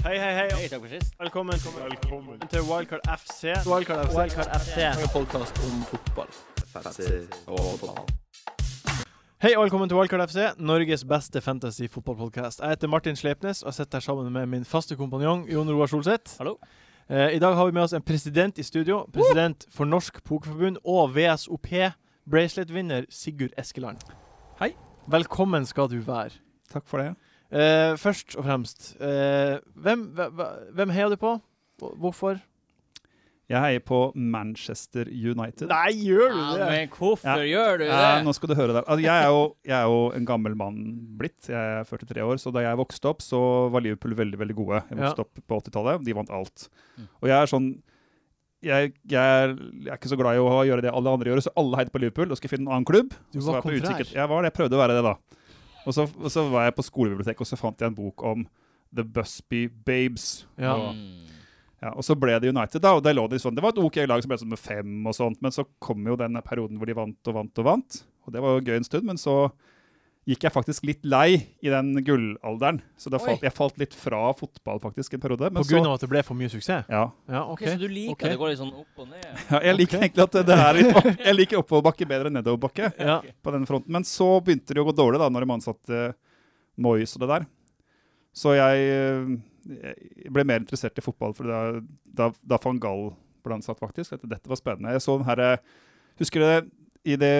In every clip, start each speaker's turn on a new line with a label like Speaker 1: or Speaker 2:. Speaker 1: Hei, hei, hei.
Speaker 2: takk for sist.
Speaker 1: Velkommen, til Wildcard FC.
Speaker 3: Wildcard FC.
Speaker 1: Wildcard FC.
Speaker 3: En podkast om fotball.
Speaker 1: Hei og velkommen til Wildcard FC, Norges beste fantasy-fotballpodkast. Jeg heter Martin Sleipnes og jeg sitter her sammen med min faste kompanjong Jon Roar Solseth.
Speaker 2: Hallo.
Speaker 1: Eh, I dag har vi med oss en president i studio. President for Norsk Pokerforbund og VSOP, bracelet-vinner Sigurd Eskeland.
Speaker 3: Hei.
Speaker 1: Velkommen skal du være.
Speaker 3: Takk for det.
Speaker 1: Eh, først og fremst, eh, hvem, hva- hva- hvem heier du på? Hvor- Hvorfor?
Speaker 3: Jeg heier på Manchester United.
Speaker 1: Nei, gjør
Speaker 2: Ja, men hvorfor gjør du det?
Speaker 3: Ja, nå skal du høre det. Altså, jeg, er jo, jeg er jo en gammel mann blitt. Jeg er 43 år, så da jeg vokste opp, så var Liverpool veldig veldig gode. Jeg
Speaker 1: Ja.
Speaker 3: vokste opp på 80-tallet, de vant alt.
Speaker 2: Mm.
Speaker 3: Og jeg er sånn jeg, jeg, er, jeg er ikke så glad i å gjøre det alle andre gjør, så alle heide på Liverpool. Da skal jeg finne en annen klubb.
Speaker 1: Du
Speaker 3: Og så
Speaker 1: var
Speaker 3: jeg på
Speaker 1: kontrær.
Speaker 3: utkikk et- Jeg var det, jeg prøvde å være det, da. Og så, og så var jeg på skolebiblioteket, og så fant jeg en bok om The Busby Babes.
Speaker 1: Ja.
Speaker 3: Og,
Speaker 2: Mm.
Speaker 3: ja, og så ble det United, da, og der lå de sånn. Det var et OK lag som ble sånn med fem og sånt, men så kom jo den perioden hvor de vant og vant og vant. Og det var jo gøy en stund, men så gikk jeg faktisk litt lei i den gullalderen. Så da
Speaker 2: Oi.
Speaker 3: falt, jeg falt litt fra fotball faktisk en periode. Men
Speaker 1: På grunn
Speaker 3: så,
Speaker 1: av at det ble for mye suksess?
Speaker 3: ja.
Speaker 1: Ja,
Speaker 2: Ok,
Speaker 1: OK.
Speaker 2: Så du liker
Speaker 1: Ok.
Speaker 2: det går litt sånn opp og ned?
Speaker 3: ja, jeg liker egentlig at det er litt opp, Jeg liker oppoverbakke bedre enn nedoverbakke
Speaker 1: Ja.
Speaker 3: på den fronten. Men så begynte det å gå dårlig da, når de ansatte Moyes og det der. Så jeg, eh, jeg ble mer interessert i fotball for da, da, da van Gaal ble ansatt, faktisk. At dette var spennende. Jeg så den her, eh, Husker du det i det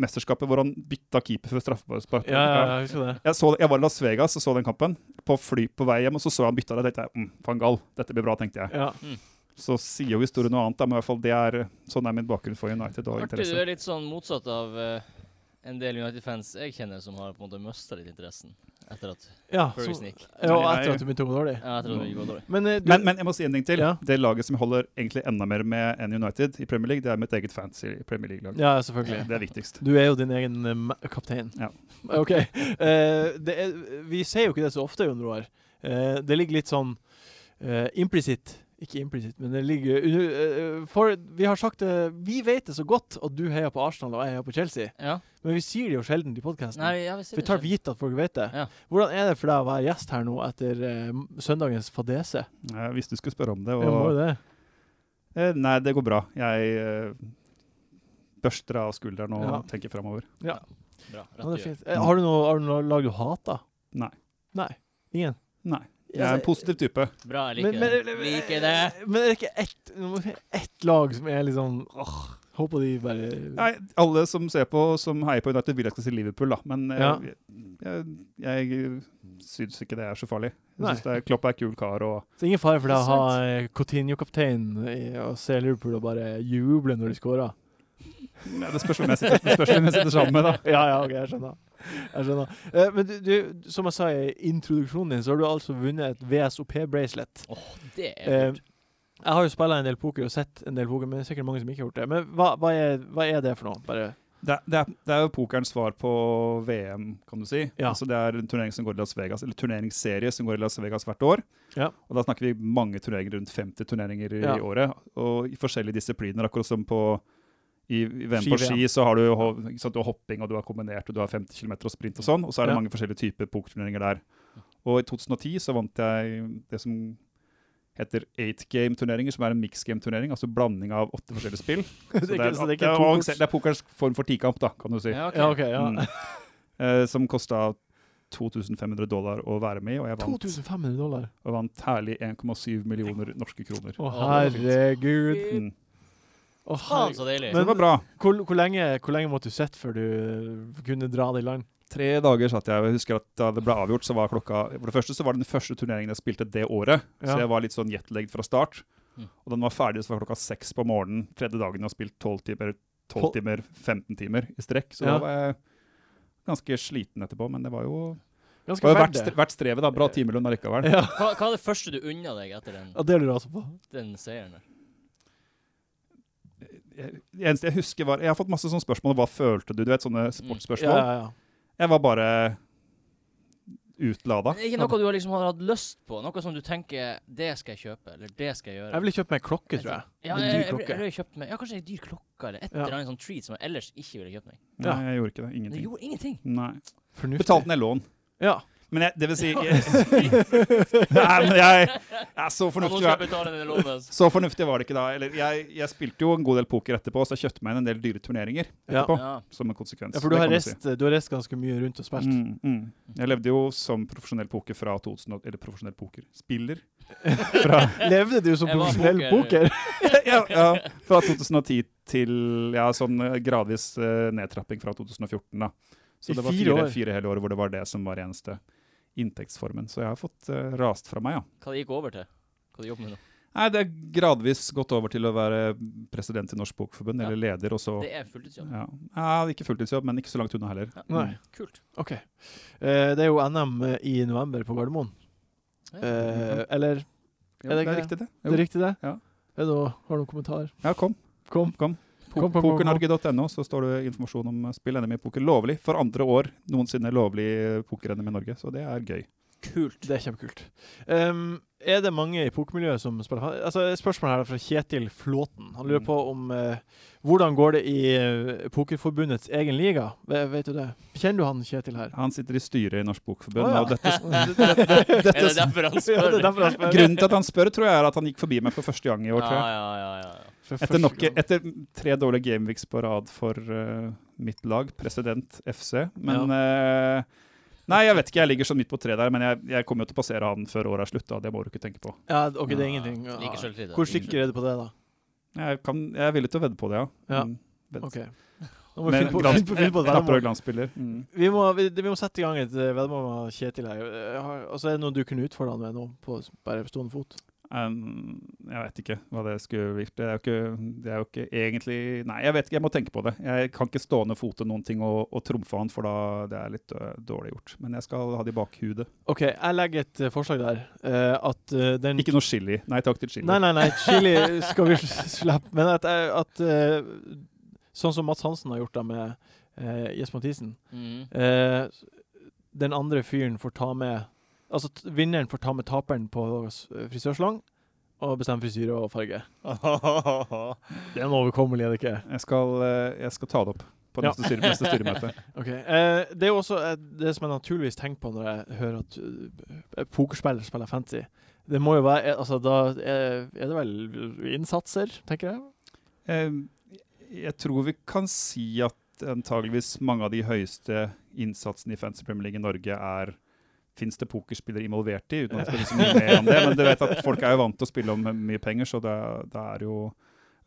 Speaker 3: mesterskapet hvor han bytta keeper for straffespark?
Speaker 1: Ja, ja, ja, jeg husker det.
Speaker 3: Jeg, så, jeg var i Las Vegas og så den kampen. På fly på vei hjem, og så så jeg han bytta der. og tenkte jeg, mm, Van Gaal, dette blir bra, tenkte jeg.
Speaker 1: Ja.
Speaker 3: Så sier jo historien noe annet, da, men i hvert fall det er, sånn er min bakgrunn for United. og
Speaker 2: Artig, du
Speaker 3: interesse.
Speaker 2: er litt sånn motsatt av eh, en del United-fans jeg kjenner som har på en måte mista litt interessen etter at
Speaker 1: ja så,
Speaker 2: Ferguson gikk.
Speaker 1: ja, og etter at du begynte å gå dårlig.
Speaker 2: Ja, etter at det gikk dårlig.
Speaker 1: Men, eh, du,
Speaker 3: Men, men jeg må si en ting til.
Speaker 1: Ja.
Speaker 3: Det laget som jeg holder egentlig enda mer med enn United i Premier League, det er mitt eget fancy Premier League-lag.
Speaker 1: Ja, selvfølgelig.
Speaker 3: Det er viktigst.
Speaker 1: Du er jo din egen eh, ma- kaptein.
Speaker 3: Ja.
Speaker 1: OK. Eh, det er, vi sier jo ikke det så ofte, Jon Roar. Eh, det ligger litt sånn eh, implisitt Ikke implisitt, men det ligger under- eh, For vi har sagt det Vi vet det så godt at du heier på Arsenal og jeg heier på Chelsea,
Speaker 2: Ja.
Speaker 1: men vi sier det jo sjelden i podkasten.
Speaker 2: Nei, ja, vi sier
Speaker 1: Vi
Speaker 2: det
Speaker 1: tar
Speaker 2: ikke.
Speaker 1: for gitt at folk vet det.
Speaker 2: Ja.
Speaker 1: Hvordan er det for deg å være gjest her nå etter eh, søndagens fadese?
Speaker 3: Jeg visste Eh, du skulle spørre om det.
Speaker 1: Jeg må jo
Speaker 3: Og,
Speaker 1: det.
Speaker 3: Eh, nei, det går bra. Jeg eh, børster av skulderen og
Speaker 1: Ja.
Speaker 3: tenker framover.
Speaker 2: Bra,
Speaker 1: Ja,
Speaker 2: rett
Speaker 1: det
Speaker 2: i
Speaker 1: er
Speaker 2: øyet.
Speaker 1: fint. Eh, Har du noe, har du noe lag du hater?
Speaker 3: Nei.
Speaker 1: Nei. Ingen?
Speaker 3: Nei. Jeg er en
Speaker 1: Altså,
Speaker 3: positiv type.
Speaker 2: Bra, jeg liker det. Liker det.
Speaker 1: eh, Men er det ikke ett, nå må jeg si ett lag som er liksom åh, Håper de bare
Speaker 3: Nei, alle som ser på, som heier på United, vil jeg skal si Liverpool, da. Men eh,
Speaker 1: Ja.
Speaker 3: jeg, jeg, jeg syns ikke det er så farlig.
Speaker 1: Nei.
Speaker 3: Jeg syns det er- Klopp er kul kar og
Speaker 1: Så ingen fare for deg å
Speaker 2: Ikke
Speaker 1: ha eh, Coutinho-kapteinen i- og se Liverpool og bare juble når de scorer?
Speaker 3: Nei, Det spørs hvem jeg sitter, det spørs hvem jeg sitter sammen med, da.
Speaker 1: Ja, ja, ok, jeg skjønner. Jeg skjønner. Eh, men du, du, som jeg sa i introduksjonen din, så har du altså vunnet et VSOP-bracelet.
Speaker 2: Åh, det er
Speaker 1: Eh, jeg har jo spilla en del poker og sett en del poker, men det er sikkert mange som ikke har gjort det. Men hva, hva, er, hva er det for noe? Bare
Speaker 3: Det, er- det, er, det er jo pokerens svar på VM, kan du si.
Speaker 1: Ja.
Speaker 3: Altså det er en turnering som går i Las Vegas, eller turneringsserie som går i Las Vegas hvert år.
Speaker 1: Ja.
Speaker 3: Og da snakker vi mange turneringer, rundt 50 turneringer i
Speaker 1: Ja.
Speaker 3: året. Og i forskjellige disipliner, akkurat som på i i VM på
Speaker 1: Ski-VM.
Speaker 3: ski, så har du, jo ho- ikke sant, du har hopping, og du har kombinert, og du har 50 km og sprint og sånn. Og så er det
Speaker 1: Ja.
Speaker 3: mange forskjellige typer pokerturneringer der. Og i 2010 så vant jeg det som heter eight game-turneringer, som er en mixed game-turnering, altså blanding av åtte forskjellige spill.
Speaker 1: Så
Speaker 3: Så det, er,
Speaker 1: så
Speaker 3: det, er
Speaker 1: to kort?
Speaker 3: avansert- det er pokerens form for tikamp, da, kan du si.
Speaker 2: ja, ok.
Speaker 1: Ja, OK. Ja.
Speaker 3: Mm. Eh, som kosta 2500 dollar å være med i, og jeg vant,
Speaker 1: 2500 dollar.
Speaker 3: og vant herlig 1,7 millioner norske kroner.
Speaker 1: Å,
Speaker 2: Å, det
Speaker 1: herregud.
Speaker 3: Mm.
Speaker 1: Å,
Speaker 2: Faen,
Speaker 1: herregud.
Speaker 3: altså.
Speaker 2: så deilig.
Speaker 3: Så det var bra.
Speaker 1: Hvor, hvor, lenge, hvor lenge måtte du sitte før du kunne dra det i land?
Speaker 3: Tre dager satt jeg, og jeg husker at da det ble avgjort, så var klokka For det første så var det den første turneringen jeg spilte det året, så
Speaker 1: Ja.
Speaker 3: jeg var litt sånn jetlagged fra start.
Speaker 2: Mm.
Speaker 3: Og den var ferdig, så var klokka seks på morgenen tredje dagen jeg har spilt 12 timer, 12
Speaker 1: Tol-
Speaker 3: timer, 15 timer i strekk. Så
Speaker 1: Ja.
Speaker 3: da var jeg ganske sliten etterpå, men det var jo Det
Speaker 1: Ganske
Speaker 3: var jo verdt,
Speaker 1: verdt det.
Speaker 3: stre- verdt strevet, da. Bra timelønn allikevel.
Speaker 1: Ja.
Speaker 2: Hva, hva er det første du unna deg etter den,
Speaker 1: ja, det er du altså på.
Speaker 2: den seieren? der?
Speaker 3: Jeg- Det eneste jeg husker var Jeg har fått masse sånne spørsmål hva følte du? Du vet, sånne
Speaker 1: Ja,
Speaker 3: sportsspørsmål.
Speaker 1: Mm. ja, ja.
Speaker 3: Jeg var bare utlada.
Speaker 2: Det er Ikke noe du har liksom har hatt lyst på? Noe som du tenker 'det skal jeg kjøpe', eller 'det skal jeg gjøre'?
Speaker 1: Jeg ville kjøpt meg klokke, tror jeg.
Speaker 2: Ja,
Speaker 1: En
Speaker 2: jeg,
Speaker 1: dyr
Speaker 2: jeg, jeg,
Speaker 1: klokke.
Speaker 2: ville kjøpt meg, ja, kanskje en dyr klokke eller et
Speaker 1: Ja.
Speaker 2: eller annet sånn treat som jeg ellers ikke ville kjøpt meg.
Speaker 1: Ja.
Speaker 3: Nei, jeg gjorde ikke det.
Speaker 2: Men det
Speaker 3: Ingenting.
Speaker 2: gjorde ingenting.
Speaker 3: Nei.
Speaker 1: Fornuftig.
Speaker 3: Betalte ned lån.
Speaker 1: Ja.
Speaker 3: Men jeg, det vil si Nei, men jeg, jeg er så
Speaker 2: Ja, nå
Speaker 3: fornuftig.
Speaker 2: skal jeg
Speaker 3: Jeg,
Speaker 2: betale denne lånen.
Speaker 3: så fornuftig var det ikke da. Eller, jeg, jeg spilte jo en god del poker etterpå, så jeg kjøpte meg inn en del dyre turneringer
Speaker 1: Ja.
Speaker 3: etterpå.
Speaker 2: Ja.
Speaker 3: Som en konsekvens.
Speaker 1: Ja, for du
Speaker 3: det
Speaker 1: har,
Speaker 3: kan du si.
Speaker 1: rest, du har rest ganske mye rundt og spilt.
Speaker 3: Mm, mm. Jeg levde jo som profesjonell poker fra 2000, og- eller profesjonell pokerspiller. Fra,
Speaker 1: Levde du som
Speaker 2: Jeg var
Speaker 1: profesjonell poker?
Speaker 2: poker.
Speaker 3: ja, ja, fra 2010 til ja, sånn eh, gradvis eh, nedtrapping fra 2014. da. Så
Speaker 1: I
Speaker 3: det var
Speaker 1: fire
Speaker 3: fire,
Speaker 1: år.
Speaker 3: fire hele år hvor det var det som var eneste inntektsformen. Så jeg har fått eh, rast fra meg, ja.
Speaker 2: Hva det gikk over til? Hva det jobber med nå?
Speaker 3: Nei, det er gradvis gått over til å være president i Norsk Pokerforbund,
Speaker 2: Ja.
Speaker 3: eller leder, og så
Speaker 2: Det er fulltidsjobb.
Speaker 3: ja. ja, ikke fulltidsjobb, men ikke så langt unna heller.
Speaker 2: Ja.
Speaker 1: Nei.
Speaker 2: Kult.
Speaker 1: OK. Eh, det er jo NM i november på Gardermoen.
Speaker 2: Ja.
Speaker 1: Eh, eller det ikke
Speaker 3: Jo, det, er
Speaker 1: det?
Speaker 3: riktig, det.
Speaker 1: er det riktig, det?
Speaker 3: Ja.
Speaker 1: Er det noe, har du noen kommentar?
Speaker 3: Ja, kom.
Speaker 1: Kom.
Speaker 3: Po-
Speaker 1: Kom, kom, kom, kom.
Speaker 3: Pokernorge.no, så står det informasjon om eh, spill NM i poker lovlig. For andre år noensinne lovlig eh, poker-NM i Norge, så det er gøy.
Speaker 2: Kult.
Speaker 1: Det er kjempekult. Um, er det mange i pokermiljøet som spiller fa- altså, et Spørsmål her er fra Kjetil Flåten. Han lurer
Speaker 3: Mm.
Speaker 1: på om eh, hvordan går det i eh, Pokerforbundets egen liga. Ve- Vet du det? Kjenner du han Kjetil her?
Speaker 3: Han sitter i styret i Norsk Pokerforbund,
Speaker 1: Å, ja.
Speaker 3: og dette,
Speaker 2: Er det derfor han spør?
Speaker 1: Ja, det er derfor han spør.
Speaker 3: grunnen til at han spør, tror jeg er at han gikk forbi meg for første gang i år,
Speaker 2: ja,
Speaker 3: tror jeg.
Speaker 2: ja, ja, ja, ja.
Speaker 1: For
Speaker 3: Etter,
Speaker 1: første
Speaker 3: nok,
Speaker 1: gang.
Speaker 3: etter tre dårlige gameweeks på rad for eh, mitt lag, president FC. Men eh, Nei, jeg vet ikke. Jeg ligger sånn midt på treet der, men jeg, jeg kommer jo til å passere han før året er slutt. Da. Det må du ikke tenke på.
Speaker 1: Ja, OK, det er ingenting.
Speaker 2: Ja, Like
Speaker 1: Ja.
Speaker 2: selvtillit. da.
Speaker 1: Hvor sikker er du på det, da?
Speaker 3: Jeg, kan, jeg er villig til å vedde på det, ja.
Speaker 1: Ja.
Speaker 3: Mm, vedde.
Speaker 1: OK. Nå må vi
Speaker 3: Men
Speaker 1: finne på,
Speaker 3: glans-
Speaker 1: finne på, finne på et
Speaker 3: Knapper og
Speaker 1: veddemål.
Speaker 3: glansspiller. Mm.
Speaker 1: Vi må, vi, det- vi må sette i gang et eh, veddemål med Kjetil her. Eh, har- Og så er det noe du kunne utfordre han med nå, på s- bare på stående fot.
Speaker 3: Um, jeg vet ikke hva det skulle blitt. Det er jo ikke, det er jo ikke egentlig Nei, jeg vet ikke. Jeg må tenke på det. Jeg kan ikke stående fote noen ting og, og trumfe han, for da det er litt øh, dårlig gjort. Men jeg skal ha det i bakhudet.
Speaker 1: OK, jeg legger et eh, forslag der. eh, at eh, den
Speaker 3: Ikke noe chili. Nei takk til chili.
Speaker 1: Nei, nei, nei, chili skal vi slippe. Men at, jeg- at eh, sånn som Mats Hansen har gjort da med eh, Jesper Mathisen
Speaker 2: Mhm.
Speaker 1: eh, Den andre fyren får ta med Altså t vinneren får ta med taperen på s- frisørslang og bestemme frisyre og farge. Det er noe overkommelig, er det ikke?
Speaker 3: Jeg skal, eh, jeg skal ta det opp på
Speaker 1: Ja.
Speaker 3: neste, styre, neste styremøte.
Speaker 1: Ok, eh, Det er jo også eh, det som jeg naturligvis tenker på når jeg hører at eh, pokerspillere spiller fantasy. Det må jo være eh, Altså, da er, er det vel innsatser, tenker jeg.
Speaker 3: Eh, Jeg tror vi kan si at antageligvis mange av de høyeste innsatsene i Fantasy Premier League i Norge er Fins det pokerspillere involvert i? uten at det er så mye mer om det, Men du vet at folk er jo vant til å spille om mye penger, så det, det er jo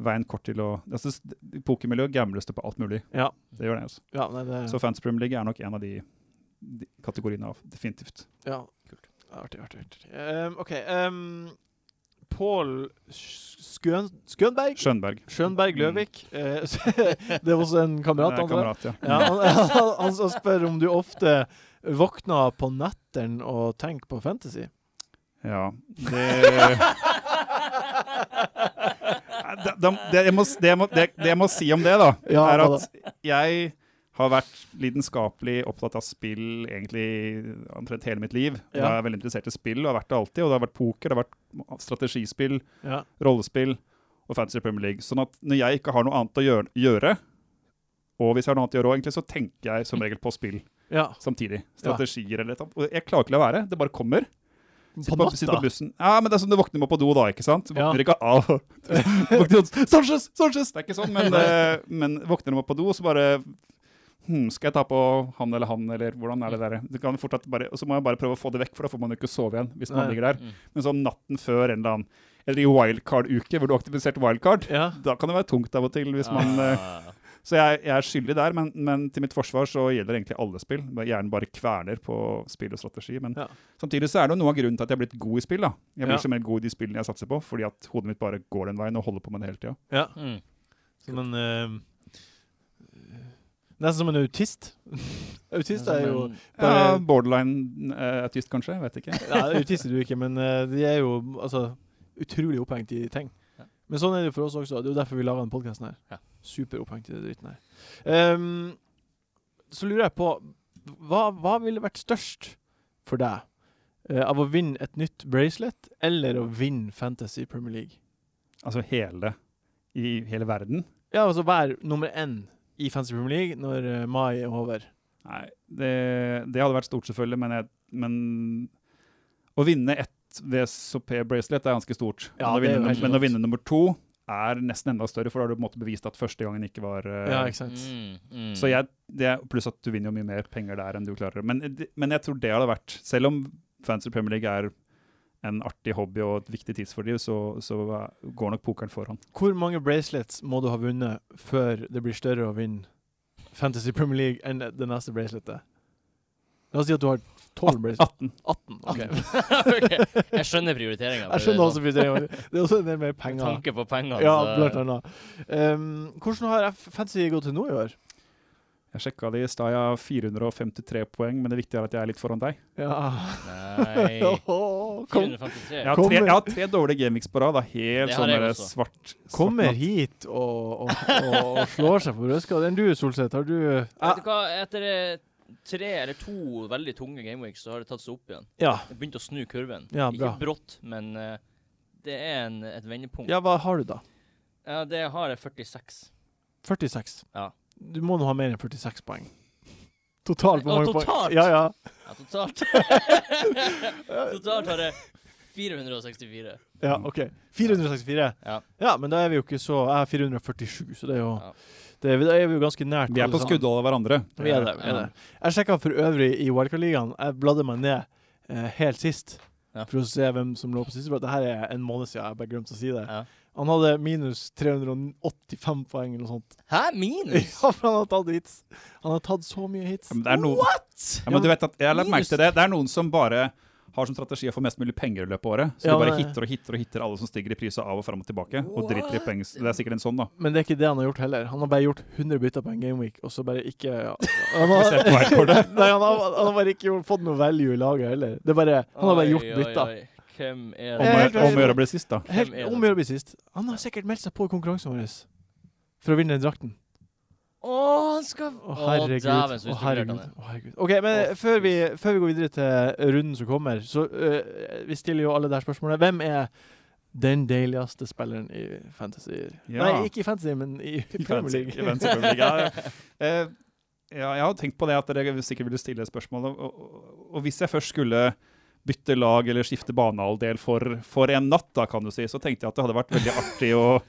Speaker 3: veien kort til å Jeg synes I pokermiljøet gambles det på alt mulig.
Speaker 1: Ja.
Speaker 3: Det gjør det. altså.
Speaker 1: Ja, nei, det,
Speaker 3: Så Fantasy Premier League er nok en av de, de kategoriene av, definitivt.
Speaker 1: Ja. Artig, artig. artig. Ehm, OK. ehm, Pål Skøn, Skønberg?
Speaker 3: Skjønberg.
Speaker 1: Skjønberg Løvik. eh, det var også en kamerat. antar jeg.
Speaker 3: Det er Mm. kamerat, ja.
Speaker 1: Ja, han, han, han som spør om du ofte våkner på nettene og tenker på fantasy.
Speaker 3: Ja, det Nei, da, da, det, jeg må, det, jeg må, det, det jeg må si om det, da,
Speaker 1: Ja,
Speaker 3: er
Speaker 1: hva
Speaker 3: at jeg har vært lidenskapelig opptatt av spill egentlig omtrent hele mitt liv. Jeg
Speaker 1: Ja.
Speaker 3: er veldig interessert i spill, og har vært det alltid. Og det har vært poker, det har vært strategispill,
Speaker 1: Ja.
Speaker 3: rollespill og Fantasy Premier League. Sånn at når jeg ikke har noe annet å gjøre, gjøre og hvis jeg har noe annet å gjøre også, egentlig, så tenker jeg som regel på spill
Speaker 1: ja.
Speaker 3: samtidig. Strategier eller et eller annet. Og jeg klarer ikke å la være. Det bare kommer.
Speaker 1: På
Speaker 3: Sitter på, sitter på
Speaker 1: natta.
Speaker 3: bussen. Ja, men det er sånn du våkner opp på do da, ikke sant? Du
Speaker 1: Ja.
Speaker 3: våkner ikke av. Du våkner opp, Sanchez! Sanchez! Det er ikke sånn, men, eh, men våkner de opp på do, så bare hmm, Skal jeg ta på han eller han, eller hvordan er det der? Du kan fortsatt bare, og så må jeg bare prøve å få det vekk, for da får man jo ikke sove igjen. hvis man
Speaker 1: Nei.
Speaker 3: ligger der.
Speaker 2: Mm.
Speaker 3: Men sånn natten før en eller annen, eller i wildcard-uke, hvor du har aktivisert wildcard,
Speaker 1: Ja.
Speaker 3: da kan det være tungt av og til. hvis
Speaker 2: Ja,
Speaker 3: man...
Speaker 2: ja,
Speaker 3: eh,
Speaker 2: ja.
Speaker 3: så jeg, jeg er skyldig der, men, men til mitt forsvar så gjelder egentlig alle spill. Bare- Hjernen bare kverner på spill og strategi. Men
Speaker 1: Ja.
Speaker 3: samtidig så er det jo noe av grunnen til at jeg er blitt god i spill. da. Jeg blir
Speaker 1: Ja.
Speaker 3: som en god i de spillene jeg satser på, fordi at hodet mitt bare går den veien og holder på med det hele tida.
Speaker 1: ja.
Speaker 2: Mm.
Speaker 1: Som en ehm, Nesten som en autist. Autist er jo
Speaker 2: Men-
Speaker 1: Bare-
Speaker 3: Ja, borderline eh, autist, kanskje? Jeg vet ikke.
Speaker 1: Ja, autister du ikke, men eh, de er jo altså, utrolig opphengt i ting.
Speaker 2: Ja.
Speaker 1: Men sånn er det jo for oss også. Det er jo derfor vi lager denne podkasten her.
Speaker 2: Ja.
Speaker 1: Superopphengt i den dritten her. Ehm, så lurer jeg på hva, hva ville vært størst for deg? eh, av å vinne et nytt bracelet eller å vinne Fantasy Premier League?
Speaker 3: Altså hele i hele verden.
Speaker 1: Ja, altså være nummer én i Fantasy Premier League når eh, mai er over.
Speaker 3: Nei, det, det hadde vært stort, selvfølgelig, men jeg men å vinne ett VSOP-bracelet er ganske stort.
Speaker 1: Ja,
Speaker 3: men, å
Speaker 1: det er
Speaker 3: vinne,
Speaker 1: jo
Speaker 3: num-
Speaker 1: helt
Speaker 3: men å vinne nummer to er nesten enda større, for da har du på en måte bevist at første gangen ikke var eh,
Speaker 1: Ja, ikke sant.
Speaker 2: Mm, mm.
Speaker 3: så jeg, det, er- pluss at du vinner jo mye mer penger der enn du klarer. Men, det- men jeg tror det hadde vært Selv om Fancy Premier League er en artig hobby og et viktig tidsfordriv, så, så eh, går nok pokeren foran.
Speaker 1: Hvor mange bracelets må du ha vunnet før det blir større å vinne Fantasy Premier League enn det neste braceletet? La oss si at du har 12 bracelets.
Speaker 3: 18.
Speaker 1: 18. ok.
Speaker 2: Ok, Jeg skjønner prioriteringa.
Speaker 1: Jeg skjønner også prioriteringen. Det er også en del mer penger.
Speaker 2: Tanke på altså- penger.
Speaker 1: Ja,
Speaker 2: så-
Speaker 1: blant annet. Um, hvordan har F- Fantasy gått til nå i år?
Speaker 3: Jeg sjekka det i stad, jeg har 453 poeng, men det viktige er at jeg er litt foran deg.
Speaker 1: Ja.
Speaker 2: Nei
Speaker 1: Åh, kom,
Speaker 2: 453.
Speaker 3: Jeg har
Speaker 1: Kommer.
Speaker 3: tre, jeg har tre dårlige gamics på rad. da. Helt
Speaker 2: Det har
Speaker 3: sånn
Speaker 2: jeg
Speaker 3: der
Speaker 2: også.
Speaker 3: svart, svart
Speaker 1: kommer
Speaker 3: natt.
Speaker 1: hit og, og, og, og slår seg på brødskade. Enn du, Solseth, har du
Speaker 2: Vet du hva, etter eh, tre eller to veldig tunge gameweeks, så har det tatt seg opp igjen.
Speaker 1: Ja.
Speaker 2: Det begynte å snu kurven.
Speaker 1: Ja,
Speaker 2: Ikke
Speaker 1: bra.
Speaker 2: brått, men eh, det er en, et vendepunkt. Ja.
Speaker 1: ja, hva har du, da?
Speaker 2: det har jeg 46.
Speaker 1: 46.
Speaker 2: Ja.
Speaker 1: Du må nå ha mer enn 46 poeng. Totalt på
Speaker 2: Å,
Speaker 1: mange
Speaker 2: totalt?
Speaker 1: poeng. Ja, ja.
Speaker 2: Ja, totalt. totalt har jeg 464.
Speaker 1: Ja, OK. 464.
Speaker 2: Ja.
Speaker 1: men da er vi jo ikke så Jeg er 447, så det er jo
Speaker 2: Ja.
Speaker 1: det er, vi- Da er vi jo ganske nært.
Speaker 3: Vi er
Speaker 1: alle
Speaker 3: på
Speaker 1: sammen.
Speaker 3: skuddhold av hverandre.
Speaker 1: Vi er det. Vi er det. Jeg sjekka for øvrig i Wildcard-ligaen. Jeg bladde meg ned eh, helt sist
Speaker 2: Ja.
Speaker 1: for å se hvem som lå på siste. plass. Det her er en måned siden, jeg bare glemte å si det.
Speaker 2: Ja.
Speaker 1: Han hadde minus 385 poeng eller noe sånt.
Speaker 2: Hæ, minus?
Speaker 1: Ja, for han har tatt hits. Han har tatt så mye hits.
Speaker 3: Ja, men det er noen-
Speaker 2: What?!
Speaker 3: Ja, men du vet at, jeg har lagt merke
Speaker 2: Minus-
Speaker 3: til det. Det er noen som bare har som strategi å få mest mulig penger i løpet av året. Så
Speaker 1: Ja,
Speaker 3: de bare
Speaker 1: men-
Speaker 3: hitter og hitter og hitter alle som stiger i pris og av og fram og tilbake. Og driter i
Speaker 2: What?
Speaker 3: poeng. Det er sikkert en sånn, da.
Speaker 1: Men det er ikke det han har gjort heller. Han har bare gjort 100 bytter på en gameweek, og så bare ikke han
Speaker 3: Vi
Speaker 1: har,
Speaker 3: ser på whiteboardet.
Speaker 1: Nei, han har, han har bare ikke gjort- fått noe value i laget heller. Det er bare, han har bare gjort
Speaker 2: Oi, oi,
Speaker 1: bytter.
Speaker 2: oi. Hvem er
Speaker 3: Om
Speaker 1: Jeg er helt
Speaker 3: å- om å
Speaker 1: enig.
Speaker 3: gjøre å bli sist, da.
Speaker 1: Helt
Speaker 2: Hvem er det?
Speaker 1: om å gjøre å bli sist. Han har sikkert meldt seg på i konkurransen vår for å vinne den drakten.
Speaker 2: Å, han skal
Speaker 1: Å, herregud.
Speaker 2: dæven, så
Speaker 1: Å,
Speaker 2: ustrukturert han
Speaker 1: herregud.
Speaker 2: er.
Speaker 1: Å, herregud. OK, men
Speaker 2: Å,
Speaker 1: før, vi, før vi går videre til runden som kommer, så øh, vi stiller jo alle det her spørsmålet. Hvem er den deiligste spilleren i Fantasy?
Speaker 3: Ja.
Speaker 1: Nei, ikke i Fantasy, men i, i Premier
Speaker 3: Fancy-
Speaker 1: League.
Speaker 3: Fancy Premier League, ja. Eh, ja, jeg har tenkt på det at dere sikkert ville stille spørsmål. Og, og, og hvis jeg først skulle bytte lag eller skifte banehalvdel for, for en natt, da, kan du si, så tenkte jeg at det hadde vært veldig artig å,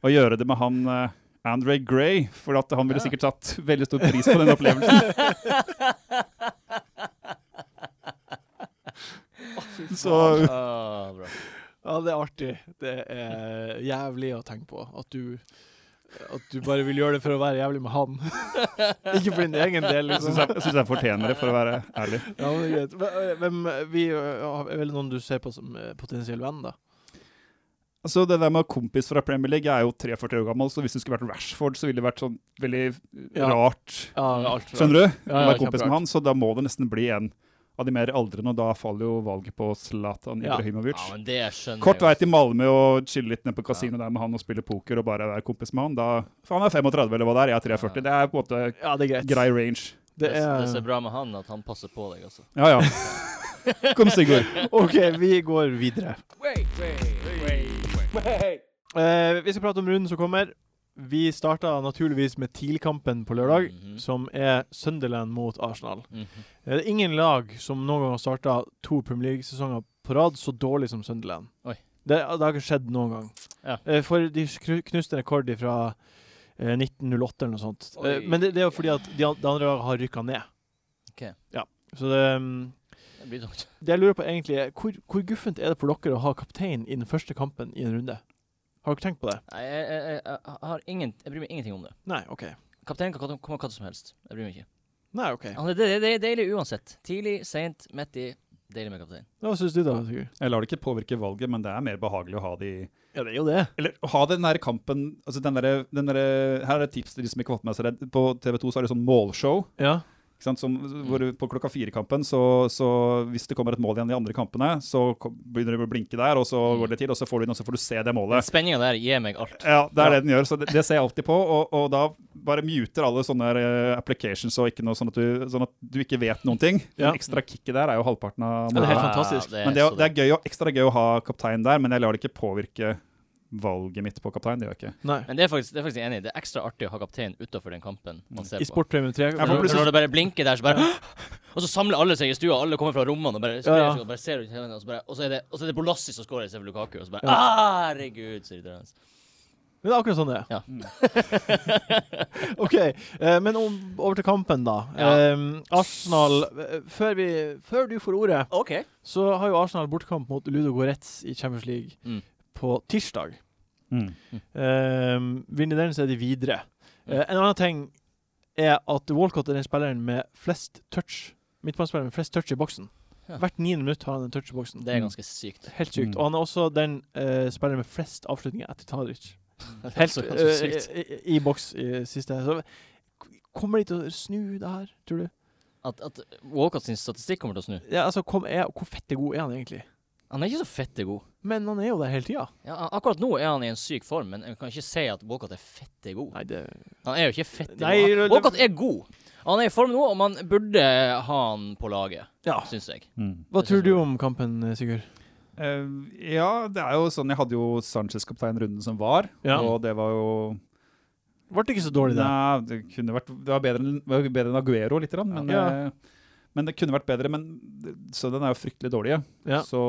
Speaker 3: å gjøre det med han eh, Andre Gray, for at han ville
Speaker 2: Ja.
Speaker 3: sikkert tatt veldig stor pris på den opplevelsen. Så
Speaker 2: Ah, bra.
Speaker 1: Ja, det er artig. Det er jævlig å tenke på. At du, at du bare vil gjøre det for å være jævlig med han. Ikke for din egen del,
Speaker 3: jeg
Speaker 1: liksom.
Speaker 3: syns jeg, synes jeg fortjener det, for å være ærlig.
Speaker 1: Ja, men det er greit. Hva- øh, Hvem, vi, øh, er vel noen du ser på som øh, potensiell venn, da?
Speaker 3: Altså Det der med kompis fra Premier League Jeg er jo 43 år gammel, så hvis det skulle vært Rashford, så ville det vært sånn veldig
Speaker 1: Ja.
Speaker 3: rart.
Speaker 1: Ja, alt fra-
Speaker 3: Skjønner du?
Speaker 1: Ja, ja,
Speaker 3: Han er kompis med
Speaker 1: kjemperart.
Speaker 3: han, så da må det nesten bli en av de mer aldrende, og da faller jo valget på Zlatan
Speaker 1: Ja.
Speaker 3: Ibrahimovic.
Speaker 2: Ja, men det skjønner
Speaker 3: Kort vei
Speaker 2: jeg.
Speaker 3: til Malmö og chille litt nede på kasino der med han og spille poker og bare være kompis med han. Da, for han er 35 eller hva det er, jeg er 43. Det er på en måte
Speaker 1: Ja, det er greit.
Speaker 3: grei range.
Speaker 1: Det
Speaker 2: det ser
Speaker 1: er
Speaker 2: bra med han at han passer på deg, altså.
Speaker 3: Ja, ja. Kom, Sigurd.
Speaker 1: OK, vi går videre. Eh, vi skal prate om runden som kommer. Vi starta naturligvis med TIL-kampen på lørdag,
Speaker 2: Mhm.
Speaker 1: som er Sunderland mot Arsenal.
Speaker 2: Mhm.
Speaker 1: Det er ingen lag som noen gang har starta to Premier League-sesonger på rad så dårlig som Sunderland.
Speaker 2: Oi.
Speaker 1: Det, det har ikke skjedd noen gang.
Speaker 2: Ja.
Speaker 1: Eh, For de skru- knuste en rekord fra eh, 1908 eller noe sånt.
Speaker 2: Oi.
Speaker 1: Eh, Men det, det er jo fordi at de, an- de andre lagene har rykka ned.
Speaker 2: Ok.
Speaker 1: Ja. Så det, mm,
Speaker 2: Det blir tungt.
Speaker 1: det jeg lurer på egentlig er hvor, hvor guffent er det for dere å ha kaptein i den første kampen i en runde? Har dere tenkt på det?
Speaker 2: Nei, jeg, jeg, jeg, jeg, har ingen, jeg bryr meg ingenting om det.
Speaker 1: Nei, OK.
Speaker 2: Kapteinen kan katte- komme hva som helst. Jeg bryr meg ikke.
Speaker 1: Nei, ok.
Speaker 2: Han er, det, det er deilig uansett. Tidlig, seint, midt i. Deilig med kaptein.
Speaker 1: Hva syns du da? Sigurd?
Speaker 3: Jeg lar det ikke påvirke valget, men det er mer behagelig å ha de
Speaker 1: Ja, det er jo det.
Speaker 3: Eller å ha den der kampen altså den der, den der, Her er et tips til de som ikke har fått med seg det. På TV 2 så er det sånn målshow.
Speaker 1: Ja.
Speaker 3: Ikke sant? Som, hvor du på klokka fire-kampen, så, så hvis det kommer et mål igjen i andre kampene, så kom- begynner det å blinke der, og så
Speaker 1: Mm.
Speaker 3: går det tid, og så får du inn, og så får du se det målet.
Speaker 2: Spenninga der gir meg alt.
Speaker 3: Ja, det er det den gjør, så det, det ser jeg alltid på. Og, og da bare muter alle sånne eh, applications, og ikke noe sånn at du, sånn at du ikke vet noen ting.
Speaker 1: Ja.
Speaker 3: Den ekstra kicket der er jo halvparten
Speaker 1: Ja,
Speaker 3: av
Speaker 1: det er helt
Speaker 3: målet.
Speaker 1: fantastisk.
Speaker 2: det er
Speaker 3: Men det, er-
Speaker 2: så
Speaker 3: det er gøy, å- ekstra gøy å ha kaptein der, men jeg lar det ikke påvirke valget mitt på kaptein. Det gjør jeg ikke.
Speaker 1: Nei.
Speaker 2: Men det er faktisk, det er faktisk jeg enig i. Det er ekstra artig å ha kaptein utenfor den kampen man ser
Speaker 1: I
Speaker 2: på.
Speaker 1: Sport Premium 3
Speaker 3: Ja, for
Speaker 2: Når,
Speaker 3: plutselig-
Speaker 2: når det bare blinker der, så bare Og så samler alle seg i stua, alle kommer fra rommene og bare
Speaker 1: Ja, ja.
Speaker 2: sprer seg og bare ser ut i hendene, og så bare, og så er det, og så er det Bolassi som scorer istedenfor Lukaku, og så bare Herregud, så irriterende.
Speaker 1: Men det er akkurat sånn det er.
Speaker 2: Ja.
Speaker 1: OK. eh, men om, over til kampen, da.
Speaker 2: Ja.
Speaker 1: Eh, Arsenal eh, før, vi, før du får ordet,
Speaker 2: OK.
Speaker 1: så har jo Arsenal bortekamp mot Ludo Goretz i Champions League
Speaker 2: Mm.
Speaker 1: på tirsdag.
Speaker 3: Mm.
Speaker 1: Eh, vinner den, så er de videre.
Speaker 2: Mm.
Speaker 1: Eh, en annen ting er at Walcott er den spilleren med flest touch Midtbanespilleren med flest touch i boksen.
Speaker 2: Ja.
Speaker 1: Hvert niende minutt har han en touch i boksen.
Speaker 2: Det er ganske sykt.
Speaker 1: Helt sykt.
Speaker 3: Mm.
Speaker 1: Og han er også den eh, spilleren med flest avslutninger etter Tadic.
Speaker 2: Det er
Speaker 1: Helt
Speaker 2: så ganske
Speaker 1: eh,
Speaker 2: altså, sykt.
Speaker 1: i, i, i boks i siste. Så, k- kommer de til å snu det her, tror du?
Speaker 2: At, at Walcott sin statistikk kommer til å snu.
Speaker 1: Ja, altså, kom, er, hvor fette god er han egentlig?
Speaker 2: Han er ikke så fette god.
Speaker 1: Men han er jo der hele tida.
Speaker 2: Ja, a- akkurat nå er han i en syk form, men jeg kan ikke si at Walcott er fette god.
Speaker 1: Nei, det
Speaker 2: Han er jo ikke fette
Speaker 1: Nei,
Speaker 2: god.
Speaker 1: det-
Speaker 2: Han- Walcott er god. Han er i form nå, og man burde ha han på laget,
Speaker 1: Ja.
Speaker 2: syns jeg.
Speaker 3: Mm.
Speaker 1: Hva
Speaker 2: Det
Speaker 1: tror
Speaker 2: synes
Speaker 1: du
Speaker 2: jeg.
Speaker 1: om kampen, Sigurd?
Speaker 3: Eh, ja, det er jo sånn Jeg hadde jo Sanchez kaptein runden som var,
Speaker 1: Ja.
Speaker 3: og det var jo
Speaker 1: Ble det ikke så dårlig, det?
Speaker 3: Nei, det kunne vært Det var bedre enn, det var bedre enn Aguero, litt, grann, men,
Speaker 1: Ja.
Speaker 3: eh, men det kunne vært bedre. Men, så den er jo fryktelig dårlig. Ja.
Speaker 1: Ja.
Speaker 3: Så,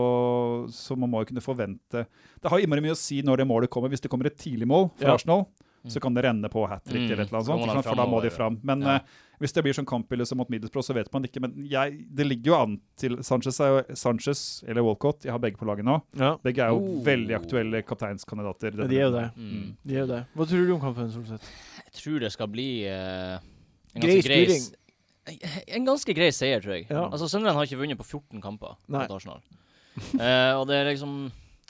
Speaker 3: så man må jo kunne forvente Det har innmari mye å si når det målet kommer. Hvis det kommer et tidlig mål fra
Speaker 1: Ja.
Speaker 3: Arsenal, så
Speaker 2: Mm.
Speaker 3: kan det renne på hat trick
Speaker 2: Mm,
Speaker 3: eller et eller annet
Speaker 2: så
Speaker 3: sånt,
Speaker 2: kommer han
Speaker 3: for da må de
Speaker 2: fremover,
Speaker 3: fram. Men
Speaker 2: Ja.
Speaker 3: eh, hvis det blir sånn kampbilde som mot Middlesbrough, så vet man ikke. Men jeg, det ligger jo an til Sanchez, er jo, Sanchez eller Walcott, jeg har begge på laget nå.
Speaker 1: Ja.
Speaker 3: Begge er jo
Speaker 2: Oh.
Speaker 3: veldig aktuelle kapteinskandidater.
Speaker 1: Ja, de er jo det.
Speaker 2: Mm.
Speaker 1: De er jo det. Hva tror du om kampen, Solseth?
Speaker 2: Jeg tror det skal bli eh, en
Speaker 1: Grei
Speaker 2: ganske grei
Speaker 1: styring.
Speaker 2: s- En ganske grei seier, tror jeg.
Speaker 1: Ja.
Speaker 2: Altså, Sunderland har ikke vunnet på 14 kamper
Speaker 1: Nei.
Speaker 2: mot Arsenal. Eh, og det er liksom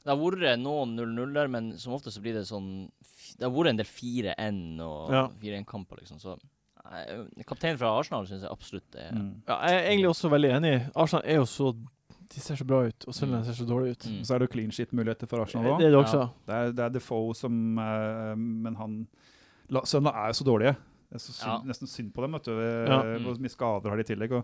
Speaker 2: Det har vært noen 0-0-er, men som ofte så blir det sånn f- Det har vært en del 4-1 og
Speaker 1: Ja.
Speaker 2: 4-1-kamper, liksom, så Nei, Kapteinen fra Arsenal syns jeg absolutt er
Speaker 3: Mm.
Speaker 1: Ja, jeg er egentlig også veldig enig. Arsenal er jo så De ser så bra ut, og Sunderland
Speaker 2: Mm.
Speaker 1: ser så dårlig ut.
Speaker 2: Mm.
Speaker 3: Så er det jo clean shit-muligheter for Arsenal
Speaker 1: Det
Speaker 3: òg.
Speaker 1: er det også.
Speaker 3: Det er, det er Defoe som eh, Men han la, Søndag er jo så dårlige. Det er så synd,
Speaker 2: Ja.
Speaker 3: nesten synd på dem. vet du.
Speaker 1: Ja.
Speaker 3: Eh, Hvor mye skader har de i tillegg. Og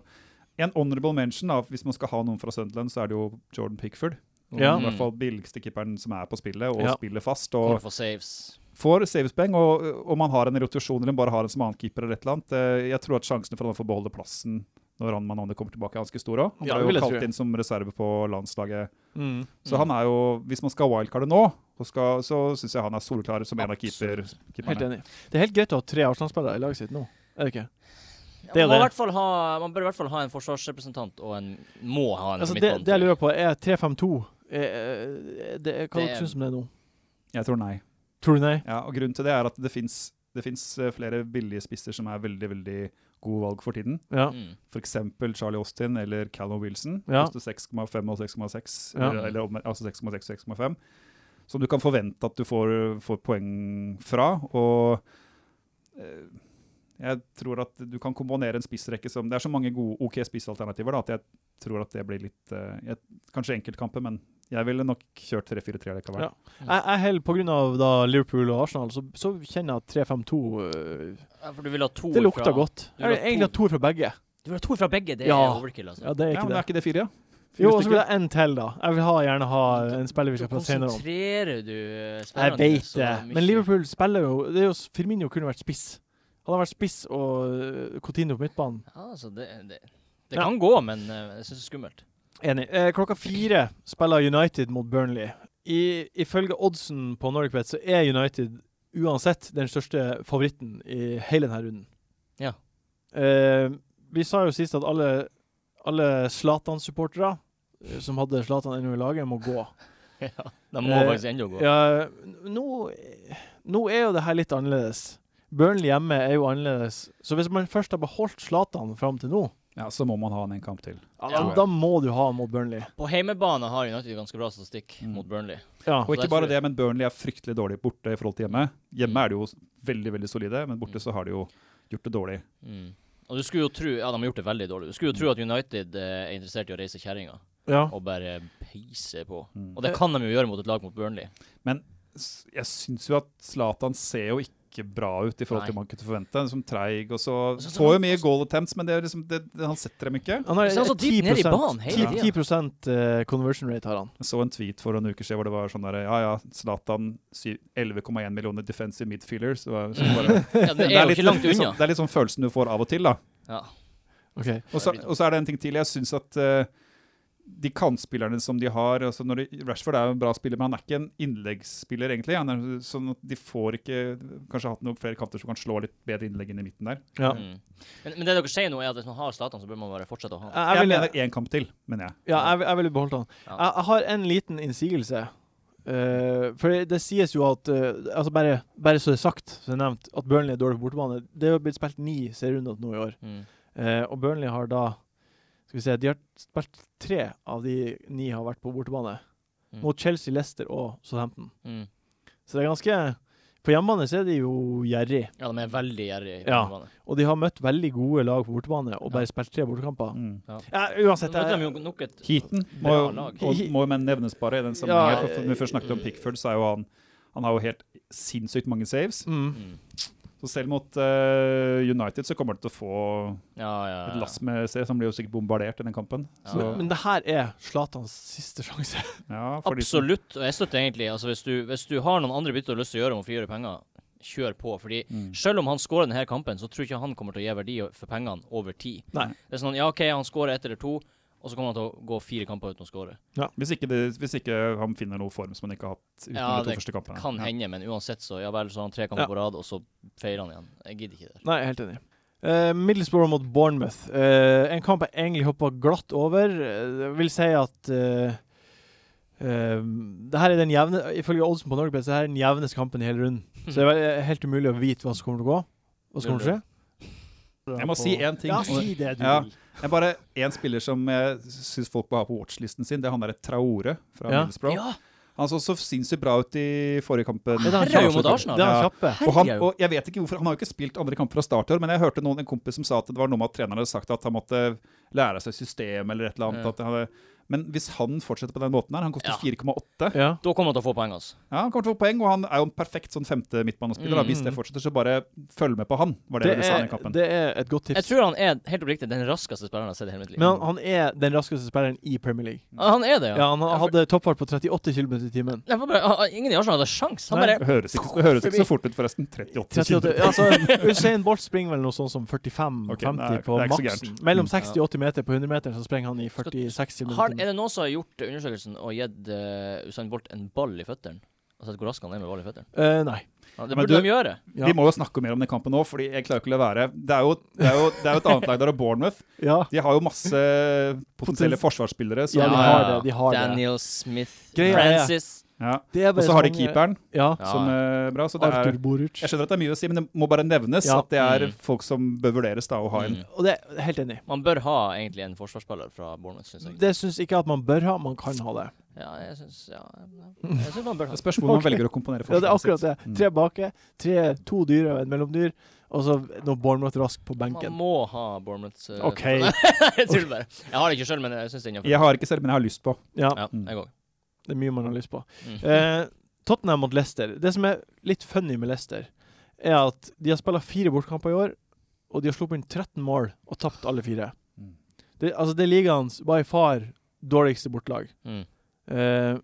Speaker 3: en honorable mention, da, hvis man skal ha noen fra Sunderland, så er det jo Jordan Pickford. Og
Speaker 1: Ja.
Speaker 3: I hvert fall billigste keeperen som er på spillet, og
Speaker 1: Ja.
Speaker 3: spiller fast.
Speaker 2: Kommer
Speaker 3: Og
Speaker 2: til å få saves.
Speaker 3: får savespoeng. Og om man har en i rotasjon eller bare har en som annenkeeper, eller et eller annet, eh, jeg tror at sjansen for at han får beholde plassen når han Manone kommer tilbake, er ganske stor òg. Han
Speaker 1: Ja,
Speaker 3: ble
Speaker 1: det vil
Speaker 3: jo
Speaker 1: jeg tro.
Speaker 3: kalt inn som reserve på landslaget
Speaker 1: Mm.
Speaker 3: så
Speaker 2: Mm.
Speaker 3: han er jo, hvis man skal wildcarde nå, så, skal, så syns jeg han er soleklar som en av keeper,
Speaker 2: Absolutt.
Speaker 1: Helt
Speaker 3: keeperne.
Speaker 1: enig. Det er helt greit å ha tre Arsenal-spillere i laget sitt nå, er det ikke?
Speaker 2: Ja,
Speaker 1: Det er
Speaker 2: man, må i
Speaker 1: det.
Speaker 2: hvert fall ha, man bør i hvert fall ha en forsvarsrepresentant, og en må ha en
Speaker 1: Altså, det,
Speaker 2: midtbane.
Speaker 1: det jeg lurer på, er 3-5-2 er- er- Eh, det er- Hva
Speaker 2: Det
Speaker 1: dere
Speaker 2: er-
Speaker 1: syns om det nå?
Speaker 3: Jeg tror nei.
Speaker 1: Tror du nei?
Speaker 3: Ja, og Grunnen til det er at det fins det fins eh, flere billige spisser som er veldig veldig gode valg for tiden.
Speaker 1: Ja.
Speaker 2: Mm.
Speaker 3: F.eks. Charlie Austin eller Callum Wilson.
Speaker 1: Ja.
Speaker 3: Koster 6,5 og 6,6.
Speaker 1: Ja.
Speaker 3: eller- eller om- Altså 6,6 og 6,5. Som du kan forvente at du får, får poeng fra. Og eh, jeg tror at du kan kombinere en spissrekke som Det er så mange gode OK spissalternativer da, at jeg tror at det blir litt eh, jeg, Kanskje enkeltkamper, men jeg ville nok kjørt 3-4-3 likevel.
Speaker 1: Ja. Jeg, jeg heller på grunn av da Liverpool og Arsenal, så, så kjenner jeg at 3-5-2 øh,
Speaker 2: Ja, For du vil ha to
Speaker 1: Det lukter
Speaker 2: fra,
Speaker 1: godt.
Speaker 2: Du
Speaker 1: Jeg
Speaker 2: vil
Speaker 1: vil
Speaker 2: ha
Speaker 1: egentlig ha to fra begge.
Speaker 2: Du vil ha to fra begge, det
Speaker 1: Ja.
Speaker 2: er overkill, altså.
Speaker 1: Ja, det er
Speaker 3: Ja,
Speaker 1: ikke
Speaker 3: men det er
Speaker 1: det.
Speaker 3: ikke det fire, ja? Fire
Speaker 1: Jo, og så
Speaker 3: stykker.
Speaker 1: vil jeg en til, da. Jeg vil ha, gjerne ha en spiller vi skal
Speaker 2: Da
Speaker 1: prate senere om.
Speaker 2: konsentrerer du eh,
Speaker 1: Jeg
Speaker 2: spillerne
Speaker 1: vet
Speaker 2: så
Speaker 1: det,
Speaker 2: mye.
Speaker 1: men Liverpool spiller jo det er jo, Firmino kunne vært spiss. Hadde han vært spiss og øh, Coutinho på midtbanen.
Speaker 2: Ja, altså, det, det, det
Speaker 1: Ja.
Speaker 2: kan gå, men eh, jeg syns det er skummelt.
Speaker 1: Enig. Eh, klokka fire spiller United mot Burnley. I, ifølge oddsen på Norwegian så er United uansett den største favoritten i hele denne runden.
Speaker 2: Ja.
Speaker 1: Eh, vi sa jo sist at alle, alle Zlatan-supportere eh, som hadde Zlatan ennå i laget, må gå.
Speaker 2: ja, de må
Speaker 1: Eh,
Speaker 2: faktisk ennå gå.
Speaker 1: Ja, n- nå, nå er jo det her litt annerledes. Burnley hjemme er jo annerledes. Så hvis man først har beholdt Zlatan fram til nå,
Speaker 3: Ja, så må man ha en, en kamp til.
Speaker 1: ja, da,
Speaker 2: Ja.
Speaker 1: da må du ha han mot Burnley.
Speaker 2: På heimebane har United ganske bra statistikk
Speaker 3: Mm.
Speaker 2: mot Burnley.
Speaker 1: Ja.
Speaker 3: Og
Speaker 2: Så jeg
Speaker 3: ikke bare
Speaker 2: tror-
Speaker 3: det, men Burnley er fryktelig dårlig borte i forhold til hjemme.
Speaker 2: Mm.
Speaker 3: Hjemme er de jo veldig veldig solide, men
Speaker 2: Mm.
Speaker 3: borte så har de jo gjort det dårlig.
Speaker 2: Mm. Og du skulle jo tro Ja, de har gjort det veldig dårlig. Du skulle jo tro at United eh, er interessert i å reise kjerringa
Speaker 1: ja.
Speaker 2: og bare peise på.
Speaker 3: Mm.
Speaker 2: Og det kan de jo gjøre mot et lag mot Burnley.
Speaker 3: S- Jeg syns jo at Zlatan ser jo ikke bra ut i forhold til
Speaker 2: Nei.
Speaker 3: man kunne forvente. Som treig og så
Speaker 2: så- så
Speaker 3: Får jo
Speaker 2: han-
Speaker 3: mye goal attempts, men det er liksom, det, det, han setter dem ikke.
Speaker 1: Han har
Speaker 2: Men så er han så dypt nede i
Speaker 1: 10%,
Speaker 2: banen hele
Speaker 1: 10, 10% eh, conversion rate har han.
Speaker 3: Jeg så en tweet for noen uker siden hvor det var sånn der Ja ja, Zlatan syv- 11,1 millioner defensive midfielders. Det, var, så bare,
Speaker 2: Ja, det er jo
Speaker 3: litt-
Speaker 2: ikke langt
Speaker 1: liksom.
Speaker 3: litt sånn-
Speaker 2: unna.
Speaker 3: det er litt sånn følelsen du får av og til, da.
Speaker 2: Ja.
Speaker 1: OK.
Speaker 3: Og så og så er det en ting til. Jeg syns at eh, de kantspillerne som de har altså når de, Rashford er jo en bra spiller, men han er ikke en innleggsspiller, egentlig. Han er sånn at De får ikke Kanskje hatt noen flere kanter som kan slå litt bedre innlegg inn i midten der.
Speaker 1: Ja.
Speaker 2: Mm. Men, men det dere sier nå, er at hvis man har Zlatan, så bør man bare fortsette å ha han.
Speaker 1: Jeg,
Speaker 3: Jeg
Speaker 1: vil,
Speaker 3: mener én kamp til, mener jeg.
Speaker 1: ja, jeg, vil- jeg ville beholdt han.
Speaker 2: Ja.
Speaker 1: Jeg, jeg har en liten innsigelse. Eh, for det sies jo at eh, altså bare, bare så det er sagt, som jeg nevnt, at Burnley er dårlig på bortebane. Det er jo blitt spilt ni serierunder nå i år.
Speaker 2: Mm.
Speaker 1: Eh, og Burnley har da Skal vi se, de har spilt tre av de ni har vært på bortebane.
Speaker 2: Mm.
Speaker 1: Mot Chelsea, Leicester og Southampton.
Speaker 2: Mm.
Speaker 1: Så det er ganske På hjemmebane så er de jo gjerrig.
Speaker 2: Ja, de er veldig gjerrige.
Speaker 1: Ja.
Speaker 2: Nå
Speaker 1: Og de har møtt veldig gode lag på bortebane og bare spilt tre bortekamper.
Speaker 3: Mm.
Speaker 1: Ja, uansett.
Speaker 2: møter de
Speaker 1: Jeg,
Speaker 2: jo nok et
Speaker 3: Heaton må,
Speaker 2: Bra lag. eh,
Speaker 3: må, må jo men nevnes bare i
Speaker 1: Ja,
Speaker 3: den sammenhengen. her, for når vi først snakket om Pickford, så er jo han han har jo helt sinnssykt mange saves.
Speaker 1: mm,
Speaker 2: mm.
Speaker 3: Så selv mot eh, United så kommer han til å få
Speaker 2: Ja, ja,
Speaker 3: et
Speaker 2: ja.
Speaker 3: lass med saves. Han blir jo sikkert bombardert i den kampen.
Speaker 2: Ja.
Speaker 3: Så,
Speaker 1: men, men det her er Zlatans siste sjanse.
Speaker 3: ja, for de som-
Speaker 2: Absolutt. Og jeg støtter egentlig altså hvis, du, hvis du har noen andre bytter du har lyst til å gjøre om å frigjøre penger, kjør på. Fordi
Speaker 3: Mm.
Speaker 2: selv om han skårer denne kampen, så tror jeg ikke han kommer til å gi verdi for pengene over tid.
Speaker 1: Nei.
Speaker 2: Det er sånn, ja, OK, han skårer ett eller to, og så kommer han til å gå fire kamper uten å skåre.
Speaker 3: Hvis ikke, det, hvis ikke han finner noen form som han ikke har hatt utenom
Speaker 2: Ja,
Speaker 3: de to
Speaker 2: det
Speaker 3: første kampene.
Speaker 2: Kan
Speaker 3: Ja.
Speaker 2: hende, men uansett så ja vel, så har han tre kamper
Speaker 1: Ja.
Speaker 2: på rad, og så feirer han igjen. Jeg gidder ikke det.
Speaker 1: Nei, jeg er helt enig. Eh, Middlesbrough mot Bournemouth. Eh, en kamp jeg egentlig hoppa glatt over. Eh, Jeg vil si at eh, eh, det her er den jevne Ifølge oddsen på Norgebet så er det den jevneste kampen i hele runden. Så det er vel- helt umulig å vite hva som kommer til å gå. Hva som kommer til å skje.
Speaker 3: Jeg må si én ting.
Speaker 1: Ja, si det du
Speaker 3: Ja.
Speaker 1: vil.
Speaker 3: Det er bare én spiller som jeg syns folk bør ha på watchlisten sin. Det er han derre Traore fra
Speaker 1: Ja.
Speaker 3: Middlesbrough. Han så så sinnssykt bra ut i forrige kampen.
Speaker 1: Det er han
Speaker 2: Herre er jo mot
Speaker 1: kjappe.
Speaker 2: Arsenal.
Speaker 1: Det er han
Speaker 3: Ja.
Speaker 1: kjappe.
Speaker 3: Og, han,
Speaker 2: Herre er jo-
Speaker 3: og jeg vet ikke hvorfor, han har jo ikke spilt andre kamper fra start i år, men jeg hørte noen, en kompis som sa at det var noe med at treneren hadde sagt at han måtte lære seg system eller et eller annet.
Speaker 2: Ja.
Speaker 3: At han hadde, men hvis han fortsetter på den måten her, han koster
Speaker 2: Ja.
Speaker 3: 4,8
Speaker 1: Ja.
Speaker 2: Da kommer han til å få poeng, altså.
Speaker 3: Ja, Han kommer til å få poeng, og han er jo en perfekt sånn femte midtbanespiller.
Speaker 2: Mm.
Speaker 3: da. Hvis det fortsetter, så bare følg med på han, var det,
Speaker 1: Det,
Speaker 3: det jeg sa i den
Speaker 1: er,
Speaker 3: kampen.
Speaker 1: det er et godt
Speaker 2: Jeg
Speaker 1: tips.
Speaker 2: tror han er helt oppriktig den raskeste spilleren jeg har sett i hele mitt liv.
Speaker 1: Men han, han er den raskeste spilleren i Premier League.
Speaker 2: Ah, han er det, ja.
Speaker 1: Ja, Han hadde toppfart på 38 km i timen.
Speaker 2: Nei, for bare, ah, ingen i Arsenal hadde sjans. Han
Speaker 1: Nei.
Speaker 2: bare
Speaker 3: det høres ikke, det høres ikke så fort ut, forresten. 38 km.
Speaker 1: 38, altså, Usain Bolt springer vel noe sånn som 45-50
Speaker 3: Ok, nei, det er
Speaker 1: på
Speaker 3: ikke så
Speaker 1: maksen.
Speaker 3: gærent.
Speaker 1: Mellom
Speaker 3: Mm.
Speaker 1: 60 og 80 meter på 100-meteren, så sprenger han i 46
Speaker 2: Har,
Speaker 1: minutter.
Speaker 2: er det noen som har gjort undersøkelsen og gitt eh, Usain Bolt en ball i føttene? Og sett hvor rask han er med ball i føttene?
Speaker 1: Eh, nei.
Speaker 2: Ja, det
Speaker 3: Men du-
Speaker 2: burde de gjøre.
Speaker 1: Ja.
Speaker 3: Vi må jo snakke mer om den kampen nå, fordi jeg klarer ikke å la være. Det er jo, det er jo, det er jo et annet lag der, og Bournemouth.
Speaker 1: Ja.
Speaker 3: De har jo masse potensielle forsvarsspillere. Så
Speaker 1: Ja, de har det, de har det.
Speaker 2: Daniel Smith,
Speaker 1: Greia er-
Speaker 2: Francis
Speaker 3: Ja.
Speaker 1: Det er
Speaker 3: Og
Speaker 1: bare
Speaker 3: så har de
Speaker 1: sånn, eh,
Speaker 3: keeperen,
Speaker 1: Ja.
Speaker 2: Ja,
Speaker 3: som eh,
Speaker 2: ja.
Speaker 3: er bra. Så det er,
Speaker 1: Arthur Boruc.
Speaker 3: jeg skjønner at det er mye å si, men det må bare nevnes
Speaker 1: Ja.
Speaker 3: at det er
Speaker 2: Mm.
Speaker 3: folk som bør vurderes da å ha en
Speaker 2: Mm.
Speaker 1: Og det er helt enig.
Speaker 2: Man bør ha egentlig en forsvarsspiller fra Bournemouth, syns jeg.
Speaker 1: Det syns ikke at man bør ha, man kan ha det.
Speaker 2: Ja, jeg syns ja, Jeg synes man bør ha
Speaker 3: Det spørs hvordan man
Speaker 1: Ok.
Speaker 3: velger å komponere
Speaker 1: Ja, det er akkurat
Speaker 3: forsvaret sitt.
Speaker 1: det. Tre bake, tre, to dyr og en mellomdyr, og så noe Bournemouth raskt på
Speaker 2: Man
Speaker 1: benken.
Speaker 2: må ha Bournemouth. eh,
Speaker 1: OK.
Speaker 2: jeg tuller bare. Jeg har det ikke sjøl, men jeg syns det er innafor.
Speaker 3: Jeg har ikke selv, men jeg har lyst på.
Speaker 1: Ja,
Speaker 2: Ja, jeg òg.
Speaker 1: det er mye man har lyst på.
Speaker 2: Mm.
Speaker 1: Mm. Eh, Tottenham mot Leicester. Det som er litt funny med Leicester, er at de har spilt fire bortkamper i år, og de har sluppet inn 13 mål og tapt alle fire.
Speaker 3: Mm.
Speaker 1: Det, altså, det er ligaens by far dårligste bortelag.
Speaker 2: Mm.
Speaker 1: Eh,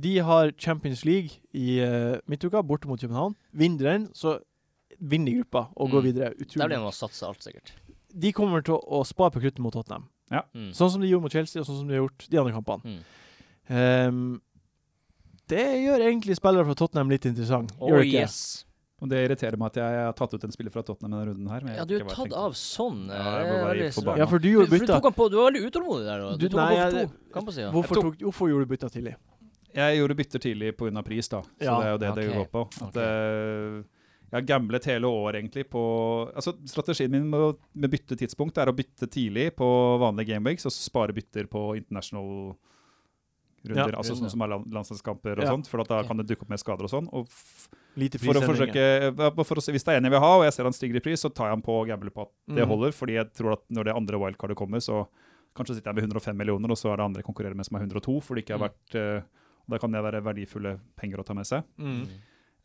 Speaker 1: de har Champions League i eh, midtuka, borte mot København. Vinner den, så vinner de gruppa og går
Speaker 2: Mm.
Speaker 1: videre.
Speaker 2: Der blir
Speaker 1: Utrolig.
Speaker 2: det noe å satse alt, sikkert.
Speaker 1: De kommer til å, å spare på kruttet mot Tottenham.
Speaker 2: Mm.
Speaker 1: Sånn som de gjorde mot Chelsea, og sånn som de har gjort de andre kampene.
Speaker 2: Mm.
Speaker 1: Ehm, det gjør egentlig spillere fra Tottenham litt interessant.
Speaker 2: Oh,
Speaker 1: Gjør det ikke?
Speaker 2: yes.
Speaker 3: Og det irriterer meg at jeg har tatt ut en spiller fra Tottenham i denne runden her. men jeg
Speaker 2: Ja,
Speaker 3: vet
Speaker 2: du
Speaker 3: ikke
Speaker 2: er
Speaker 3: hva jeg
Speaker 2: tatt
Speaker 3: tenkte.
Speaker 2: av sånn.
Speaker 3: Ja, jeg
Speaker 2: eh, det
Speaker 3: ble
Speaker 2: er
Speaker 3: bare
Speaker 2: veldig
Speaker 3: forbanna.
Speaker 2: rart.
Speaker 1: Ja, for du gjorde
Speaker 2: For du,
Speaker 1: bytta.
Speaker 2: tok han på, du var veldig utålmodig der. og Du,
Speaker 1: Du-
Speaker 2: tok
Speaker 1: nei,
Speaker 2: han på
Speaker 1: jeg-
Speaker 2: for to kamper siden.
Speaker 1: Hvorfor,
Speaker 3: Jeg
Speaker 1: tok,
Speaker 3: tok-
Speaker 1: hvorfor gjorde du bytta tidlig?
Speaker 3: Jeg gjorde bytter tidlig pga. pris, da. Så
Speaker 1: Ja,
Speaker 3: det er jo det det går
Speaker 2: ok.
Speaker 3: på. At,
Speaker 2: Ok.
Speaker 3: eh, jeg har gamblet hele året, egentlig, på Altså, strategien min med, å- med byttetidspunkt er å bytte tidlig på vanlige gameweeks, og så spare bytter på international runder,
Speaker 1: Ja.
Speaker 3: altså
Speaker 2: Runder.
Speaker 3: sånn som er land- landslagskamper og
Speaker 1: Ja.
Speaker 3: sånt, for at da
Speaker 2: Ok.
Speaker 3: kan det dukke opp mer skader og sånn. Og f
Speaker 1: Lite
Speaker 3: for å
Speaker 1: prisendringer.
Speaker 3: forsøke, ja, for å, se- hvis det er en jeg vil ha, og jeg ser han stiger i pris, så tar jeg han på og gambler på at
Speaker 1: Mm.
Speaker 3: det holder, fordi jeg tror at når det andre wildcardet kommer, så kanskje sitter jeg med 105 millioner, og så er det andre jeg konkurrerer med som er 102, fordi det ikke har
Speaker 2: Mm.
Speaker 3: vært eh, Mm. og Da kan det være verdifulle penger å ta med seg.
Speaker 1: Mm.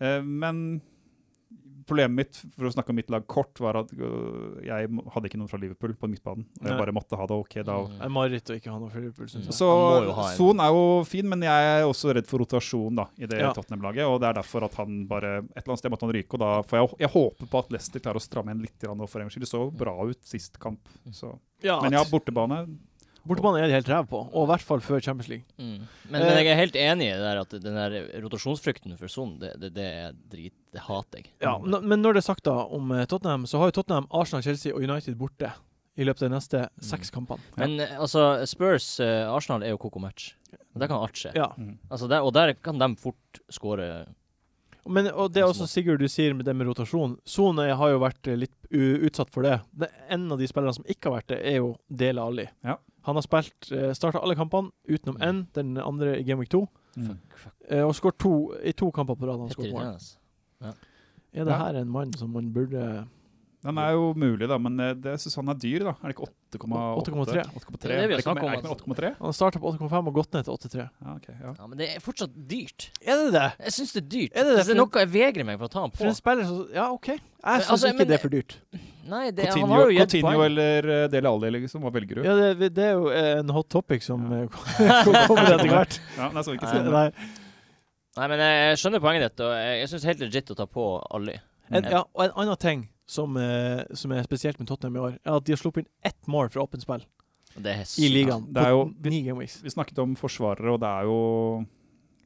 Speaker 3: Eh, men Eh, Problemet mitt for å snakke om mitt lag kort var at øh, jeg m- hadde ikke noen fra Liverpool på midtbanen. Og jeg
Speaker 1: Nei.
Speaker 3: bare måtte ha det. ok da.
Speaker 1: Det
Speaker 2: Mm.
Speaker 1: er mareritt å ikke ha noe for Liverpool, syns jeg.
Speaker 3: Så
Speaker 2: Han må jo ha en.
Speaker 3: Son er jo fin, men jeg er også redd for rotasjon da, i det
Speaker 1: Ja.
Speaker 3: Tottenham-laget. og Det er derfor at han bare et eller annet sted måtte han ryke. og da får Jeg, jeg håper på at Leicester klarer å stramme igjen litt. grann nå for en gangs skyld. Det så bra ut sist kamp. Så.
Speaker 1: Ja,
Speaker 3: Men ja, bortebane.
Speaker 1: Bortebane er de helt ræv på, og i hvert fall før Champions League.
Speaker 2: Mm. Men, men
Speaker 1: Eh.
Speaker 2: jeg er helt enig i det der at den der rotasjonsfrykten for Son, det, det, det er drit. Det hater jeg.
Speaker 1: Ja, n- men når det er sagt da om eh, Tottenham, så har jo Tottenham Arsenal, Chelsea og United borte i løpet av de
Speaker 2: Mm.
Speaker 1: neste seks kampene.
Speaker 2: Men eh, altså, Spurs eh, Arsenal er jo koko match. Og Der kan alt skje.
Speaker 1: Ja.
Speaker 3: Mm.
Speaker 2: Altså, der, og der kan de fort skåre.
Speaker 1: Men, og det er også Sigurd du sier med det med rotasjon. Sone har jo vært eh, litt u utsatt for det. det. En av de spillerne som ikke har vært det, er jo Dele Alli.
Speaker 3: Ja.
Speaker 1: Han har spilt, starta alle kampene utenom
Speaker 2: Mm.
Speaker 1: én, den andre i Game Week 2,
Speaker 3: Mm.
Speaker 1: eh, og skåret to i to kamper på rad. han
Speaker 2: Petter
Speaker 1: skåret mål.
Speaker 2: Irene, altså.
Speaker 1: Er det
Speaker 3: Ja.
Speaker 1: her en mann som man burde
Speaker 3: Den er jo mulig, da, men eh, det, jeg synes han er dyr, da. Er det ikke 8,8?
Speaker 1: 8,3.
Speaker 2: Det er det vi har snakket om, altså.
Speaker 3: Er det ikke mer 8,3?
Speaker 1: Han starta på 8,5 og gått ned til 8,3.
Speaker 3: Ja, ok, ja.
Speaker 2: Ja, men det er fortsatt dyrt.
Speaker 1: Er det det?
Speaker 2: Jeg syns det er dyrt. Altså,
Speaker 1: Er det det?
Speaker 2: det er noe jeg vegrer meg for å ta han
Speaker 1: For
Speaker 2: på.
Speaker 1: en spiller som Ja, OK. Jeg syns
Speaker 2: altså,
Speaker 1: ikke
Speaker 2: men-
Speaker 1: det er for dyrt.
Speaker 2: Nei, det, han
Speaker 3: Coutinho,
Speaker 2: har jo gitt
Speaker 3: Coutinho
Speaker 2: poeng.
Speaker 3: eller eh, Dele Alli, liksom. Hva velger du?
Speaker 1: Ja, det, det er jo eh, en hot topic som
Speaker 3: Ja.
Speaker 1: eh, kommer etter hvert.
Speaker 3: Ja, nei, så vi ikke
Speaker 2: Nei,
Speaker 3: sier det.
Speaker 1: Nei.
Speaker 2: Nei, men jeg jeg skjønner poenget ditt, og jeg, jeg syns det er helt legit å ta på Alli.
Speaker 1: En,
Speaker 2: Mm.
Speaker 1: ja, og en annen ting som, eh, som er spesielt med Tottenham i år, er at de har sluppet inn ett mål fra åpent spill
Speaker 2: Og Det er hess.
Speaker 1: i ligaen.
Speaker 3: det er jo-
Speaker 1: på ni game weeks.
Speaker 3: Vi snakket om forsvarere, og det er jo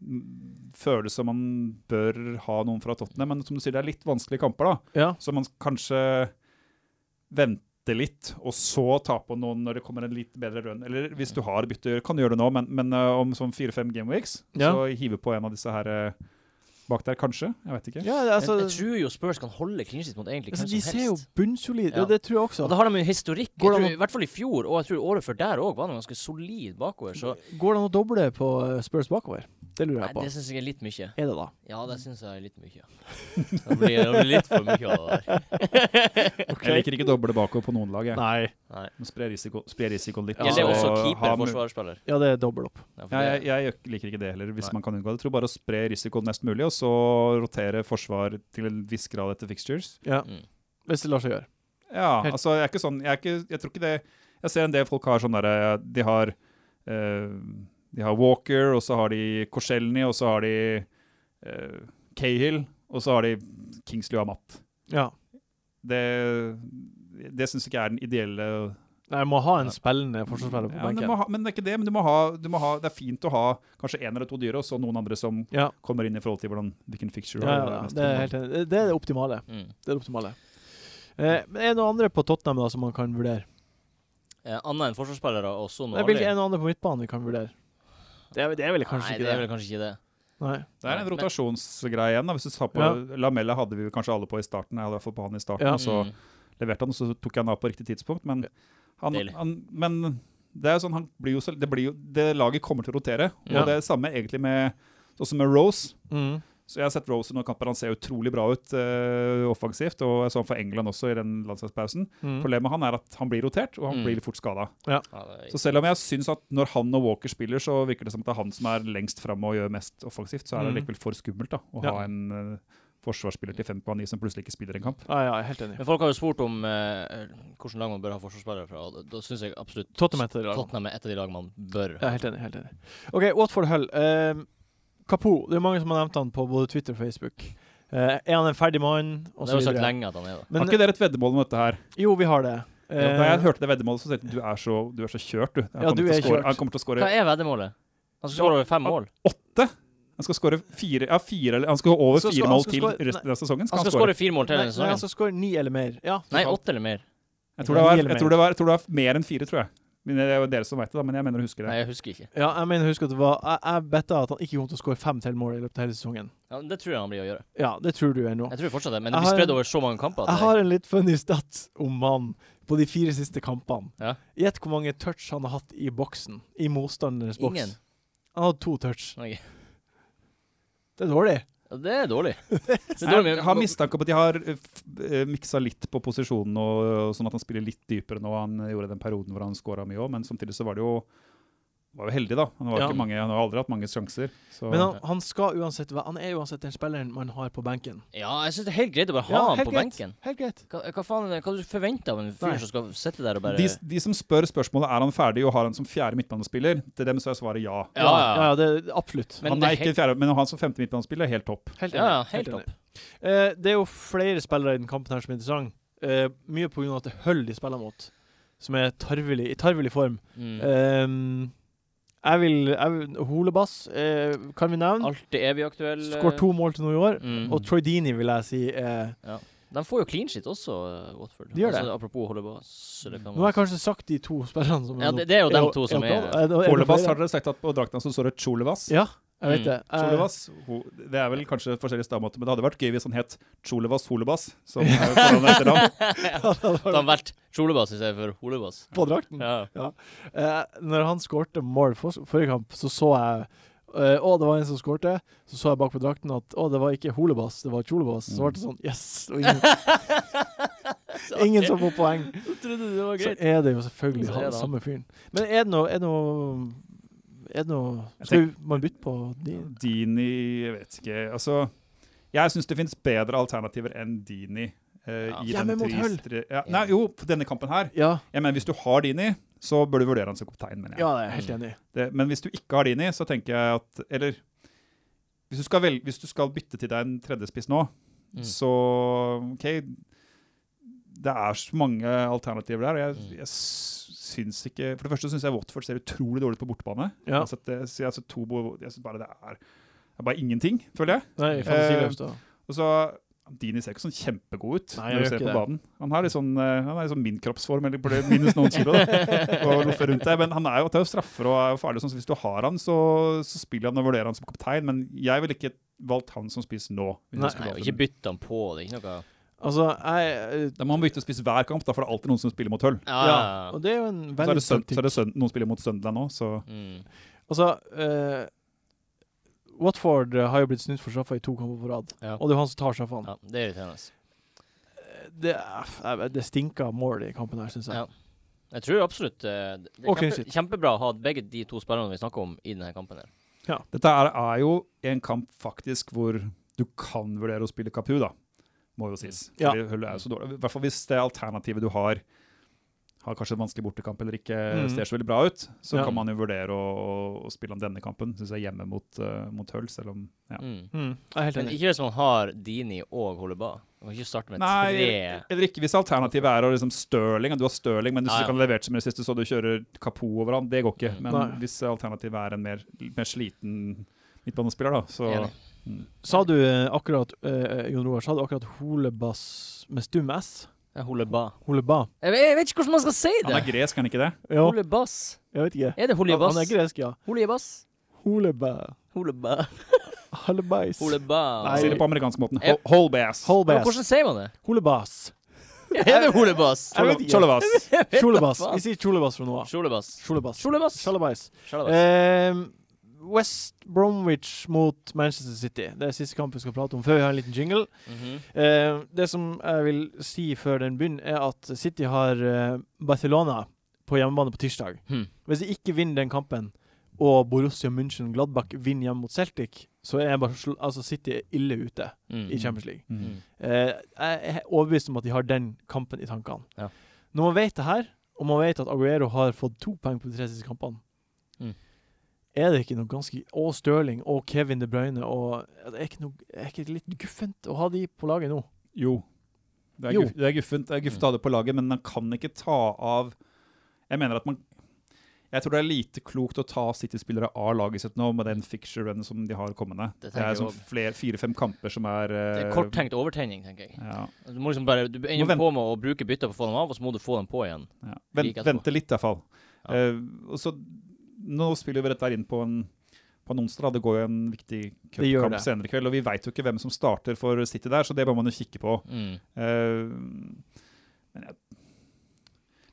Speaker 3: mm, Føles som man bør ha noen fra Tottenham, men som du sier, det er litt vanskelige kamper, da.
Speaker 1: Ja.
Speaker 3: Så man kanskje venter litt, og så ta på noen når det kommer en litt bedre run. Eller hvis du har bytter, kan du gjøre det nå, men, men eh, om sånn fire-fem gameweeks,
Speaker 1: Ja.
Speaker 3: så hive på en av disse her eh, bak der, kanskje. Jeg vet ikke.
Speaker 1: ja, det- altså,
Speaker 2: jeg, jeg tror jo Spurs kan holde clean sheet mot egentlig hvem
Speaker 1: altså De
Speaker 2: som
Speaker 1: ser jo
Speaker 2: helst.
Speaker 1: bunnsolide
Speaker 2: Ja.
Speaker 1: og det tror jeg også.
Speaker 2: Og da har de jo historikk. Jeg
Speaker 1: Går det
Speaker 2: tror,
Speaker 1: an å-
Speaker 2: I hvert fall i fjor, og jeg tror året før der òg var de ganske solid bakover. Så
Speaker 1: Går det an å doble på eh, Spurs bakover? Det lurer
Speaker 2: nei,
Speaker 1: jeg på.
Speaker 2: det syns jeg er litt mye.
Speaker 1: Er det da?
Speaker 2: Ja, det syns jeg er litt mye. Det blir, det blir litt for mye av det der.
Speaker 3: Jeg liker ikke doble bakover på noen lag. Jeg.
Speaker 1: Nei.
Speaker 3: Men Spre risiko, spre risikoen litt.
Speaker 1: Ja,
Speaker 2: Gjelder
Speaker 1: det-
Speaker 2: også
Speaker 3: og ha
Speaker 2: keeper,
Speaker 3: mu-
Speaker 2: forsvarsspiller.
Speaker 1: Ja, det er dobbel opp.
Speaker 2: Ja, for
Speaker 3: Ja, jeg,
Speaker 2: det-
Speaker 3: jeg gjør ikke- liker ikke det heller, hvis
Speaker 2: Nei.
Speaker 3: man kan unngå det. Jeg tror bare å spre risikoen mest mulig, og så rotere forsvar til en viss grad etter fixtures.
Speaker 1: Ja,
Speaker 2: Mm.
Speaker 1: Hvis det lar seg gjøre.
Speaker 3: Ja,
Speaker 1: Helt-
Speaker 3: altså jeg er ikke sånn Jeg, er ikke, jeg tror ikke det Jeg ser en del folk har sånn derre De har eh, De har Walker, og så har de Korselny, og så har de eh, Cahill, og så har de Kingsley og Amat.
Speaker 1: Ja.
Speaker 3: Det, det syns ikke jeg er den ideelle
Speaker 1: Nei, jeg må ha en spillende forsvarsspiller på
Speaker 3: ja, men, du må
Speaker 1: benken.
Speaker 3: ha, men det er ikke det, men du må ha, du må ha Det er fint å ha kanskje én eller to dyre, og så noen andre som
Speaker 1: Ja,
Speaker 3: kommer inn i forhold til hvordan, hvilken fixture
Speaker 1: ja, ja, ja. Det er helt enig. Det er det optimale.
Speaker 2: Mm.
Speaker 1: Det er det optimale. Eh, men er det noen andre på Tottenham da som man kan vurdere?
Speaker 2: Eh, Annet enn forsvarsspillere og Son og
Speaker 1: Nei,
Speaker 2: Alli.
Speaker 1: hvilke en og andre på midtbanen vi kan vurdere? Det er, det er vel kanskje
Speaker 2: Nei,
Speaker 1: ikke
Speaker 2: det er
Speaker 1: det.
Speaker 2: vel kanskje ikke det.
Speaker 1: Nei.
Speaker 3: Det er en
Speaker 2: Men-
Speaker 3: rotasjonsgreie igjen. da, hvis du tar på Lamella hadde vi jo kanskje alle på i starten. Jeg hadde i hvert fall på han i starten,
Speaker 1: Ja.
Speaker 3: og så
Speaker 2: Mm.
Speaker 3: leverte han, og så tok jeg han av på riktig tidspunkt. Men, han,
Speaker 2: Deilig.
Speaker 3: han, men det er jo sånn, han blir jo, så- det, blir jo, det laget kommer til å rotere. Og
Speaker 1: Ja.
Speaker 3: det er det samme egentlig med, også med Rose.
Speaker 1: Mm.
Speaker 3: Så Jeg har sett Rose i noen kamper, han ser utrolig bra ut eh, offensivt. Og jeg så han for England også i den landslagspausen.
Speaker 1: Mm.
Speaker 3: Problemet med han er at han blir rotert, og han
Speaker 2: Mm.
Speaker 3: blir fort skada.
Speaker 2: Ja, det er-
Speaker 3: Så selv om jeg syns at når han og Walker spiller, så virker det som at det er han som er lengst framme og gjør mest offensivt, så er det
Speaker 1: Mm.
Speaker 3: likevel for skummelt da, å
Speaker 1: Ja.
Speaker 3: ha en eh, forsvarsspiller til 5,9 som plutselig ikke spiller en kamp.
Speaker 1: Ja, ja, jeg er helt enig.
Speaker 2: Men folk har jo spurt om eh, hvordan lag man bør ha forsvarsspillere fra, og da, da syns jeg absolutt
Speaker 1: Tottenham heter det. i dag.
Speaker 2: Tottenham er et av de lagene man bør
Speaker 1: Ja, helt enig. helt enig. OK, Watford Hull. Um, Kapo, det er mange som har nevnt han på både Twitter og Facebook. Eh, er han en ferdig mann? Og så
Speaker 2: Det har jo sagt
Speaker 1: videre.
Speaker 2: lenge at han er det.
Speaker 1: Men,
Speaker 3: har ikke dere et veddemål om dette her?
Speaker 1: jo, vi har det.
Speaker 3: Ja, da jeg
Speaker 1: Eh,
Speaker 3: hørte det veddemålet, så tenkte jeg du er så, du er så kjørt, du. Han
Speaker 1: Ja,
Speaker 3: kommer
Speaker 1: du
Speaker 3: til å
Speaker 1: er
Speaker 3: score-
Speaker 1: kjørt.
Speaker 3: Han kommer til å
Speaker 2: Hva
Speaker 3: skåre
Speaker 2: er veddemålet? Han skal skåre over fem
Speaker 3: han-
Speaker 2: mål.
Speaker 3: åtte! Han skal skåre fire, ja, fire eller Han skal gå over
Speaker 1: Så skal-
Speaker 3: fire
Speaker 1: han
Speaker 3: mål
Speaker 1: skal
Speaker 3: til
Speaker 1: score- nei.
Speaker 3: resten av sesongen.
Speaker 2: Han
Speaker 3: Skal han
Speaker 2: skal
Speaker 3: score.
Speaker 2: skåre fire mål til
Speaker 1: nei, altså,
Speaker 2: denne
Speaker 1: nei, han
Speaker 2: sesongen.
Speaker 1: skal skåre ni eller mer. Ja,
Speaker 2: Nei, åtte eller mer.
Speaker 3: Jeg tror det var,
Speaker 1: Ni eller
Speaker 3: jeg tror det var, jeg tror det var mer enn fire, tror jeg. Men det er jo dere som vet det, da, men jeg mener å huske det.
Speaker 2: Nei, jeg husker ikke.
Speaker 1: ja, jeg mener, husk at det var Jeg, jeg betta at han ikke kom til å skåre fem til mål i løpet av hele sesongen.
Speaker 2: Ja, men det tror jeg han blir å gjøre.
Speaker 1: Ja, det tror du ennå.
Speaker 2: Jeg tror fortsatt det,
Speaker 1: Jeg
Speaker 2: men det
Speaker 1: har
Speaker 2: blir spredd
Speaker 1: en-
Speaker 2: over så mange kamper. at
Speaker 1: Jeg
Speaker 2: det-
Speaker 1: har en litt funny stat om han på de fire siste kampene.
Speaker 2: Ja.
Speaker 1: Gjett hvor mange touch han har hatt i boksen. I motstandernes boks.
Speaker 2: Ingen.
Speaker 1: Han har hatt to touch.
Speaker 2: Ok.
Speaker 1: Det er dårlig.
Speaker 2: Ja, Det er dårlig. Det er
Speaker 3: Jeg
Speaker 2: dårlig.
Speaker 3: har mistanke om at de har eh, f- eh, miksa litt på posisjonen, og, og sånn at han spiller litt dypere nå. Han eh, gjorde den perioden hvor han skåra mye òg, men samtidig så var det jo var jo heldig, da. Han, var
Speaker 1: Ja.
Speaker 3: ikke mange, han har aldri hatt mange sjanser. Så.
Speaker 1: Men han, han skal uansett være- Han er uansett den spilleren man har på benken.
Speaker 2: Ja, jeg syns det er helt greit å bare ha
Speaker 1: Ja,
Speaker 2: han
Speaker 1: helt
Speaker 2: på
Speaker 1: greit.
Speaker 2: benken.
Speaker 1: Helt greit.
Speaker 2: Hva, hva faen hva du forventer av en fyr
Speaker 1: Nei.
Speaker 2: som skal sitte der og bare
Speaker 3: de, de som spør spørsmålet er han ferdig og har han som fjerde midtbanespiller, til dem så er svaret ja.
Speaker 2: Ja, ja.
Speaker 1: ja, ja det, absolutt.
Speaker 2: Men
Speaker 3: han
Speaker 2: det
Speaker 3: er
Speaker 2: er
Speaker 3: ikke fjerde, men å ha han som femte midtbanespiller er helt topp.
Speaker 1: Helt
Speaker 2: Ja, ja, helt
Speaker 1: enig. Eh, det er jo flere spillere i den kampen her som er interessant. Eh, mye på grunn av at det er hull de spiller mot, som er tarvelig, i tarvelig form.
Speaker 2: Mm.
Speaker 1: Ehm, jeg vil, jeg vil Holebass eh, kan vi nevne.
Speaker 2: Alltid evig aktuell. eh,
Speaker 1: Skår to mål til nå i år.
Speaker 2: Mm.
Speaker 1: Og Troy Deeney vil jeg si er
Speaker 2: De får jo clean shit også, eh, Watford.
Speaker 1: De gjør det.
Speaker 2: Altså, apropos Hollebass. så det kan
Speaker 1: Nå har jeg
Speaker 2: man-
Speaker 1: kanskje sagt de to spillerne som
Speaker 2: Ja, det, det er jo dem to som
Speaker 1: oppe
Speaker 2: er
Speaker 1: nå. det- det
Speaker 3: Olevass,
Speaker 1: flere?
Speaker 3: har dere sagt at på drakta så står det Cholevas?
Speaker 1: Ja, jeg vet
Speaker 2: Mm.
Speaker 1: det. Eh,
Speaker 3: Cholevas, ho- det er vel kanskje forskjellige stavemåter, men det hadde vært gøy hvis han het Cholevas Holebas, som er foran og etternavn.
Speaker 2: De har vært Trolebass i stedet for Holebass.
Speaker 1: på drakten.
Speaker 2: Ja.
Speaker 1: Eh, når han skårte mål for, forrige kamp, så så jeg eh, Å, det var en som skårte. Så så jeg bak på drakten at å, det var ikke Holebass, det var Cholebass. Så ble det sånn Yes! Og ingen, ingen som får poeng.
Speaker 2: trodde det var
Speaker 1: Så er det jo selvfølgelig
Speaker 2: Så er
Speaker 1: han,
Speaker 2: det han.
Speaker 1: samme fyren. Men er det noe Er det noe, er det noe
Speaker 3: Jeg
Speaker 1: Skal vi- man bytte på de?
Speaker 3: Dini, jeg vet ikke. Altså, jeg syns det finnes bedre alternativer enn Dini. eh,
Speaker 2: Ja.
Speaker 3: i
Speaker 1: Ja,
Speaker 3: den
Speaker 1: men mot
Speaker 3: tris-
Speaker 1: Hull.
Speaker 3: tri- ja. Nei, jo, på denne kampen her.
Speaker 1: Ja,
Speaker 3: Jeg mener, hvis du har Dini, så bør du vurdere han som kaptein, mener jeg.
Speaker 1: ja det er jeg helt enig i.
Speaker 3: Det, men hvis du ikke har Dini, så tenker jeg at Eller hvis du skal, vel, hvis du skal bytte til deg en tredjespiss nå,
Speaker 2: Mm.
Speaker 3: så OK Det er så mange alternativer der. og Jeg,
Speaker 2: Mm.
Speaker 3: jeg syns ikke For det første syns jeg Watford ser utrolig dårlig ut på bortebane.
Speaker 1: Ja.
Speaker 3: Jeg har sett det- så jeg har sett to bo- jeg synes bare det er, det er bare ingenting, føler jeg.
Speaker 1: Nei,
Speaker 3: Eh,
Speaker 1: fantasiløst, da.
Speaker 3: Og så Dini ser ikke sånn kjempegod ut
Speaker 1: Nei,
Speaker 3: når du
Speaker 1: jeg gjør
Speaker 3: ser
Speaker 1: ikke
Speaker 3: på banen. Han har litt sånn, eh, han er i sånn min kroppsform, eller ble minus noen kilo, da, og loffer rundt deg. Men han er jo tar jo straffer og er jo farlig, og sånn, så hvis du har han, så, så spiller han og vurderer han som kaptein. Men jeg ville ikke valgt han som spiss nå. hvis
Speaker 1: Nei,
Speaker 3: jeg skulle
Speaker 2: Nei,
Speaker 3: valgt
Speaker 2: og ikke
Speaker 3: den.
Speaker 2: bytt han på. Det er ikke noe
Speaker 1: Altså, jeg
Speaker 3: Da må han bytte spiss hver kamp, da, for det er alltid noen som spiller mot hull.
Speaker 2: Ja.
Speaker 1: ja,
Speaker 2: ja.
Speaker 1: Og det er jo en
Speaker 3: Ah, Så er
Speaker 1: veldig
Speaker 3: det, søn,
Speaker 1: sterk
Speaker 3: så er det søn, noen spiller mot Sunderland nå, så
Speaker 2: Mm.
Speaker 1: Altså, eh, Watford eh, har jo blitt snytt for straffa i to kamper på rad.
Speaker 2: Ja.
Speaker 1: Og det er jo han som tar straffene.
Speaker 2: ja. Det er irriterende. ass.
Speaker 1: Det, er- f- jeg vet, det stinker mål i kampen her, syns jeg.
Speaker 2: Ja. Jeg tror absolutt eh, det det er
Speaker 1: Og clean
Speaker 2: kjempe,
Speaker 1: sheet.
Speaker 2: kjempebra å ha begge de to spillerne vi snakker om, i denne kampen. her.
Speaker 3: Dette er, er jo en kamp faktisk hvor du kan vurdere å spille Kapu, da. Må jo sies.
Speaker 1: Ja.
Speaker 3: Fordi Hull er jo så dårlig. I hvert fall hvis det alternativet du har, har kanskje en vanskelig bortekamp eller ikke
Speaker 1: Mhm.
Speaker 3: ser så veldig bra ut, så
Speaker 1: Ja.
Speaker 3: kan man jo vurdere å, å- å spille om denne kampen. Syns jeg er hjemme mot, eh, mot Hull, selv om ja.
Speaker 2: Mm.
Speaker 1: Mm, jeg er helt
Speaker 2: Men
Speaker 1: enig.
Speaker 2: ikke hvis man har Dini og Holeba. Man kan ikke starte med
Speaker 3: Nei,
Speaker 2: tre
Speaker 3: eller ikke hvis alternativet er å liksom Stirling, og du har Stirling, men du
Speaker 2: Ja,
Speaker 3: synes
Speaker 2: ja.
Speaker 3: ikke han har levert som i det siste, så du kjører Kapo over han, det går ikke.
Speaker 2: Mm.
Speaker 3: Men
Speaker 1: Nei.
Speaker 3: hvis alternativet er en mer, mer sliten midtbanespiller, da, så
Speaker 2: Enig.
Speaker 1: Sa du eh, akkurat eh, Jon Roar, sa du akkurat Holebass med stum S?
Speaker 2: Ja, Holeba.
Speaker 1: Holeba?
Speaker 2: Jeg, jeg vet ikke hvordan man skal si
Speaker 3: Han
Speaker 2: det.
Speaker 3: er gresk, er han ikke det?
Speaker 1: Ja,
Speaker 2: Holebass.
Speaker 1: jeg vet ikke.
Speaker 2: Er det
Speaker 1: Han,
Speaker 2: Holebass?
Speaker 1: han er gresk, ja.
Speaker 2: Holebass?
Speaker 1: Holeba.
Speaker 2: Holeba.
Speaker 1: Halebais.
Speaker 2: Holeba.
Speaker 1: Nei.
Speaker 3: Sier det på amerikansk måten.
Speaker 2: Ja.
Speaker 3: Ho- Whole bass.
Speaker 2: Men
Speaker 1: Holbass.
Speaker 2: Hvordan sier man det?
Speaker 1: Holebass.
Speaker 2: Er det Holebass?
Speaker 1: Jeg vet ikke.
Speaker 3: Cholabas.
Speaker 1: Cholebass.
Speaker 2: faen.
Speaker 1: Vi sier cholebass fra nå av.
Speaker 2: Sjolebass.
Speaker 1: Cholebass.
Speaker 2: Sjolebass.
Speaker 1: Cholabais.
Speaker 2: Sjolebass.
Speaker 1: Ehm, West Bromwich mot Manchester City. Det er siste kamp vi skal prate om før vi har en liten jingle.
Speaker 2: Mhm.
Speaker 1: Ehm, det som jeg vil si før den begynner, er at City har eh, Barcelona på hjemmebane på tirsdag.
Speaker 2: Hmm.
Speaker 1: Hvis de ikke vinner den kampen, og Borussia München Gladbach vinner hjemme mot Celtic, så er Barcel altså City ille ute
Speaker 2: Mm.
Speaker 1: i Champions League.
Speaker 3: Mm.
Speaker 2: Mm.
Speaker 1: Eh, jeg er overbevist om at de har den kampen i tankene.
Speaker 2: Ja.
Speaker 1: Når man vet det her, og man vet at Aguero har fått to poeng på de tre siste kampene,
Speaker 2: Mm.
Speaker 1: er det ikke noe ganske Og Stirling og Kevin De Bruyne og er det ikke noe, er ikke det litt guffent å ha de på laget nå?
Speaker 3: Jo. Det er,
Speaker 1: Jo.
Speaker 3: guff- det er guffent. Det er guffent å ha det på laget, men man kan ikke ta av Jeg mener at man Jeg tror det er lite klokt å ta City-spillere av laget sitt nå, med den fixture-runnen som de har kommende.
Speaker 2: Det
Speaker 3: Det,
Speaker 2: tenker
Speaker 3: er
Speaker 2: jeg
Speaker 3: sånn fler- fire-fem kamper som er
Speaker 2: Det er
Speaker 3: eh,
Speaker 2: korttenkt overtegning, tenker jeg.
Speaker 3: Ja.
Speaker 2: Du må liksom bare Du
Speaker 3: Må
Speaker 2: ender
Speaker 3: vente.
Speaker 2: på med å bruke bytter for å få dem av, og så må du få dem på igjen.
Speaker 3: Ja.
Speaker 2: Like
Speaker 3: Vent,
Speaker 2: etterpå.
Speaker 3: vente litt, i hvert fall.
Speaker 2: Ja.
Speaker 3: Eh, og så, nå spiller vi dette her inn på en, på en onsdag. da. Det går jo en viktig
Speaker 1: gjør
Speaker 3: cupkamp
Speaker 1: det.
Speaker 3: senere i kveld. Og vi veit jo ikke hvem som starter for
Speaker 2: Hmm.
Speaker 3: Eh, City der, så det bør man jo kikke på.
Speaker 2: Mm.
Speaker 3: Eh, men jeg,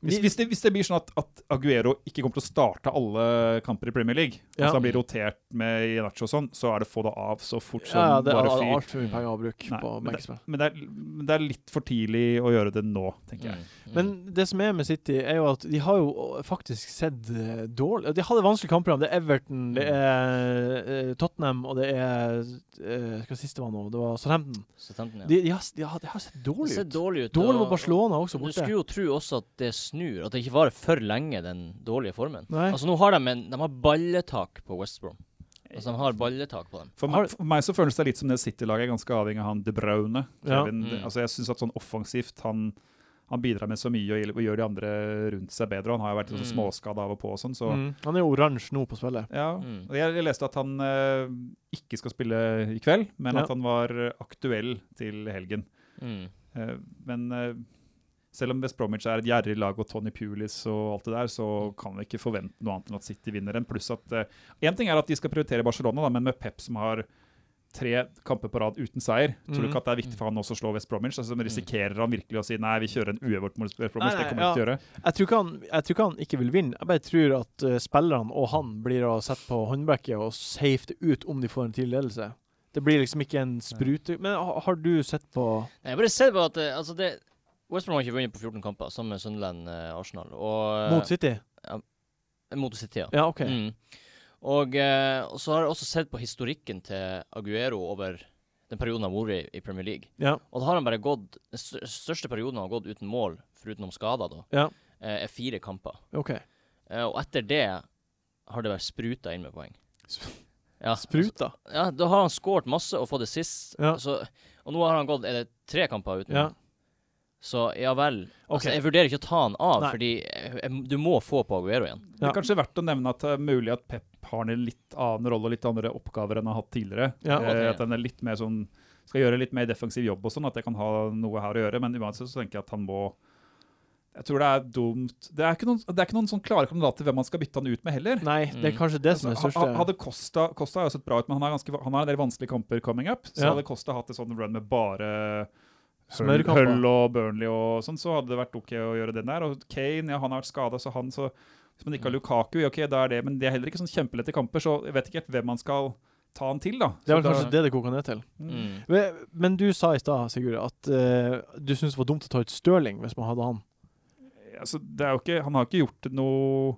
Speaker 3: Hvis, hvis, det, hvis det blir sånn at, at Aguero ikke kommer til å starte alle kamper i Premier League,
Speaker 1: Ja.
Speaker 3: og så han blir rotert med Inacho og sånn, så er det få det av så fort som
Speaker 1: ja, ja, det er
Speaker 3: bare fyr.
Speaker 1: altfor mye penger å bruke
Speaker 3: Nei,
Speaker 1: på
Speaker 3: men det-
Speaker 1: benkespill.
Speaker 3: Men det, er, men det er litt for tidlig å gjøre det nå, tenker jeg.
Speaker 2: Hmm.
Speaker 1: Men det som er med City, er jo at de har jo faktisk sett eh, dårlig De hadde vanskelige kamper. Det er Everton, det er eh, Tottenham, og det er eh, Hva siste var nå? Det var Southampton.
Speaker 2: Southampton, ja.
Speaker 1: De, de, har, s- de, har, de har sett
Speaker 2: Det
Speaker 1: dårlig
Speaker 2: ser
Speaker 1: ut.
Speaker 2: dårlig ut.
Speaker 1: Dårlig
Speaker 2: og-
Speaker 1: mot Barcelona også,
Speaker 2: Du
Speaker 1: borte.
Speaker 2: skulle jo tro også at det snur, at det ikke varer for lenge, den dårlige formen.
Speaker 1: Nei.
Speaker 2: Altså, nå har de en De har balletak på West Brom. Altså, de har balletak på dem.
Speaker 3: For,
Speaker 1: Har-
Speaker 3: meg- for meg så føles det litt som det City-laget er ganske avhengig av han De Bruyne.
Speaker 1: Ja.
Speaker 3: Kevin,
Speaker 2: Mm.
Speaker 3: altså jeg synes at sånn offensivt han, han bidrar med så mye og, og gjør de andre rundt seg bedre. Han har jo vært litt sånn
Speaker 2: Mm.
Speaker 3: småskadd av og på og sånn, så
Speaker 1: Mm. Han er jo oransje nå på spillet.
Speaker 3: ja.
Speaker 2: Mm.
Speaker 3: Og Jeg, jeg leste at han eh, ikke skal spille i kveld, men
Speaker 1: Ja.
Speaker 3: at han var eh, aktuell til helgen.
Speaker 2: Mm.
Speaker 3: Eh, men eh, selv om West Bromwich er et gjerrig lag og Tony Pulis og alt det der, så
Speaker 1: Mm.
Speaker 3: kan vi ikke forvente noe annet enn at City vinner en. Pluss at Én ting er at de skal prioritere Barcelona, da, men med Pep som har tre kamper på rad uten seier, tror du
Speaker 1: Mhm.
Speaker 3: ikke at det er viktig for han også å slå West Bromwich? Altså, risikerer han virkelig å si nei, vi kjører en uavgjort mot West Bromwich?
Speaker 1: Mm. Nei,
Speaker 3: det
Speaker 1: nei,
Speaker 3: kommer vi ikke til å gjøre.
Speaker 1: Jeg tror, ikke han, jeg tror ikke han ikke vil vinne. Jeg bare tror at eh, spillerne og han blir å sette på håndbrekket og safe det ut om de får en tidlig ledelse. Det blir liksom ikke en sprute... Men ha- har du sett på
Speaker 2: Nei, jeg bare ser på at det, altså det West Brom har ikke vunnet på 14 kamper, sammen med Sunderland eh, Arsenal. Og,
Speaker 1: mot City?
Speaker 2: eh, mot City, ja.
Speaker 1: Ja, OK.
Speaker 2: Mm. Og, eh, og så har jeg også sett på historikken til Aguero over den perioden han har vært i, i Premier League.
Speaker 1: Ja.
Speaker 2: Og da har han bare gått Den stør- største perioden han har gått uten mål, forutenom skader, da,
Speaker 1: Ja.
Speaker 2: eh, er fire kamper.
Speaker 1: ok.
Speaker 2: Eh, og etter det har det vært spruta inn med poeng.
Speaker 1: Sp-
Speaker 2: Ja,
Speaker 1: Spruta?
Speaker 2: altså- Ja, da har han skåret masse og fått assist.
Speaker 1: Ja.
Speaker 2: Så, og nå har han gått er det tre kamper uten.
Speaker 1: Ja.
Speaker 2: Så ja vel.
Speaker 1: Ok.
Speaker 2: Altså, jeg vurderer ikke å ta han av,
Speaker 1: Nei.
Speaker 2: fordi jeg, jeg, du må få på Aguero igjen.
Speaker 3: Det
Speaker 1: Ja.
Speaker 3: er kanskje verdt å nevne at det er mulig at Pep har en litt annen rolle og litt andre oppgaver enn han har hatt tidligere.
Speaker 1: Ja,
Speaker 3: Eh,
Speaker 2: ok.
Speaker 3: At han er litt mer sånn, skal gjøre litt mer defensiv jobb og sånn, at det kan ha noe her å gjøre. Men uansett så tenker jeg at han må Jeg tror det er dumt Det er ikke noen, det er ikke noen sånn klare kandidater hvem man skal bytte han ut med, heller.
Speaker 1: Nei, det er
Speaker 2: Mm.
Speaker 1: kanskje det som er
Speaker 3: Altså, ha- ha-
Speaker 1: største
Speaker 3: hadde Costa, Costa har jo sett bra ut, men han har, ganske, han har en del vanskelige kamper coming up. Så
Speaker 1: Ja.
Speaker 3: hadde Costa hatt et sånt run med bare Hull,
Speaker 1: Smørkamper.
Speaker 3: Hull og Burnley og sånn, så hadde det vært OK å gjøre den der. Og Kane, ja, han har vært skada, så han så Hvis man
Speaker 1: Mm.
Speaker 3: ikke har Lukaku, ja, ok, da er det Men det er heller ikke sånn kjempelette kamper, så jeg vet ikke helt hvem man skal ta han til, da.
Speaker 1: Det er
Speaker 3: Så
Speaker 1: vel
Speaker 3: da-
Speaker 1: kanskje det det koker ned til.
Speaker 3: Mm.
Speaker 2: Mm.
Speaker 1: Men, men du sa i stad, Sigurd, at eh, du syntes det var dumt å ta ut Stirling hvis man hadde han.
Speaker 3: Altså, det er jo ikke, han har ikke gjort noe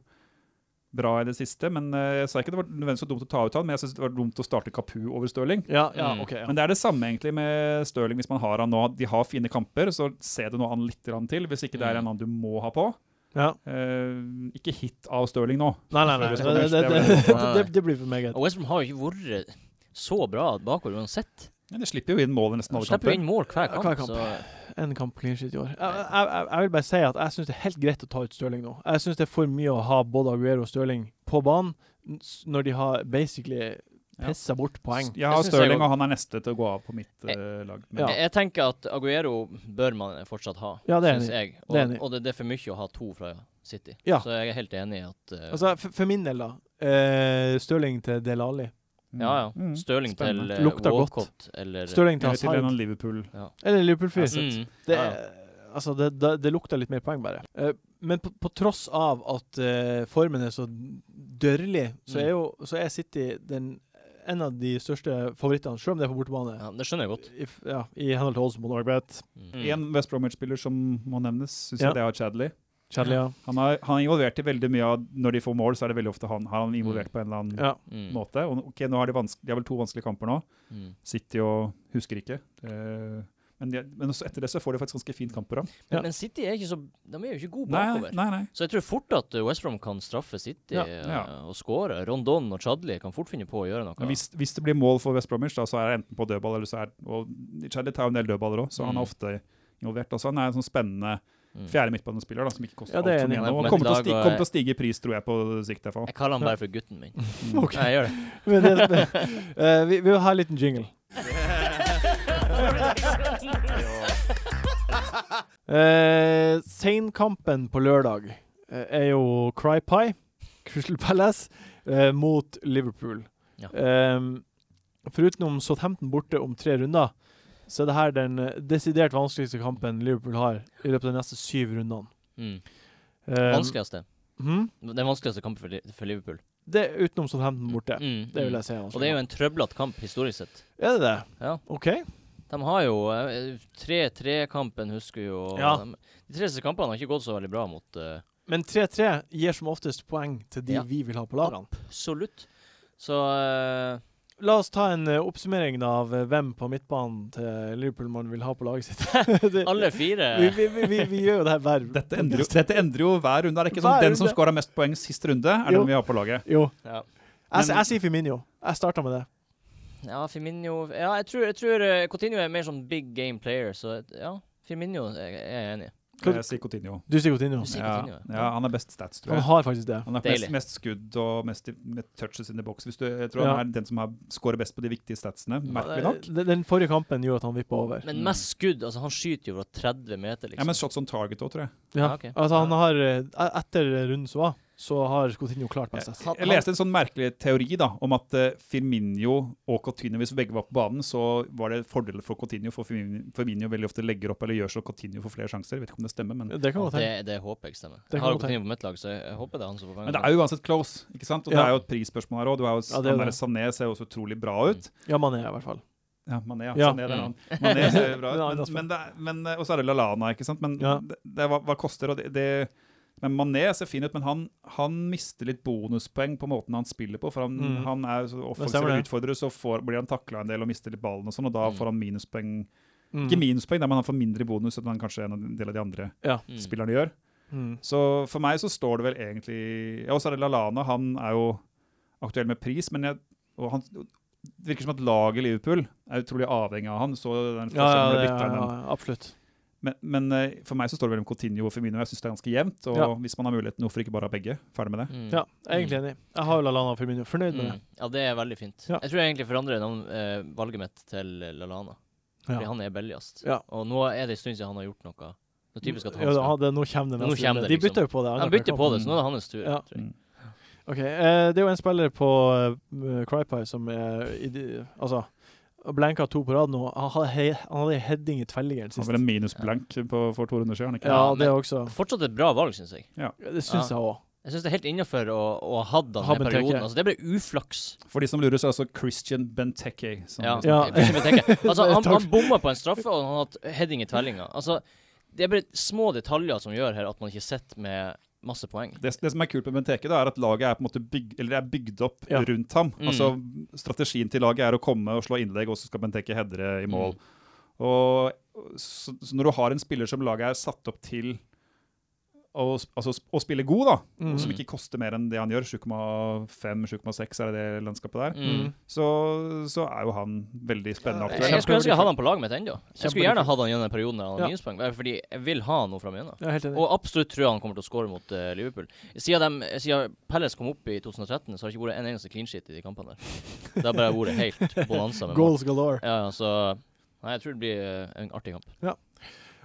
Speaker 3: bra i det siste, men eh, jeg sa ikke det var nødvendigvis så dumt å ta ut han, men jeg syns det var dumt å starte Kapu over Stirling.
Speaker 1: Ja, ja,
Speaker 2: Mm.
Speaker 1: ok. Ja.
Speaker 3: Men det er det samme egentlig med Stirling hvis man har han nå. De har fine kamper, så se det noe an litt grann til, hvis ikke det er en annen du må ha på.
Speaker 1: ja.
Speaker 3: Eh, ikke hit av Stirling nå.
Speaker 1: Nei, nei, nei.
Speaker 3: Hvis
Speaker 1: Det,
Speaker 3: man
Speaker 1: det,
Speaker 3: gjør
Speaker 1: det,
Speaker 3: det,
Speaker 1: det,
Speaker 2: ja.
Speaker 1: det, det blir for meget.
Speaker 2: Og West Brom har jo ikke vært så bra bakover uansett.
Speaker 3: Men de slipper jo inn mål i nesten
Speaker 2: De
Speaker 3: alle
Speaker 2: slipper jo
Speaker 3: kamper.
Speaker 2: inn mål hver
Speaker 1: Ja,
Speaker 2: kamp.
Speaker 1: hver kamp.
Speaker 2: Så,
Speaker 1: En kamp clean shit i år. Jeg, jeg, jeg, jeg vil bare si at jeg syns det er helt greit å ta ut Stirling nå. Jeg syns det er for mye å ha både Aguero og Stirling på banen n- s- når de har basically pissa bort poeng.
Speaker 3: Jeg
Speaker 2: Det
Speaker 3: har
Speaker 2: synes jeg
Speaker 3: Stirling,
Speaker 2: også.
Speaker 3: og han er neste til å gå av på mitt eh, lag. Men
Speaker 1: Ja.
Speaker 2: jeg, jeg tenker at Aguero bør man fortsatt ha,
Speaker 1: Ja, det er
Speaker 2: synes
Speaker 1: enig.
Speaker 2: jeg. Og
Speaker 1: Det er enig.
Speaker 2: og det, det er for mye å ha to fra City.
Speaker 1: Ja.
Speaker 2: Så jeg er helt enig i at eh,
Speaker 1: Altså, for, for min del, da. Eh, Stirling til Del Ali.
Speaker 2: Ja, ja.
Speaker 3: Mm.
Speaker 2: Stirling til
Speaker 3: Spennende.
Speaker 2: eh,
Speaker 1: Lukter godt.
Speaker 2: Walcott eller
Speaker 1: Stirling til
Speaker 3: Eller til en
Speaker 1: Hazard.
Speaker 3: annen Liverpool.
Speaker 1: Eller Liverpool-fyr.
Speaker 3: Asset.
Speaker 2: Mm.
Speaker 1: Det,
Speaker 2: Ja,
Speaker 1: altså, det, det, det lukter litt mer poeng, bare. Eh, men på, på tross av at eh, formen er så dørlig, så
Speaker 2: Mm.
Speaker 1: er jo så er City den, en av de største favorittene, selv om det er på bortebane.
Speaker 2: ja, det skjønner jeg godt.
Speaker 1: I, f- ja, I henhold til Olsen på Norgbet.
Speaker 2: Mm.
Speaker 3: En West Bromwich-spiller som må nevnes, syns
Speaker 1: Ja.
Speaker 3: jeg det er Chadley.
Speaker 1: Chadley, ja.
Speaker 3: Han, er- han er involvert i veldig mye av Når de får mål, så er det veldig ofte han, har han involvert på en eller annen
Speaker 1: ja.
Speaker 2: Mm.
Speaker 3: måte. Og, ok, nå har de, vanske- de har vel to vanskelige kamper nå.
Speaker 2: Mm.
Speaker 3: City og husker ikke. Eh, men, de, men også etter det så får de faktisk ganske fint kamper òg.
Speaker 1: Ja.
Speaker 2: Men City er ikke så De er jo ikke gode
Speaker 3: Nei,
Speaker 2: bakover.
Speaker 3: nei, nei.
Speaker 2: Så jeg tror fort at eh, West Brom kan straffe City
Speaker 1: Ja,
Speaker 2: eh,
Speaker 3: ja.
Speaker 2: og skåre. Rondon og Chadli kan fort finne på å gjøre noe.
Speaker 3: Men Hvis, hvis det blir mål for West Bromwich, da, så er det enten på dødball eller så er Og Charlie tar jo en del dødballer òg, så han
Speaker 2: Mm.
Speaker 3: er ofte involvert. Altså, han er en sånn spennende
Speaker 2: Mm.
Speaker 3: fjerde midtbanespiller da, som ikke koster
Speaker 1: Ja, det er
Speaker 3: altfor
Speaker 1: enig.
Speaker 3: mye nå.
Speaker 2: Men
Speaker 3: Og kommer til, å
Speaker 2: i dag
Speaker 3: stige,
Speaker 2: var-
Speaker 3: kommer til å stige i pris, tror jeg, på sikt. i hvert fall.
Speaker 2: Jeg kaller han bare for gutten min.
Speaker 1: Ok.
Speaker 2: Nei, jeg gjør det.
Speaker 1: Men det, eh, vi, vi vil ha en liten jingle. Eh, Seinkampen på lørdag eh, er jo Cry Pie, Crystal Palace, eh, mot Liverpool.
Speaker 2: Ja.
Speaker 1: Eh, foruten om Southampton borte om tre runder, så er det her den eh, desidert vanskeligste kampen Liverpool har i løpet av de neste syv rundene.
Speaker 2: Mm.
Speaker 1: Eh,
Speaker 2: Vanskeligste.
Speaker 1: mhm.
Speaker 2: Den vanskeligste kampen for, Li- for Liverpool.
Speaker 1: Det er utenom Southampton borte.
Speaker 2: Mm,
Speaker 1: Det
Speaker 2: mm.
Speaker 1: vil jeg si. er
Speaker 2: Og det er jo
Speaker 1: vanskelig.
Speaker 2: en trøblete kamp historisk sett.
Speaker 1: Er det det?
Speaker 2: Ja.
Speaker 1: OK.
Speaker 2: De har jo 3-3-kampen, husker jo. og
Speaker 1: Ja.
Speaker 2: De, de tre siste kampene har ikke gått så veldig bra mot eh,
Speaker 1: Men 3-3 gir som oftest poeng til de
Speaker 2: Ja.
Speaker 1: vi vil ha på lagene.
Speaker 2: Absolutt. Så eh,
Speaker 1: La oss ta en eh, oppsummering av eh, hvem på midtbanen til Liverpool man vil ha på laget sitt. Det-
Speaker 2: alle fire
Speaker 1: vi, vi, vi, vi, vi gjør jo det her hver
Speaker 3: Dette endrer, jo, dette endrer jo hver runde. Er det ikke
Speaker 1: Hver
Speaker 3: sånn den som
Speaker 1: runde.
Speaker 3: skåra mest poeng sist runde, er
Speaker 1: Jo.
Speaker 3: den vi har på laget?
Speaker 1: Jo.
Speaker 2: ja.
Speaker 1: Jeg, s-
Speaker 3: Men-
Speaker 1: jeg sier Firmino. Jeg starta med det.
Speaker 2: ja, Firmino Ja, jeg tror, jeg tror eh, Coutinho er mer sånn big game player, så ja. Firmino eh, er jeg er enig i.
Speaker 1: Kan-
Speaker 3: Jeg sier Coutinho.
Speaker 1: Du sier Coutinho.
Speaker 2: Du sier
Speaker 3: Eh, Ja,
Speaker 2: Coutinho, ja.
Speaker 3: ja, han er best stats, tror
Speaker 1: Han
Speaker 3: jeg.
Speaker 1: har faktisk det.
Speaker 3: Han har
Speaker 2: Deilig.
Speaker 3: mest, mest skudd og mest i- med touches in the box. Hvis du, jeg tror
Speaker 1: Ja.
Speaker 3: han er den som har scorer best på de viktige statsene, merkelig nok.
Speaker 1: Den, den forrige kampen gjorde at han vippa over.
Speaker 2: Men mest skudd Altså, han skyter jo fra 30 meter,
Speaker 3: Ja,
Speaker 2: liksom.
Speaker 3: men shots on target òg, tror jeg.
Speaker 1: Ja.
Speaker 2: Ja, ok.
Speaker 1: Altså, han har eh, e- Etter runden som var, så har Coutinho klart best.
Speaker 3: Jeg,
Speaker 1: stats.
Speaker 2: Han-
Speaker 3: jeg leste en sånn merkelig teori da, om at eh, Firmino og Coutinho, hvis begge var på banen, så var det fordeler for Coutinho, for Firmino, Firmino veldig ofte legger opp eller gjør så Coutinho får flere sjanser. Jeg vet ikke om det stemmer, men,
Speaker 1: Det kan godt
Speaker 2: det,
Speaker 1: hende.
Speaker 2: det håper jeg stemmer.
Speaker 1: Det kan
Speaker 2: Jeg har
Speaker 1: godt
Speaker 2: Coutinho på mitt lag, så jeg jeg håper det er han som får
Speaker 3: men det er jo uansett close, ikke sant? Og det
Speaker 1: Ja.
Speaker 3: er jo et prisspørsmål her òg.
Speaker 1: Ja,
Speaker 3: Ja,
Speaker 1: det er
Speaker 3: han der
Speaker 1: det.
Speaker 3: Sané ser jo også utrolig bra ut.
Speaker 1: Ja, Mané, i hvert fall.
Speaker 3: Ja, Mané, ja.
Speaker 1: Ja.
Speaker 3: Sané, det er
Speaker 2: Mm.
Speaker 3: han. Mané ser jo bra
Speaker 1: Ja,
Speaker 3: ut.
Speaker 1: det er
Speaker 3: Men, men, det er, men eh, Og så er det Lallana, ikke sant. Men
Speaker 1: Ja.
Speaker 3: det, det, er hva, hva koster og det, det men Mané ser fin ut, men han, han mister litt bonuspoeng på måten han spiller på. For han,
Speaker 1: Mm.
Speaker 3: han er jo så offensiv
Speaker 1: stemmer
Speaker 3: og
Speaker 1: det.
Speaker 3: utfordrer, så får, blir han takla en del og mister litt ballen og sånn, og da
Speaker 2: Mm.
Speaker 3: får han minuspoeng.
Speaker 1: Mm.
Speaker 3: Ikke minuspoeng, da, men han får mindre bonus enn han kanskje en del av de andre
Speaker 2: Mm.
Speaker 3: spillerne gjør.
Speaker 1: Mm.
Speaker 3: Så for meg så står det vel egentlig Ja, og så er det Lallana. Han er jo aktuell med pris, men jeg, og han, det virker som at laget Liverpool er utrolig avhengig av han. Så den
Speaker 1: Ja, ja,
Speaker 3: forskjellen ble
Speaker 1: det,
Speaker 3: byttet
Speaker 1: ja,
Speaker 3: inn,
Speaker 1: ja,
Speaker 3: men-
Speaker 1: absolutt.
Speaker 2: Mm.
Speaker 3: Men, men eh, for meg så står det mellom Coutinho og Firmino. Jeg syns det er ganske jevnt. Og
Speaker 1: Ja.
Speaker 3: hvis man har muligheten, hvorfor ikke bare ha begge? Ferdig med det.
Speaker 2: Mm.
Speaker 1: Ja, jeg er egentlig enig. Jeg har jo Lallana og Firmino. Fornøyd med det.
Speaker 2: Mm. Ja, det er veldig fint.
Speaker 1: Ja.
Speaker 2: Jeg tror jeg egentlig forandrer navn, eh, valget mitt til eh, Lallana. Fordi
Speaker 1: Ja.
Speaker 2: han er billigst.
Speaker 1: Ja.
Speaker 2: Og nå er det en stund siden han har gjort noe. Det er typisk at han
Speaker 1: Ja,
Speaker 2: skal
Speaker 1: det, nå kommer det
Speaker 2: Nå
Speaker 1: neste
Speaker 2: kommer
Speaker 1: runde.
Speaker 2: det,
Speaker 1: De
Speaker 2: liksom.
Speaker 1: bytter jo på det.
Speaker 2: Han bytter på det, så nå er det hans tur.
Speaker 1: Ja.
Speaker 2: Tror jeg.
Speaker 3: Mm.
Speaker 1: Ok, eh, Det er jo en spiller på uh, Crypie som er i de- Altså, blanka to på rad nå. Han hadde, he, han hadde heading i tvellingeren
Speaker 3: Han
Speaker 1: sist.
Speaker 3: var vel en minusblank på- for to runder siden, han ikke?
Speaker 1: Ja,
Speaker 2: Ja,
Speaker 1: det også.
Speaker 2: Fortsatt et bra valg, syns jeg.
Speaker 1: Det syns
Speaker 2: Ja.
Speaker 1: jeg òg.
Speaker 2: Jeg syns det er helt innafor å, å ha hatt han
Speaker 1: Ha
Speaker 2: denne
Speaker 1: Benteke.
Speaker 2: perioden. Altså, det ble uflaks.
Speaker 3: For de som lurer, så er det altså Christian Benteke. Som liksom
Speaker 2: Ja.
Speaker 1: Sånn, Ja.
Speaker 2: ok, plutselig Benteke. Altså, han,
Speaker 1: Takk.
Speaker 2: han bomma på en straffe, og han har hatt heading i tverlinga. Altså, det er bare små detaljer som gjør her at man ikke sitter med masse poeng.
Speaker 3: Det, det som er kult med Benteke, da, er at laget er på en måte bygd, eller det er bygd opp
Speaker 1: Ja.
Speaker 3: rundt ham.
Speaker 2: Mm.
Speaker 3: Altså, strategien til laget er å komme og slå innlegg, og så skal Benteke hedre i
Speaker 2: Mm.
Speaker 3: mål. Og så, så når du har en spiller som laget er satt opp til å, sp- altså, sp- å spille god, da,
Speaker 1: Mm.
Speaker 3: og som ikke koster mer enn det han gjør, 7,5-7,6 er det det landskapet der,
Speaker 2: Mm.
Speaker 3: så, så er jo han veldig spennende
Speaker 2: Jeg,
Speaker 3: aktuell.
Speaker 2: jeg skulle ønske jeg hadde han på laget mitt ennå. Jeg skulle
Speaker 1: Kjempefint.
Speaker 2: gjerne hatt han gjennom den perioden der han
Speaker 1: Ja.
Speaker 2: har minuspoeng, bare fordi jeg vil ha han nå framigjennom.
Speaker 1: Jeg er helt enig.
Speaker 2: Og absolutt tror jeg han kommer til å skåre mot eh, Liverpool. Siden, dem, siden Pelles kom opp i 2013, så har det ikke vært en eneste clean shit i de kampene der. Det har bare vært helt bonanza. Med mål.
Speaker 1: Goals galore.
Speaker 2: Ja, ja, så Nei, jeg tror det blir eh, en artig kamp.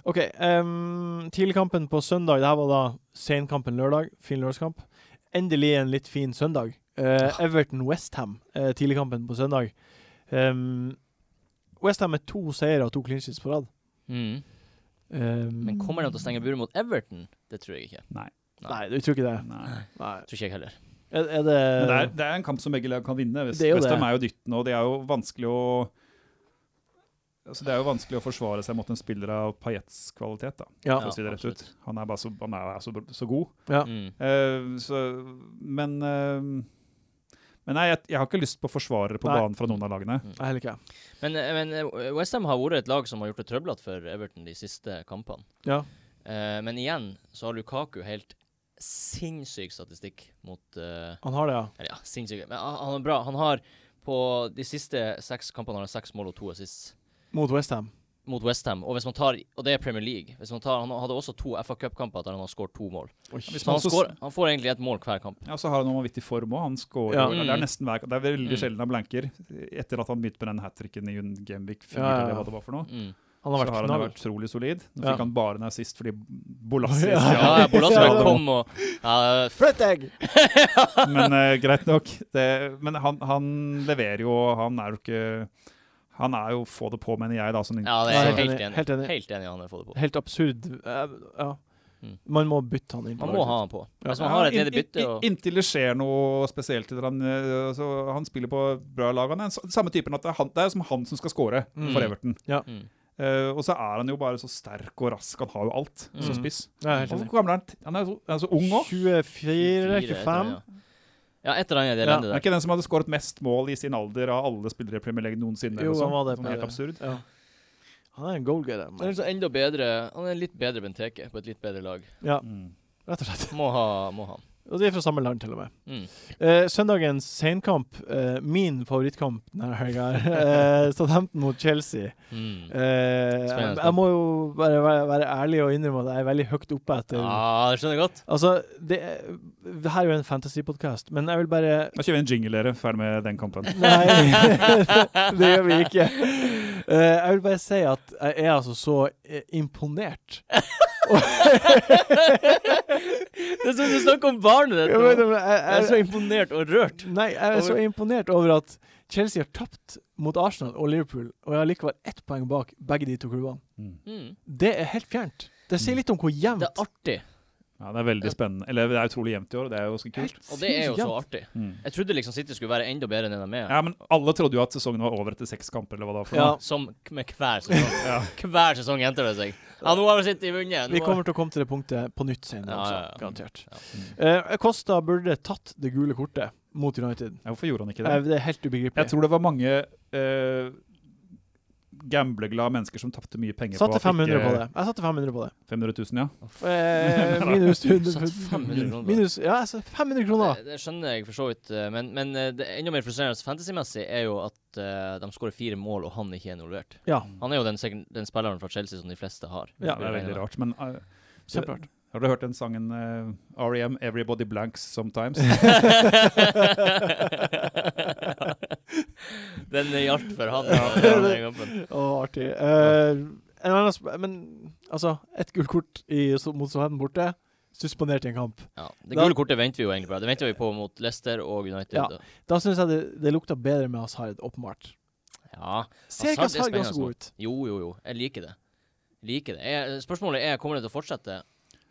Speaker 1: OK. Um, tidligkampen på søndag, det her var da senkampen lørdag. Fin lørdagskamp. Endelig en litt fin søndag. Eh,
Speaker 2: Ah.
Speaker 1: Everton Westham, uh, tidligkampen på søndag. Um, Westham med to seire og to clinches på rad. Mm. Um,
Speaker 2: Men kommer de til å stenge buret mot Everton? Det tror jeg ikke.
Speaker 1: Nei, du tror ikke det.
Speaker 3: Nei.
Speaker 1: Nei.
Speaker 2: Tror ikke jeg heller.
Speaker 1: Er, er det
Speaker 3: Men det er, det er en kamp som begge lag kan vinne. Hvis
Speaker 1: Eh, Det er jo
Speaker 3: Westham
Speaker 1: det.
Speaker 3: er jo dytten, og det er jo vanskelig å altså Det er jo vanskelig å forsvare seg mot en spiller av Pajets kvalitet, da,
Speaker 1: Ja.
Speaker 3: for å si det rett ut.
Speaker 2: absolutt.
Speaker 3: Han er bare så, han er så, så god.
Speaker 1: Ja.
Speaker 2: Mm.
Speaker 3: Eh, så, men eh, Men nei, jeg, jeg har ikke lyst på forsvarere på
Speaker 1: Nei.
Speaker 3: banen fra noen av lagene.
Speaker 1: Nei, heller ikke.
Speaker 2: Men, eh, men eh, West Ham har vært et lag som har gjort det trøblete for Everton de siste kampene.
Speaker 1: Ja.
Speaker 2: Eh, men igjen så har Lukaku helt sinnssyk statistikk mot eh,
Speaker 1: Han har det, ja.
Speaker 2: Eller ja, sinnssyk Men han, han er bra. Han har på de siste seks kampene har han seks mål og to assists.
Speaker 1: Mot Westham.
Speaker 2: mot Westham, og, hvis man tar- og det er Premier League. Hvis man tar, han hadde også to FA Cup-kamper der han har skåret to mål.
Speaker 3: Hvis
Speaker 2: Så
Speaker 3: man
Speaker 2: han,
Speaker 3: også-
Speaker 2: skår, han får egentlig ett mål hver kamp.
Speaker 3: Ja, så har han noen vanvittig form òg. Han scorer
Speaker 1: Ja. Mm.
Speaker 3: jo- Det er nesten hver Det er veldig
Speaker 2: Mm.
Speaker 3: sjelden han blanker. Etter at han begynte med den hat tricken i Gamevik 4,
Speaker 1: Ja, ja, ja.
Speaker 3: eller hva det var for noe.
Speaker 2: Mm.
Speaker 1: Han har
Speaker 3: så har
Speaker 1: vært
Speaker 3: han jo
Speaker 1: knall.
Speaker 3: vært utrolig solid. Nå
Speaker 1: Ja.
Speaker 3: fikk han bare en assist fordi Bolassi
Speaker 1: Ja.
Speaker 2: Ja, ja, Bolassi
Speaker 1: Ja, det var-
Speaker 2: kom og ja, f-
Speaker 1: Flytt deg!
Speaker 3: Men eh, greit nok. Det, men han, han leverer jo, og han er jo ikke Han er jo få det på, mener jeg, da. Sånn,
Speaker 2: ja, det
Speaker 1: Ja,
Speaker 2: er
Speaker 1: helt
Speaker 2: helt
Speaker 1: enig,
Speaker 2: enig.
Speaker 1: helt enig.
Speaker 2: Helt enig han har fått det på.
Speaker 1: Helt absurd. Eh, Ja.
Speaker 2: Mm.
Speaker 1: Man må bytte han inn. på
Speaker 2: Man må
Speaker 1: laget
Speaker 2: ha
Speaker 1: sitt.
Speaker 2: han på. Hvis man har et
Speaker 3: Ja,
Speaker 2: ledig
Speaker 3: inn-
Speaker 2: bytte
Speaker 3: inn-
Speaker 2: og
Speaker 3: Inntil det skjer noe spesielt. Eller han, eh, altså, han spiller på bra lag. Han er den s- samme typen at det er, han, det er som han som skal score
Speaker 1: Mm.
Speaker 3: for Everton.
Speaker 2: mm.
Speaker 3: Eh, og så er han jo bare så sterk og rask. Han har jo alt som
Speaker 1: Mm.
Speaker 3: spiss.
Speaker 1: Jeg er
Speaker 3: Og
Speaker 1: helt
Speaker 3: så
Speaker 1: enig.
Speaker 3: gammel er han, t- han er så, han er så ung òg.
Speaker 1: 24,
Speaker 2: Fire,
Speaker 1: 25
Speaker 2: tror jeg, Ja, Ja, et eller annet i det
Speaker 1: Ja,
Speaker 3: Han
Speaker 2: landet
Speaker 3: er
Speaker 2: der.
Speaker 3: ikke den som hadde skåret mest mål i sin alder av alle spillere i Premier League noensinne. eller
Speaker 1: Jo, han
Speaker 3: sånn.
Speaker 1: var det
Speaker 3: Sånn
Speaker 1: på-
Speaker 3: helt absurd.
Speaker 1: ja. Han er en goalgetter.
Speaker 2: Han er
Speaker 1: men-
Speaker 2: liksom enda bedre Han er litt bedre Benteke, på et litt bedre lag.
Speaker 1: Ja,
Speaker 3: Mm.
Speaker 1: rett og slett.
Speaker 2: Må ha, må ha.
Speaker 1: Og de er fra samme land, til og med.
Speaker 2: Mm.
Speaker 1: Eh, søndagens senkamp, eh, min favorittkamp denne helga, er eh, Southampton mot Chelsea.
Speaker 2: Mm.
Speaker 1: Eh, jeg,
Speaker 2: Spennende.
Speaker 1: jeg må jo bare være, være ærlig og innrømme at jeg er veldig høyt oppe etter
Speaker 2: Ah, det skjønner jeg godt.
Speaker 1: Altså, det, er- det her er jo en fantasypodkast, men jeg vil bare
Speaker 3: Da kjører vi en jingle, dere. Ferdig med den kampen.
Speaker 1: Nei, det gjør vi ikke. Eh, jeg vil bare si at jeg er altså så eh, imponert.
Speaker 2: Det er som du snakker om barnet ditt.
Speaker 1: Jeg, vet
Speaker 2: nå.
Speaker 1: ikke, men jeg,
Speaker 2: Jeg er så
Speaker 1: jeg,
Speaker 2: imponert og rørt.
Speaker 1: nei, jeg er så imponert over at Chelsea har tapt mot Arsenal og Liverpool, og jeg har likevel ett poeng bak begge de to klubbene.
Speaker 3: Mm.
Speaker 2: Mm.
Speaker 1: Det er helt fjernt. Det sier litt om hvor jevnt
Speaker 2: Det er artig.
Speaker 3: Ja, det er veldig spennende. Eller det er utrolig jevnt i år, og det er jo ganske kult.
Speaker 2: Og det er jo så artig.
Speaker 3: Mm.
Speaker 2: Jeg trodde liksom City skulle være enda bedre enn de er.
Speaker 3: Ja, men alle trodde jo at sesongen var over etter seks kamper, eller hva det var for
Speaker 1: Ja.
Speaker 3: noe.
Speaker 2: Som k- med hver sesong.
Speaker 3: Ja.
Speaker 2: Hver sesong endte det seg. Ja, nå har City vunnet.
Speaker 1: Vi
Speaker 2: Nå
Speaker 1: kommer til å komme til det punktet på nytt senere
Speaker 2: Ja,
Speaker 1: også,
Speaker 2: ja, ja.
Speaker 1: garantert.
Speaker 2: Ja.
Speaker 3: Mm.
Speaker 1: Eh, Costa burde tatt det gule kortet mot United.
Speaker 3: Ja, hvorfor gjorde han ikke det?
Speaker 1: Eh, Det er helt
Speaker 3: Jeg
Speaker 1: ubegripelig.
Speaker 3: tror det var mange eh, gambleglade mennesker som tapte mye penger
Speaker 1: Satte
Speaker 3: at
Speaker 1: 500
Speaker 3: ikke-
Speaker 1: på det. Jeg satte 500 på det.
Speaker 3: 500 000, ja.
Speaker 1: Eh, minus
Speaker 2: Satt 500 kroner. Eh,
Speaker 1: 100 minus, Ja, altså 500 kroner.
Speaker 2: Det, det skjønner jeg for så vidt, eh, men, men eh, det enda mer frustrerende fantasymessig er jo at eh, de skårer fire mål, og han ikke er involvert.
Speaker 1: Ja,
Speaker 2: Han er jo den, sek- den spilleren fra Chelsea som de fleste har.
Speaker 1: Ja,
Speaker 3: Det er veldig rart. Men eh,
Speaker 1: kjemperart.
Speaker 3: har du hørt den sangen eh, R.E.M. 'Everybody Blanks Sometimes'?
Speaker 2: den hjalp for han.
Speaker 3: Ja.
Speaker 2: eh, den kampen.
Speaker 1: Å, artig. Eh, en annen sp men altså, ett gullkort i, so- mot Southampton borte, suspendert i en kamp.
Speaker 2: Ja, det
Speaker 1: Da-
Speaker 2: gule kortet venter vi jo egentlig på. Det venter vi på mot Leicester og United.
Speaker 1: Ja.
Speaker 2: da.
Speaker 1: Da syns jeg det, det lukta bedre med Ashaid, åpenbart.
Speaker 2: ja.
Speaker 1: Ser ikke
Speaker 2: Hazard er
Speaker 1: Ashaid ganske
Speaker 2: spennende altså.
Speaker 1: god ut.
Speaker 2: Jo, jo, jo. Jeg liker det. Liker det. Jeg, spørsmålet er kommer det til å fortsette.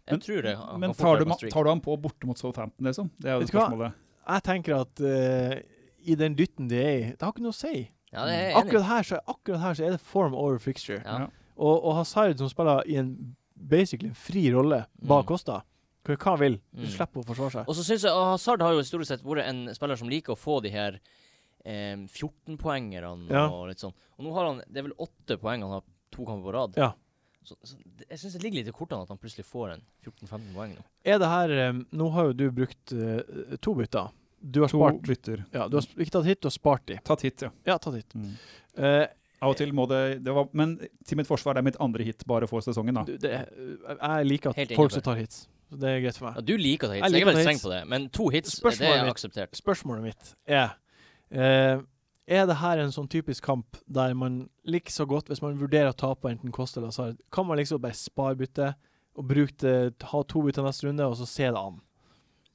Speaker 2: Jeg
Speaker 3: Men-
Speaker 2: tror det. Han
Speaker 3: Men
Speaker 2: fortsetter
Speaker 3: tar du,
Speaker 2: på
Speaker 3: ma-
Speaker 2: streak.
Speaker 3: tar du han på borte mot Southampton, liksom? Det er jo
Speaker 1: Vet
Speaker 3: det
Speaker 1: du hva?
Speaker 3: spørsmålet.
Speaker 1: Jeg tenker at eh, i den dytten de er i, det har ikke noe å si.
Speaker 2: Ja, det er jeg enig. i.
Speaker 1: Akkurat her, så, akkurat her så er det form over fixture.
Speaker 2: Ja.
Speaker 3: Ja.
Speaker 1: Og, og Hazard som spiller i en basically en fri rolle bak
Speaker 2: Mm.
Speaker 1: Costa, hva hva han vil,
Speaker 2: Mm.
Speaker 1: slipper å forsvare seg.
Speaker 2: Og så syns jeg ah, Hazard har jo historisk sett vært en spiller som liker å få de her eh, 14-poengerne
Speaker 1: Ja.
Speaker 2: og litt sånn. Og nå har han Det er vel åtte poeng han har to kamper på rad.
Speaker 1: Ja.
Speaker 2: Så, så det- jeg syns det ligger litt i kortene at han plutselig får en 14-15 poeng nå.
Speaker 1: Er det her em, Nå har jo du brukt eh, to bytter. Du har
Speaker 3: To
Speaker 1: spart
Speaker 3: bytter.
Speaker 1: ja, Du har sp- ikke tatt hit, du har spart de.
Speaker 3: Tatt hit, ja.
Speaker 1: Ja, tatt hit.
Speaker 3: Mm.
Speaker 1: Eh,
Speaker 3: Av og til må det, det var, Men til mitt forsvar, det er mitt andre hit bare for sesongen, da.
Speaker 1: du, det, eh, jeg liker
Speaker 2: Helt
Speaker 1: at folk
Speaker 2: innenfor.
Speaker 1: som tar hits. Så det er greit for
Speaker 2: Ja,
Speaker 1: meg.
Speaker 2: du liker å ta hits.
Speaker 1: Jeg
Speaker 2: Jeg,
Speaker 1: liker
Speaker 2: er veldig
Speaker 1: å ta
Speaker 2: streng
Speaker 1: hits.
Speaker 2: på det. Men to hits, eh, det
Speaker 1: Spørsmålet
Speaker 2: er
Speaker 1: mitt-
Speaker 2: akseptert.
Speaker 1: Spørsmålet mitt er eh, Er det her en sånn typisk kamp der man like så godt, hvis man vurderer å tape enten Kost eller Hazard, kan man liksom bare spare byttet og bruke det, ha to bytter neste runde, og så se det an?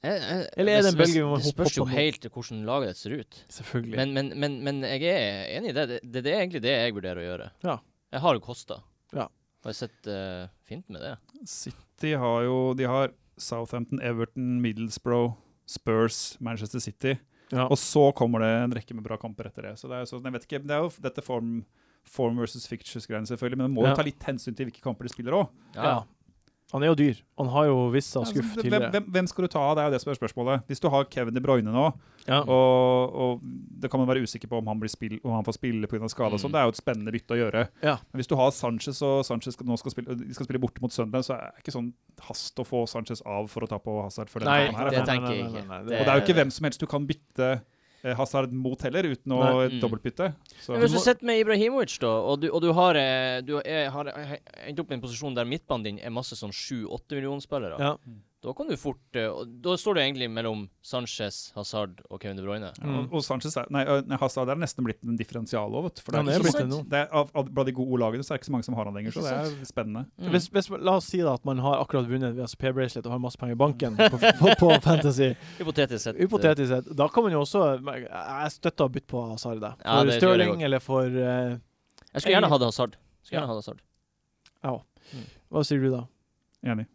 Speaker 2: Jeg- jeg-
Speaker 1: Eller er det en
Speaker 2: hvis-
Speaker 1: bølge vi må
Speaker 2: Det
Speaker 1: hoppe
Speaker 2: spørs jo
Speaker 1: opp og-
Speaker 2: helt hvordan laget ditt ser ut.
Speaker 1: Selvfølgelig.
Speaker 2: Men, men, men, men jeg er enig i det. Det, det. det er egentlig det jeg vurderer å gjøre.
Speaker 1: Ja.
Speaker 2: Jeg har jo kosta.
Speaker 1: Ja.
Speaker 2: Har jeg sett eh, fint med det.
Speaker 3: City har jo De har Southampton, Everton, Middlesbrough, Spurs, Manchester City.
Speaker 1: ja.
Speaker 3: Og så kommer det en rekke med bra kamper etter det. Så det er, jo sånn- jeg vet ikke, det er jo f- dette form, form versus fictures-greiene, selvfølgelig. Men man må jo
Speaker 1: Ja.
Speaker 3: ta litt hensyn til hvilke kamper de spiller òg.
Speaker 1: ja. Han er jo dyr. Han har jo vist seg å skuffe
Speaker 3: Altså, Hvem,
Speaker 1: tidligere.
Speaker 3: hvem, hvem skal du ta av? Det er jo det som er spørsmålet. Hvis du har Kevin De Bruyne nå,
Speaker 1: Ja.
Speaker 3: og, og det kan man være usikker på om han, blir spill, om han får spille pga. skade og
Speaker 2: Mm.
Speaker 3: sånn, det er jo et spennende bytte å gjøre.
Speaker 1: Ja.
Speaker 3: Men hvis du har Sanchez, og Sanchez skal, nå skal spille, de skal spille borte mot Sunderland, så er det ikke sånn hast å få Sanchez av for å ta på Hazard. For den
Speaker 1: Nei,
Speaker 3: kampen her,
Speaker 2: det
Speaker 3: altså.
Speaker 2: tenker
Speaker 1: Nei,
Speaker 2: jeg
Speaker 1: nei,
Speaker 2: ikke.
Speaker 1: nei, nei, nei.
Speaker 3: Og det er jo ikke hvem som helst du kan bytte eh, Hazard mot heller, uten å
Speaker 1: Nei.
Speaker 2: Mm.
Speaker 3: dobbeltbytte. Så-
Speaker 2: Men hvis du sitter med Ibrahimovic, da, og du, og du har, eh, du er, har eh, endt opp i en posisjon der midtbanen din er masse sånn 7-8 millionspillere,
Speaker 1: Ja.
Speaker 2: da kan du fort eh, og, Da står du egentlig mellom Sanchez, Hazard og Kevin De Bruyne.
Speaker 3: Ja, og- Og Sanchez er, nei, ø, nei, Hazard er nesten blitt en differensial òg, vet du. For det er
Speaker 1: Han er
Speaker 3: ikke så
Speaker 1: blitt
Speaker 3: mange,
Speaker 1: det nå.
Speaker 3: det er, av, av, blant de gode lagene så er det ikke så mange som har han lenger, så det
Speaker 1: Ikke
Speaker 3: er spennende.
Speaker 2: Mm.
Speaker 1: Hvis, hvis, la oss si da at man har akkurat vunnet VSP-bracelet og har masse penger i banken på, på, på Fantasy.
Speaker 2: Hypotetisk sett. eh,
Speaker 1: Hypotetisk sett. Da kan man jo også Jeg støtter å bytte på Hazard. da.
Speaker 2: Ja,
Speaker 1: For
Speaker 2: det tror jeg
Speaker 1: Stirling
Speaker 2: godt.
Speaker 1: eller for eh,
Speaker 2: Jeg skulle gjerne hatt Hazard. Skulle
Speaker 1: Ja.
Speaker 2: gjerne hatt Hazard.
Speaker 1: Hva sier du da?
Speaker 3: Enig.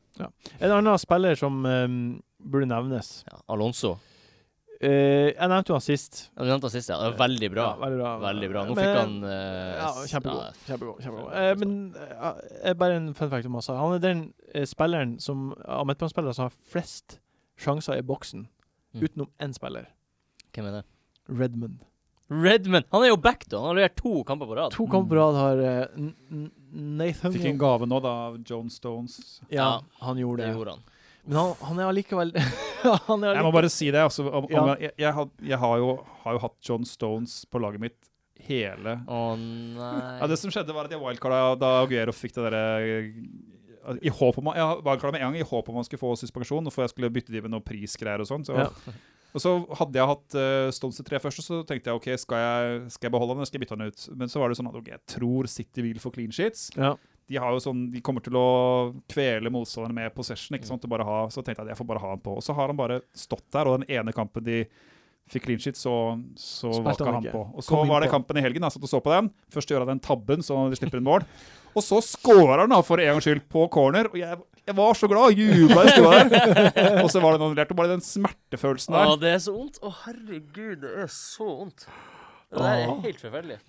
Speaker 1: En annen spiller som eh, burde nevnes
Speaker 2: Ja, Alonso.
Speaker 1: Eh, Jeg nevnte jo han sist.
Speaker 2: Ja, Du nevnte han sist, ja. Det var Veldig bra.
Speaker 1: Ja, veldig bra.
Speaker 2: Veldig bra. Nå
Speaker 1: Men-
Speaker 2: fikk han eh,
Speaker 1: Ja,
Speaker 2: s-
Speaker 1: kjempegod.
Speaker 2: ja,
Speaker 1: kjempegod, kjempegod.
Speaker 2: Ja,
Speaker 1: Eh, men eh, eh, bare en fun fact om Hazard. Han er den eh, spilleren som, av midtbanespillere som har flest sjanser i boksen,
Speaker 2: Mm.
Speaker 1: utenom én spiller.
Speaker 2: Hvem er det?
Speaker 1: Redmond.
Speaker 2: Redman! Han er jo back, da! Han har levert to kamper på rad.
Speaker 1: To kamper på rad har eh, N- N- Nathan
Speaker 3: Fikk en gave nå, da, av Joan Stones.
Speaker 1: Ja, han gjorde
Speaker 2: Det
Speaker 1: det.
Speaker 2: gjorde han.
Speaker 1: Men han, han er allikevel Han er
Speaker 3: Jeg må
Speaker 1: allikevel
Speaker 3: bare si det. Altså, om, om,
Speaker 1: Ja.
Speaker 3: jeg, jeg, had- jeg har, jo, har jo hatt John Stones på laget mitt hele
Speaker 2: Å nei
Speaker 3: ja, Det som skjedde, var at jeg wildcarda da Aguero fikk det derre i håp om, Jeg wildcarda med en gang i håp om han skulle få suspensjon, og for jeg skulle bytte de med noe prisgreier og sånn. Så,
Speaker 1: Ja.
Speaker 3: Og så hadde jeg hatt eh, Stones i tre først, og så tenkte jeg OK, skal jeg, skal jeg beholde han eller skal jeg bytte han ut? Men så var det sånn at ok, jeg tror City vil få clean sheets.
Speaker 1: ja.
Speaker 3: De, har jo sånn, de kommer til å kvele motstanderne med possession.
Speaker 1: Mm.
Speaker 3: ikke sant? Og bare ha, så tenkte jeg at jeg får bare ha han på. Og så har han bare stått der, og den ene kampen de fikk clean sheet, så, så
Speaker 1: Spilte
Speaker 3: var ikke
Speaker 1: han
Speaker 3: han
Speaker 1: ikke.
Speaker 3: på. Og så
Speaker 1: Kom inn
Speaker 3: var det
Speaker 1: på.
Speaker 3: kampen i helgen. Jeg satt og så på den. Først gjør han den tabben, så de slipper inn mål. Og så scorer han da, for en gangs skyld på corner. Og jeg, jeg var så glad! Jubla i stua der. Og så var det noe annullert. Og bare den smertefølelsen
Speaker 2: Å,
Speaker 3: der.
Speaker 2: det er så vondt. Å, herregud, det er så vondt. Det der er
Speaker 3: Åh.
Speaker 2: helt forferdelig.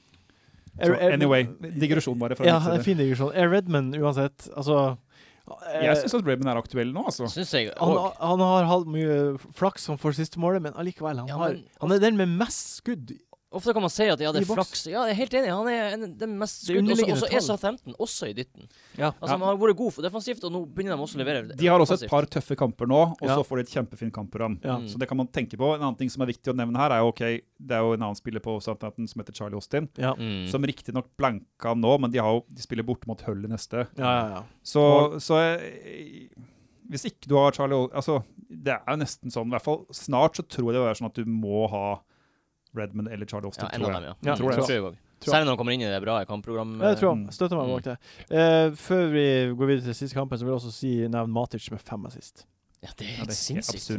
Speaker 3: Så anyway, digresjon bare fra
Speaker 1: Ja,
Speaker 3: min
Speaker 1: det er
Speaker 3: side.
Speaker 1: fin digresjon. Er Redmond uansett Altså eh,
Speaker 3: Jeg syns at Braben er aktuell nå, altså.
Speaker 2: Syns jeg
Speaker 1: han,
Speaker 2: òg.
Speaker 1: han har hatt mye flaks som for siste målet, men allikevel. Han,
Speaker 2: Ja,
Speaker 1: har,
Speaker 2: men-
Speaker 1: han er den med mest skudd.
Speaker 2: Ofte kan man si at ja, det
Speaker 1: I
Speaker 2: er
Speaker 1: boks.
Speaker 2: flaks. Ja, jeg er helt enig. Han er en, den mest
Speaker 1: Det
Speaker 2: skudd. E Og så-
Speaker 1: underliggende
Speaker 2: Og så er
Speaker 1: tall.
Speaker 2: Southampton også i dytten.
Speaker 1: Ja.
Speaker 2: Altså, Han har vært god for defensivt, og nå begynner de også å levere.
Speaker 3: De har også et
Speaker 2: offensivt.
Speaker 3: par tøffe kamper nå, og
Speaker 1: Ja.
Speaker 3: så får de et kjempefint kampprogram.
Speaker 1: Ja.
Speaker 2: Mm.
Speaker 3: Så det kan man tenke på. En annen ting som er viktig å nevne her, er jo ok, det er jo en annen spiller på Southampton som heter Charlie Austin,
Speaker 1: Ja,
Speaker 2: Mm.
Speaker 3: som riktignok blanka nå, men de, har jo, de spiller borte mot Hull i neste.
Speaker 1: ja, ja.
Speaker 3: Så, så jeg, hvis ikke du har Charlie Austin altså, Det er jo nesten sånn, i hvert fall snart så tror jeg det vil være sånn at du må ha Redmond eller Charlie Austin,
Speaker 2: Ja, en
Speaker 3: tror
Speaker 2: av
Speaker 3: jeg.
Speaker 2: dem, ja.
Speaker 1: Ja,
Speaker 2: Mm,
Speaker 1: tror det.
Speaker 2: det tror jeg òg.
Speaker 1: Tror jeg.
Speaker 2: Særlig når de kommer inn i det bra kampprogram.
Speaker 1: ja. Jeg tror han
Speaker 3: Mm.
Speaker 1: støtter meg
Speaker 2: Mm.
Speaker 1: bak det. Eh, før vi går videre til siste kampen, så vil jeg også si nevne Matic med fem assist.
Speaker 2: Ja, det er
Speaker 3: Ja,
Speaker 2: helt
Speaker 3: det er helt
Speaker 2: sinnssykt.
Speaker 3: absurd.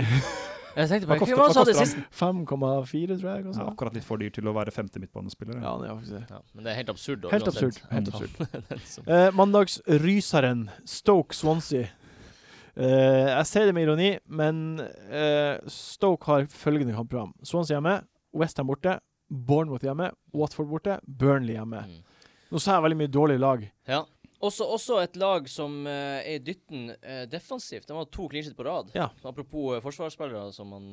Speaker 2: Jeg tenkte
Speaker 3: Hva koster-
Speaker 2: på Hvem var det som
Speaker 3: hva
Speaker 2: hadde
Speaker 3: koster han?
Speaker 2: sist?
Speaker 1: 5,4, tror jeg.
Speaker 3: Ja,
Speaker 1: Kanskje.
Speaker 3: akkurat litt for dyr til å være femte midtbanespiller.
Speaker 1: Ja, det er faktisk det.
Speaker 2: Ja, men det er helt absurd. da,
Speaker 1: Helt
Speaker 2: uansett.
Speaker 1: absurd. Helt
Speaker 2: Ja.
Speaker 1: absurd.
Speaker 2: Det er så-
Speaker 1: Eh, Mandagsryseren Stoke Swansea. Eh, jeg sier det med ironi, men eh, Stoke har følgende kampprogram. Swansea hjemme, Westham borte, Bournemouth hjemme, Watford borte, Burnley hjemme.
Speaker 2: Mm.
Speaker 1: Nå sa jeg veldig mye dårlige lag.
Speaker 2: Ja. Også, også et lag som eh, er i dytten eh, defensivt. De har to clean sheet på rad.
Speaker 1: Ja.
Speaker 2: Apropos eh, forsvarsspillere som man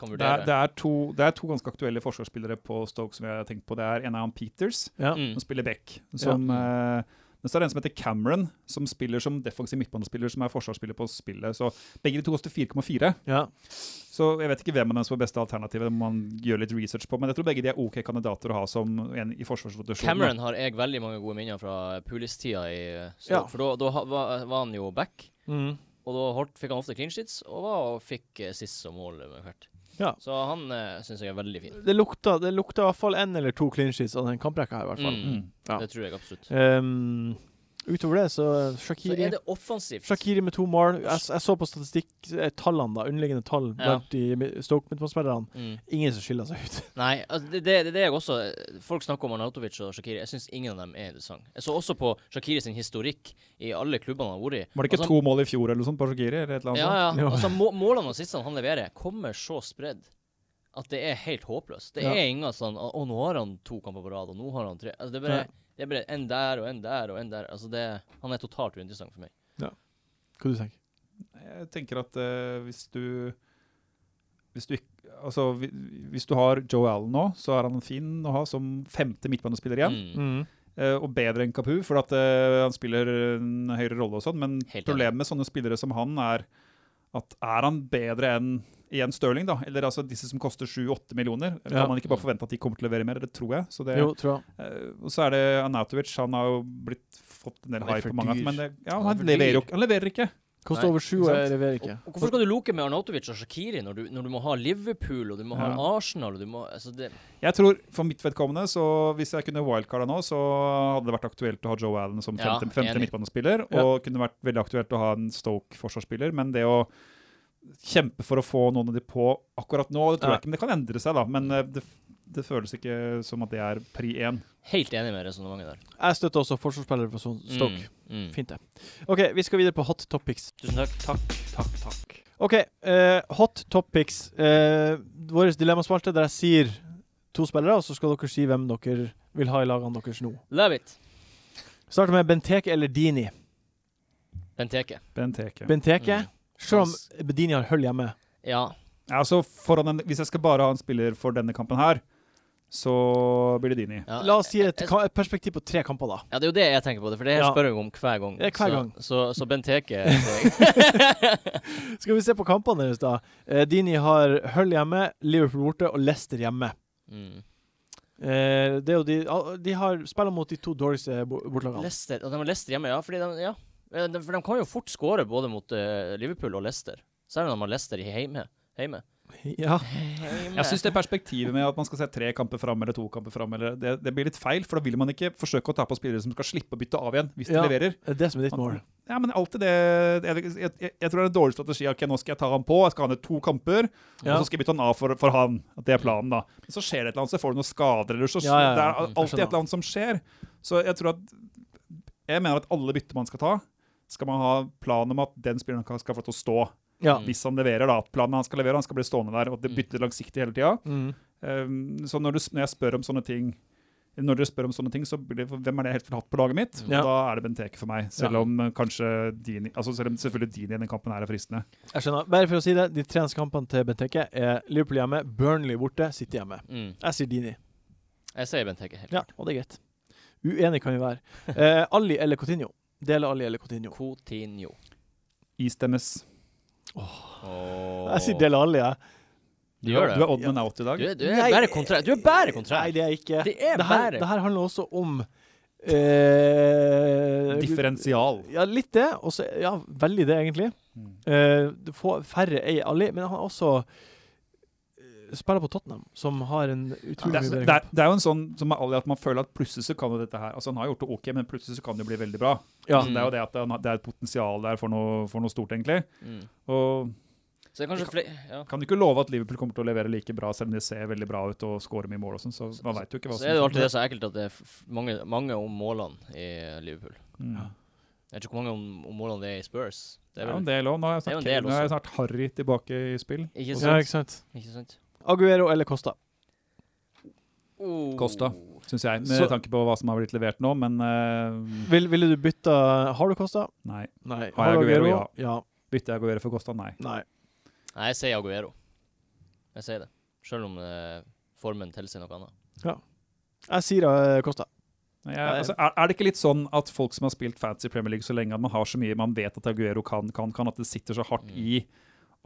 Speaker 2: kan
Speaker 3: Det er,
Speaker 2: vurdere.
Speaker 3: det, er to, det er to ganske aktuelle forsvarsspillere på Stoke som jeg har tenkt på. Det er en av han Peters,
Speaker 1: Ja.
Speaker 2: Mm.
Speaker 3: som spiller back. Som, eh, men så er det en som heter Cameron, som spiller som defensiv midtbanespiller, som er forsvarsspiller på spillet. Så begge de to koster 4,4.
Speaker 1: Ja.
Speaker 3: Så jeg vet ikke hvem av dem som er beste alternativet, det må man gjøre litt research på. Men jeg tror begge de er OK kandidater å ha som en i forsvarsrotasjonen.
Speaker 2: Cameron har jeg veldig mange gode minner fra Pulis-tida i eh,
Speaker 1: Ja.
Speaker 2: Stoke. For da, da ha- var, var han jo back,
Speaker 1: Mm.
Speaker 2: og da holdt, fikk han ofte clean sheets, og, var, og fikk eh, sist som mål. eh, hvert.
Speaker 1: Ja.
Speaker 2: Så han uh, syns jeg er veldig fin.
Speaker 1: Det lukta, det lukta i hvert fall én eller to clean sheets av den kamprekka her, i hvert fall.
Speaker 2: Mm.
Speaker 1: Ja.
Speaker 2: Det tror jeg absolutt.
Speaker 1: Ehm, utover det, så
Speaker 2: Mm. Så
Speaker 1: Shakiri
Speaker 2: er det offensivt.
Speaker 1: Shakiri med to mål. Jeg, jeg så på statistikk eh, tallene da, underliggende tall
Speaker 2: Ja.
Speaker 1: blant de mi- Stoke midtbanespillerne.
Speaker 2: Mm.
Speaker 1: Ingen som skiller seg ut.
Speaker 2: Nei, altså det, det, det er jeg også Folk snakker om Arnautovic og Shakiri. Jeg syns ingen av dem er interessant. Jeg så også på Shakiri sin historikk i alle klubbene han har vært i.
Speaker 3: Var det ikke
Speaker 2: Altså,
Speaker 3: to mål i fjor eller noe sånt på Shakiri? Eller et eller annet
Speaker 2: han- Ja,
Speaker 3: sånt?
Speaker 2: ja.
Speaker 1: Ja.
Speaker 2: Altså, må, målene og assistene han leverer, kommer så spredd at det er helt håpløst. Det
Speaker 1: Ja.
Speaker 2: er ingen sånn Å, nå har han to kamper på rad, og nå har han tre. Altså, det er bare,
Speaker 1: Ja.
Speaker 2: det er bare en der og en der og en der. Altså, det, han er totalt uinteressant for meg.
Speaker 1: Hva du tenker
Speaker 3: Jeg tenker at eh, hvis du hvis du, ikke, altså, hvi- hvis du har Joe Allen nå, så er han fin å ha som femte midtbanespiller igjen.
Speaker 2: Mm.
Speaker 1: Mm.
Speaker 3: Eh, og bedre enn Kapu, for at eh, han spiller en høyere rolle og sånn. Men
Speaker 2: Helt enig.
Speaker 3: problemet med sånne spillere som han er at er han bedre enn igjen Stirling, da? Eller altså disse som koster 7-8 millioner?
Speaker 1: Ja.
Speaker 3: Kan man ikke bare forvente at de kommer til å levere mer? Det tror jeg. Så det,
Speaker 1: Jo, tror jeg.
Speaker 3: eh, og så er det Anatovic. Han har jo blitt fått en del
Speaker 1: Han er
Speaker 3: hype
Speaker 1: for
Speaker 3: på mange
Speaker 1: dyr.
Speaker 3: Men det, ja,
Speaker 2: Han
Speaker 3: han,
Speaker 2: er for
Speaker 3: leverer jo
Speaker 2: dyr.
Speaker 3: ikke. Han leverer ikke.
Speaker 1: Koster
Speaker 2: Nei,
Speaker 1: over sju,
Speaker 3: ikke
Speaker 1: og
Speaker 3: sant?
Speaker 1: jeg leverer
Speaker 2: Og,
Speaker 1: ikke.
Speaker 2: og hvorfor skal du loke med Arnautovic og Shakiri når du, når du må ha Liverpool, og du må ha
Speaker 3: Ja.
Speaker 2: Arsenal, og du må altså det,
Speaker 3: Jeg tror for mitt vedkommende, så hvis jeg kunne wildcarda nå, så hadde det vært aktuelt å ha Joe Allen som
Speaker 2: Ja,
Speaker 3: femte, femte
Speaker 2: enig.
Speaker 3: midtbanespiller,
Speaker 1: Ja.
Speaker 3: og kunne vært veldig aktuelt å ha en Stoke-forsvarsspiller, men det å kjempe for å få noen av de på akkurat nå, det tror
Speaker 1: Ja.
Speaker 3: jeg ikke, men det kan endre seg, da. Men eh, det, det føles ikke som at det er pri én.
Speaker 2: Helt enig med resonnementet der.
Speaker 1: Jeg støtter også forsvarsspillere fra Son- Stoke.
Speaker 2: Mm, mm.
Speaker 1: Fint, det. OK, vi skal videre på hot topics.
Speaker 2: Tusen takk. Takk, takk, takk.
Speaker 1: OK, eh, hot topics. Uh, Vår dilemmaspalte der jeg sier to spillere, og så skal dere si hvem dere vil ha i lagene deres nå.
Speaker 2: Love it.
Speaker 1: Starter med Benteke eller Dini.
Speaker 2: Benteke.
Speaker 3: Benteke.
Speaker 1: Benteke,
Speaker 2: Mm.
Speaker 1: selv om Dini har hull hjemme.
Speaker 2: Ja.
Speaker 3: Ja, så foran den, hvis jeg skal bare ha en spiller for denne kampen her, så blir det Dini.
Speaker 2: ja.
Speaker 1: La oss si et,
Speaker 2: Jeg-
Speaker 1: ka- et perspektiv på tre kamper, da.
Speaker 2: Ja, det er jo det jeg tenker på det, for det her
Speaker 1: Ja.
Speaker 2: spør jeg jo om hver gang.
Speaker 1: Ja, hver
Speaker 2: så,
Speaker 1: gang.
Speaker 2: Så, så Benteke
Speaker 1: Skal vi se på kampene deres, da. Eh, Dini har hull hjemme, Liverpool borte og Leicester hjemme.
Speaker 2: mm.
Speaker 1: Eh, det er jo de, al- de har spiller mot de to dårligste bo- bortelagene.
Speaker 2: Leicester, og de har Leicester hjemme, ja. Fordi de, ja. Eh, de- For de kan jo fort skåre både mot eh, Liverpool og Leicester. Selv om de har Leicester i heime. Heime.
Speaker 1: Ja.
Speaker 2: heime.
Speaker 3: Jeg syns det perspektivet med at man skal se tre kamper fram eller to kamper fram, eller det, det blir litt feil, for da vil man ikke forsøke å ta på spillere som skal slippe å bytte av igjen hvis de
Speaker 1: Ja.
Speaker 3: leverer.
Speaker 1: Det er det som er ditt mål.
Speaker 3: Ja, men alltid det Jeg, jeg, jeg, jeg tror det er en dårlig strategi. Ok, nå skal jeg ta han på, jeg skal ha ned to kamper,
Speaker 1: Ja.
Speaker 3: og så skal jeg bytte han av for, for han. At Det er planen, da. Men så skjer det et eller annet, så får du noen skader, eller så
Speaker 1: Ja, ja, ja.
Speaker 3: Det
Speaker 2: Mm, jeg
Speaker 3: er alltid et
Speaker 1: skjønner.
Speaker 3: eller annet som skjer. Så jeg tror at Jeg mener at alle bytter man skal ta, skal man ha plan om at den spilleren kan- skal få lov til å stå.
Speaker 1: Ja.
Speaker 3: Hvis han leverer, da. At Planen han skal levere, han skal bli stående der, og det
Speaker 2: Mm.
Speaker 3: bytter langsiktig hele tida.
Speaker 1: Mm.
Speaker 3: Um, så når, du, s- når jeg spør om sånne ting når dere spør om sånne ting, så blir det hvem er det jeg helt vil ha på laget mitt?
Speaker 1: Ja.
Speaker 3: Og da er det Benteke for meg. Selv om eh, kanskje Dini altså Selv om selvfølgelig Dini i denne kampen her er fristende.
Speaker 1: Jeg skjønner. Bare for å si det, de tre neste kampene til Benteke er Liverpool hjemme, Burnley borte, City hjemme.
Speaker 2: mm.
Speaker 1: Jeg sier Dini.
Speaker 2: Jeg sier Benteke helt.
Speaker 1: Ja, og det er greit. Uenig kan vi være. Eh, Ali eller Coutinho? Deler Ali eller Coutinho?
Speaker 2: Coutinho.
Speaker 3: Istemmes.
Speaker 2: Åh.
Speaker 1: Jeg sier deler Ali, jeg.
Speaker 2: Du gjør
Speaker 3: Du
Speaker 2: det.
Speaker 3: er odd man out i
Speaker 2: Du
Speaker 3: dag.
Speaker 2: er, du er
Speaker 1: Nei,
Speaker 2: bare kontrær. Du er bare
Speaker 1: Nei,
Speaker 2: kontrær.
Speaker 1: det er jeg ikke.
Speaker 2: Det er
Speaker 1: det her,
Speaker 2: bare-
Speaker 1: det her handler også om eh,
Speaker 3: Differensial.
Speaker 1: Ja, litt det. Og så Ja, veldig det, egentlig.
Speaker 3: Mm.
Speaker 1: Eh, du får færre ei Ali, men han har også eh, spiller på Tottenham, som har en
Speaker 3: Det
Speaker 1: utrolig
Speaker 3: er,
Speaker 1: mye bedre
Speaker 3: det, er, det er jo en sånn som er Ali at man føler at plutselig så kan jo dette her Altså Han har gjort det ok, men plutselig så kan det jo bli veldig bra.
Speaker 2: Mm.
Speaker 1: Ja.
Speaker 3: Så Det er jo det at han har- det er et potensial der for noe, for noe stort, egentlig.
Speaker 2: Mm.
Speaker 3: Og
Speaker 2: Så det er kanskje flere ja.
Speaker 3: kan du ikke love at Liverpool kommer til å levere like bra, selv om de ser veldig bra ut og scorer mye mål og sånn, så man veit jo ikke hva
Speaker 2: Så er det jo alltid det så ekkelt at det er f- mange, mange om målene i Liverpool.
Speaker 3: Mm.
Speaker 2: Jeg vet ikke hvor mange om, om målene det er i Spurs. Det
Speaker 3: Det
Speaker 2: er
Speaker 3: er jo
Speaker 2: vel
Speaker 3: en del òg. Nå er
Speaker 2: Det er jo
Speaker 3: snart,
Speaker 2: en del
Speaker 3: nå er
Speaker 2: også.
Speaker 3: snart Harry tilbake i spill.
Speaker 2: Ikke
Speaker 1: Ja,
Speaker 2: sant?
Speaker 1: ikke sant.
Speaker 2: Ikke sant?
Speaker 1: Aguero eller Costa?
Speaker 2: Oh.
Speaker 3: Costa. Syns jeg, med
Speaker 1: Så-
Speaker 3: tanke på hva som har blitt levert nå, men eh,
Speaker 1: Vil, ville du bytta Har du Costa?
Speaker 3: nei.
Speaker 1: Nei.
Speaker 3: Har
Speaker 1: du
Speaker 3: jeg Aguero?
Speaker 1: Ja.
Speaker 3: Bytter jeg Aguero for Costa? Nei.
Speaker 1: Nei.
Speaker 2: Nei, jeg sier Aguero. Jeg sier det. Selv om eh, formen tilsier noe annet.
Speaker 1: Jeg sier eh, Costa.
Speaker 3: Nei, Jeg, altså, er, er det ikke litt sånn at folk som har spilt fancy Premier League så lenge, at man har så mye man vet at Aguero kan, kan, kan at det sitter så hardt
Speaker 2: Mm.
Speaker 3: i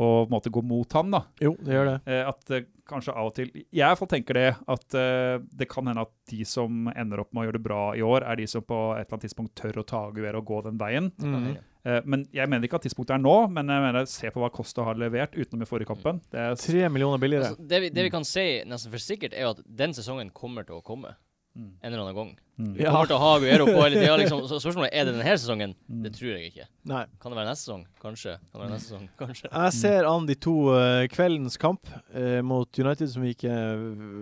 Speaker 3: å på en måte gå mot han, da?
Speaker 1: Jo, det gjør det.
Speaker 3: Eh, at eh, kanskje av og til Jeg i hvert fall tenker det, at eh, det kan hende at de som ender opp med å gjøre det bra i år, er de som på et eller annet tidspunkt tør å ta Aguero og gå den veien.
Speaker 1: Mhm.
Speaker 3: Eh, Men Jeg mener ikke at tidspunktet er nå, men jeg mener se på hva Costa har levert utenom i forrige kampen. Det er,
Speaker 1: Tre millioner billigere.
Speaker 2: Altså, det, vi, det vi kan si nesten for sikkert, er jo at den sesongen kommer til å komme.
Speaker 3: Mm.
Speaker 2: En eller annen gang.
Speaker 3: Mm.
Speaker 2: Vi
Speaker 1: Ja.
Speaker 2: kommer til å ha Aguero på hele tida. Liksom. Så spørsmålet er det denne sesongen?
Speaker 3: Mm.
Speaker 2: Det tror jeg ikke.
Speaker 1: Nei.
Speaker 2: Kan det være neste sesong? Kanskje. Kan det være neste sesong? Kanskje.
Speaker 1: Jeg ser an de to eh, kveldens kamp eh, mot United, som vi ikke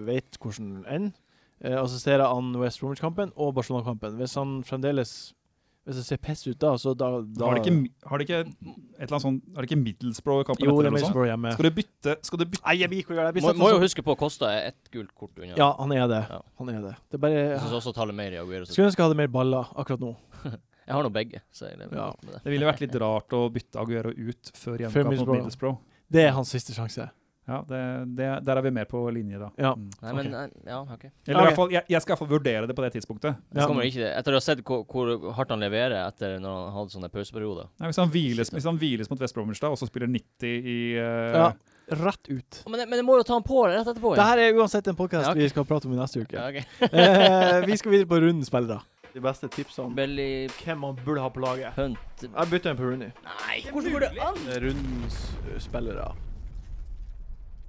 Speaker 1: vet hvordan ender. Eh, og så ser jeg an West Bromwich-kampen og Barcelona-kampen. Hvis han fremdeles Hvis det ser piss ut da, så da, da
Speaker 3: Har de ikke, har de ikke et eller annet sånn, har de ikke Middlesbrough i kampen
Speaker 1: Jo,
Speaker 3: etter?
Speaker 1: det er
Speaker 3: eller noe sånt?
Speaker 1: Middlesbrough hjemme.
Speaker 3: Skal du bytte, skal du bytte
Speaker 1: Nei, jeg vil ikke gjøre det. Jeg blir
Speaker 2: Må,
Speaker 1: satt
Speaker 2: må jo
Speaker 1: sånn-
Speaker 2: huske på Costa er ett gult kort unna.
Speaker 1: Ja, han er det.
Speaker 2: Ja.
Speaker 1: Han er det. Det er bare
Speaker 2: Jeg syns også tallet mer i Aguero. Så.
Speaker 1: Skulle ønske jeg hadde mer baller akkurat nå.
Speaker 2: Jeg har nå begge, så jeg lever
Speaker 1: Ja.
Speaker 2: godt med det.
Speaker 3: Det ville vært litt rart å bytte Aguero ut før hjemmekamp mot
Speaker 1: Middlesbrough.
Speaker 3: Middlesbrough.
Speaker 1: Det er hans siste sjanse.
Speaker 3: Ja, det, det, der er vi mer på linje, da.
Speaker 1: Ja.
Speaker 3: Mm.
Speaker 2: Nei, men nei, Ja, OK.
Speaker 3: Eller i
Speaker 1: Ok.
Speaker 3: hvert fall, jeg, jeg skal i hvert fall vurdere det på det tidspunktet.
Speaker 2: Så
Speaker 1: Ja.
Speaker 2: kommer ikke det. Etter å ha sett hvor, hvor hardt han leverer etter når han hadde sånne pauseperioder.
Speaker 3: Nei, hvis, han hviles, hvis han hviles mot West Bromwich da, og så spiller 90 i eh,
Speaker 1: ja. Rett ut.
Speaker 2: Men, det- men det må jo ta han på rett etterpå.
Speaker 1: Dette er uansett en podkast
Speaker 2: Ja, ok.
Speaker 1: vi skal prate om i neste uke.
Speaker 2: Ja, ok.
Speaker 1: eh, vi skal videre på rundens spillere. De beste tipsene om
Speaker 2: Belly
Speaker 1: hvem man burde ha på laget.
Speaker 2: Hunt
Speaker 1: Jeg bytter en på Rooney.
Speaker 2: Nei, hvordan går det an?
Speaker 1: Rundens spillere.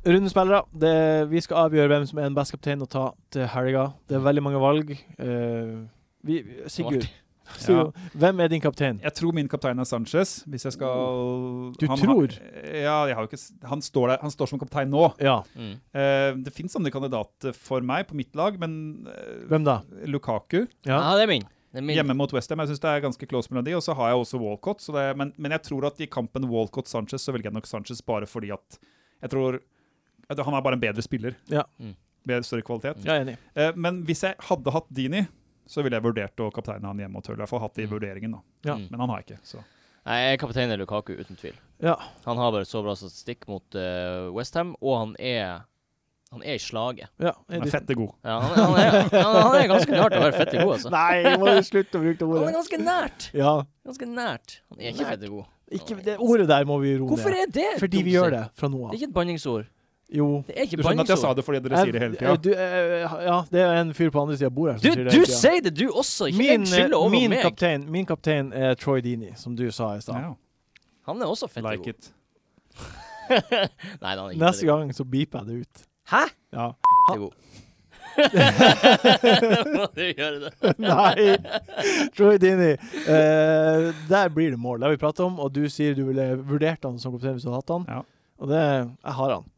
Speaker 1: Rundens spillere. Det, vi skal avgjøre hvem som er den beste kapteinen å ta til helga. Det er veldig mange valg. Eh, vi, Sigurd. Så
Speaker 3: Ja.
Speaker 1: hvem er din kaptein?
Speaker 3: Jeg tror min kaptein er Sanchez, hvis jeg skal
Speaker 1: Du
Speaker 3: han
Speaker 1: tror?
Speaker 3: Har, ja, jeg har jo ikke, s- han, står der, han står som kaptein nå.
Speaker 1: Ja,
Speaker 2: Mm.
Speaker 3: Eh, det fins andre kandidater for meg på mitt lag, men eh,
Speaker 1: hvem da?
Speaker 3: Lukaku
Speaker 1: Ja.
Speaker 2: Ah, det er min. Det er min.
Speaker 3: hjemme mot Westham Jeg syns det er ganske close mellom de. Og så har jeg også Walcott. Så det, men, men jeg tror at i kampen Walcott-Sanchez så velger jeg nok Sanchez bare fordi at jeg tror at Han er bare en bedre spiller.
Speaker 1: Ja.
Speaker 2: Mm.
Speaker 3: Med større kvalitet.
Speaker 1: Jeg er enig.
Speaker 3: Eh, men hvis jeg hadde hatt Dini, så ville jeg vurdert å kapteine han hjemme og tølle. I hvert fall hatt det i
Speaker 2: Mm.
Speaker 3: vurderingen, da.
Speaker 1: Ja.
Speaker 2: Mm.
Speaker 3: Men han har jeg ikke. Så.
Speaker 2: Nei, jeg er kaptein i Lukaku, uten tvil.
Speaker 1: Ja.
Speaker 2: Han har bare så bra statistikk mot eh, West Westham, og han er Han er i slaget.
Speaker 1: Ja,
Speaker 3: Han er fette god.
Speaker 2: Ja, han, han, er, han, han er ganske nært å være fette god, altså.
Speaker 1: Nei, må du slutte å bruke det
Speaker 2: Han er
Speaker 1: ordet.
Speaker 2: ganske nært.
Speaker 1: Ja.
Speaker 2: Ganske nært. Han er ikke
Speaker 1: Nært.
Speaker 2: fette god.
Speaker 1: Ikke, det ordet der må vi roe
Speaker 2: Hvorfor
Speaker 1: ned.
Speaker 2: er det? et
Speaker 1: Fordi
Speaker 2: dumt
Speaker 1: vi gjør
Speaker 2: sted?
Speaker 1: det fra nå
Speaker 2: Det er
Speaker 1: av.
Speaker 2: ikke et banningsord.
Speaker 1: Jo.
Speaker 2: Det er ikke
Speaker 3: Du
Speaker 2: et
Speaker 3: skjønner at jeg sa
Speaker 2: banningsord.
Speaker 3: det fordi dere sier det hele tida?
Speaker 1: Jeg- du- eh, ja, det er en fyr på andre sida av bordet her
Speaker 2: Du,
Speaker 1: som sier det.
Speaker 2: du
Speaker 1: hele tiden.
Speaker 2: sier det, du også. Ikke
Speaker 1: Min,
Speaker 2: legg skylda
Speaker 1: eh,
Speaker 2: over
Speaker 1: min,
Speaker 2: meg.
Speaker 1: kaptein, min kaptein er Troy Dini, som du sa i stad.
Speaker 3: Ja,
Speaker 2: Han er også fette
Speaker 3: like
Speaker 2: god.
Speaker 3: it.
Speaker 2: Nei, han er ikke
Speaker 1: Neste gang så beeper jeg det ut.
Speaker 2: Hæ?
Speaker 1: Ja.
Speaker 2: Fette god. Må du gjøre det?
Speaker 1: Nei! Troy Dini. Eh, der blir det mål. Det har vi pratet om, og du sier du ville vurdert han som kaptein hvis du hadde hatt han.
Speaker 3: Ja. Mm.
Speaker 1: Og det Jeg har han.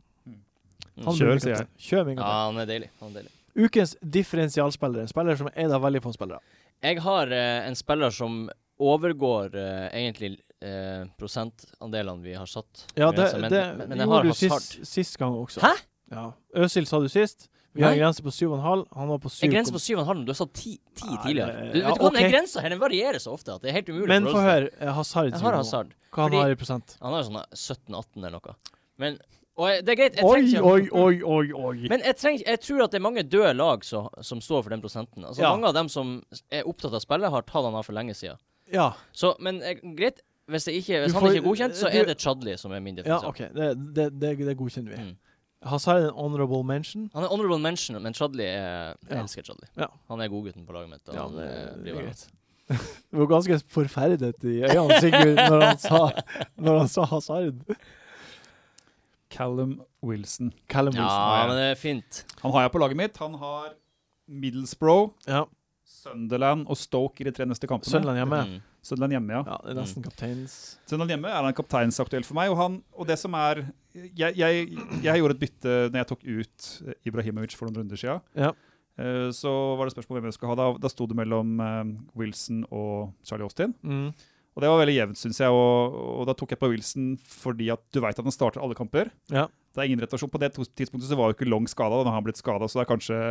Speaker 1: han
Speaker 3: Kjør,
Speaker 1: blir min
Speaker 3: sier jeg.
Speaker 1: kaptein. Kjør min
Speaker 2: Ja,
Speaker 1: kaptein.
Speaker 2: han er deilig. Han er deilig.
Speaker 1: Ukens differensialspiller. En spiller som er da veldig få spillere.
Speaker 2: Jeg har eh, en spiller som overgår eh, egentlig eh, prosentandelene vi har satt.
Speaker 1: Ja, det,
Speaker 2: grenser, men,
Speaker 1: det
Speaker 2: men, men jeg
Speaker 1: gjorde
Speaker 2: har
Speaker 1: du
Speaker 2: Hazard.
Speaker 1: sist, sist gang også.
Speaker 2: Hæ?
Speaker 1: Ja. Øsil sa du sist. Vi har en
Speaker 2: Nei.
Speaker 1: grense på 7,5. Han var på 7.
Speaker 2: En grense på 7,5. Du har satt 10
Speaker 1: Nei,
Speaker 2: tidligere.
Speaker 1: det-
Speaker 2: Du, vet
Speaker 1: ja,
Speaker 2: du hva,
Speaker 1: ok.
Speaker 2: Den grensa her den varierer så ofte at det er helt umulig.
Speaker 1: Men
Speaker 2: å
Speaker 1: få
Speaker 2: forholde seg
Speaker 1: høre. eh, Hazard.
Speaker 2: til.
Speaker 1: sier
Speaker 2: Jeg har
Speaker 1: du nå.
Speaker 2: Hazard.
Speaker 1: Hva han
Speaker 2: Fordi-
Speaker 1: har i prosent?
Speaker 2: Han har sånn 17-18 eller noe. Men og jeg, Det er greit. Jeg
Speaker 1: Oi,
Speaker 2: trenger ikke-
Speaker 1: oi, oi, oi, oi.
Speaker 2: Men jeg, trenger, jeg tror at det er mange døde lag så, som står for den prosenten. Altså
Speaker 1: Ja.
Speaker 2: Mange av dem som er opptatt av spillet, har tatt han av for lenge siden.
Speaker 1: Ja,
Speaker 2: Så, men eh, greit. Hvis, det ikke,
Speaker 1: Du
Speaker 2: hvis han
Speaker 1: får-
Speaker 2: ikke er godkjent, så
Speaker 1: du-
Speaker 2: er det Chadli som er min
Speaker 1: ja
Speaker 2: defensiv.
Speaker 1: OK. Det, det, det, det godkjenner vi.
Speaker 2: Sånn. Mm.
Speaker 1: Hazard er en honorable mention.
Speaker 2: Han er honorable mention, men Chadli er Jeg
Speaker 1: Ja.
Speaker 2: elsker Chadli.
Speaker 1: Ja.
Speaker 2: Han er godgutten på laget mitt. og
Speaker 1: Ja,
Speaker 2: han,
Speaker 1: det-
Speaker 2: eh,
Speaker 1: det
Speaker 2: blir
Speaker 1: er
Speaker 2: bra.
Speaker 1: greit. Du var ganske forferdet i øynene, Sigurd, når han sa, når han sa Hazard.
Speaker 3: Callum Wilson.
Speaker 1: Callum Wilson.
Speaker 2: Ja, men det er fint.
Speaker 3: Han har jeg på laget mitt. Han har Middlesbrough,
Speaker 1: Ja.
Speaker 3: Sunderland og Stoke i de tre neste kampene.
Speaker 1: Sunderland hjemme.
Speaker 2: Mm.
Speaker 3: Sunderland hjemme, ja.
Speaker 1: Ja, det er nesten kapteins
Speaker 3: Sunderland hjemme er han kapteinsaktuell for meg. Og, han, og det som er jeg, jeg, jeg gjorde et bytte når jeg tok ut eh, Ibrahimovic for noen runder siden.
Speaker 1: Ja.
Speaker 3: Eh, Så var det spørsmål om hvem jeg skulle ha. Da, da sto det mellom eh, Wilson og Charlie Austin.
Speaker 1: Mm.
Speaker 3: Og det var veldig jevnt, syns jeg. Og, og da tok jeg på Wilson fordi at du veit at han starter alle kamper.
Speaker 1: Ja.
Speaker 3: Det er ingen retasjon. På det tos- tidspunktet så var jo ikke Long skada, da har han blitt skada, så det er kanskje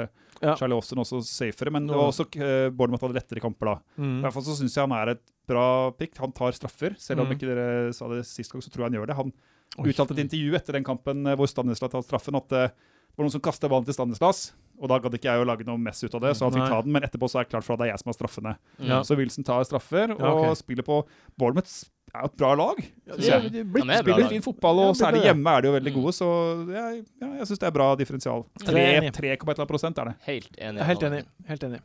Speaker 1: Ja.
Speaker 3: Charlie Austin også safere. Men
Speaker 1: Nå-
Speaker 3: det var også eh, Bournemouth hadde lettere kamper da.
Speaker 1: Mm.
Speaker 3: I hvert fall så syns jeg han er et bra pick. Han tar straffer. Selv om
Speaker 1: Mm.
Speaker 3: ikke dere sa det sist gang, så tror jeg han gjør det. Han
Speaker 1: Oi.
Speaker 3: uttalte et intervju etter den kampen eh, hvor Stanislas tatt straffen, at eh, det var noen som kasta ballen til Stanislas. Og da gadd ikke jeg å lage noe mess ut av det, så han
Speaker 1: Nei.
Speaker 3: fikk ta den. Men etterpå så er det klart for at det er jeg som har straffene.
Speaker 2: Mm.
Speaker 1: Ja.
Speaker 3: Så Altså, Wilson tar straffer og
Speaker 1: Ja, ok.
Speaker 3: spiller på Bournemouth er jo et bra lag.
Speaker 1: Ja,
Speaker 3: synes jeg.
Speaker 1: det- det
Speaker 2: Ja, men det er bra
Speaker 3: Spiller
Speaker 2: lag.
Speaker 3: fin fotball, og
Speaker 1: Ja, det er
Speaker 3: særlig
Speaker 1: det.
Speaker 3: hjemme er de jo veldig
Speaker 2: Mm.
Speaker 3: gode. Så jeg, ja, jeg syns det er bra differensial.
Speaker 1: Jeg er
Speaker 3: Tre-
Speaker 1: enig.
Speaker 3: 3,1 prosent er det.
Speaker 2: Helt enig.
Speaker 1: Jeg er helt enig. Helt enig.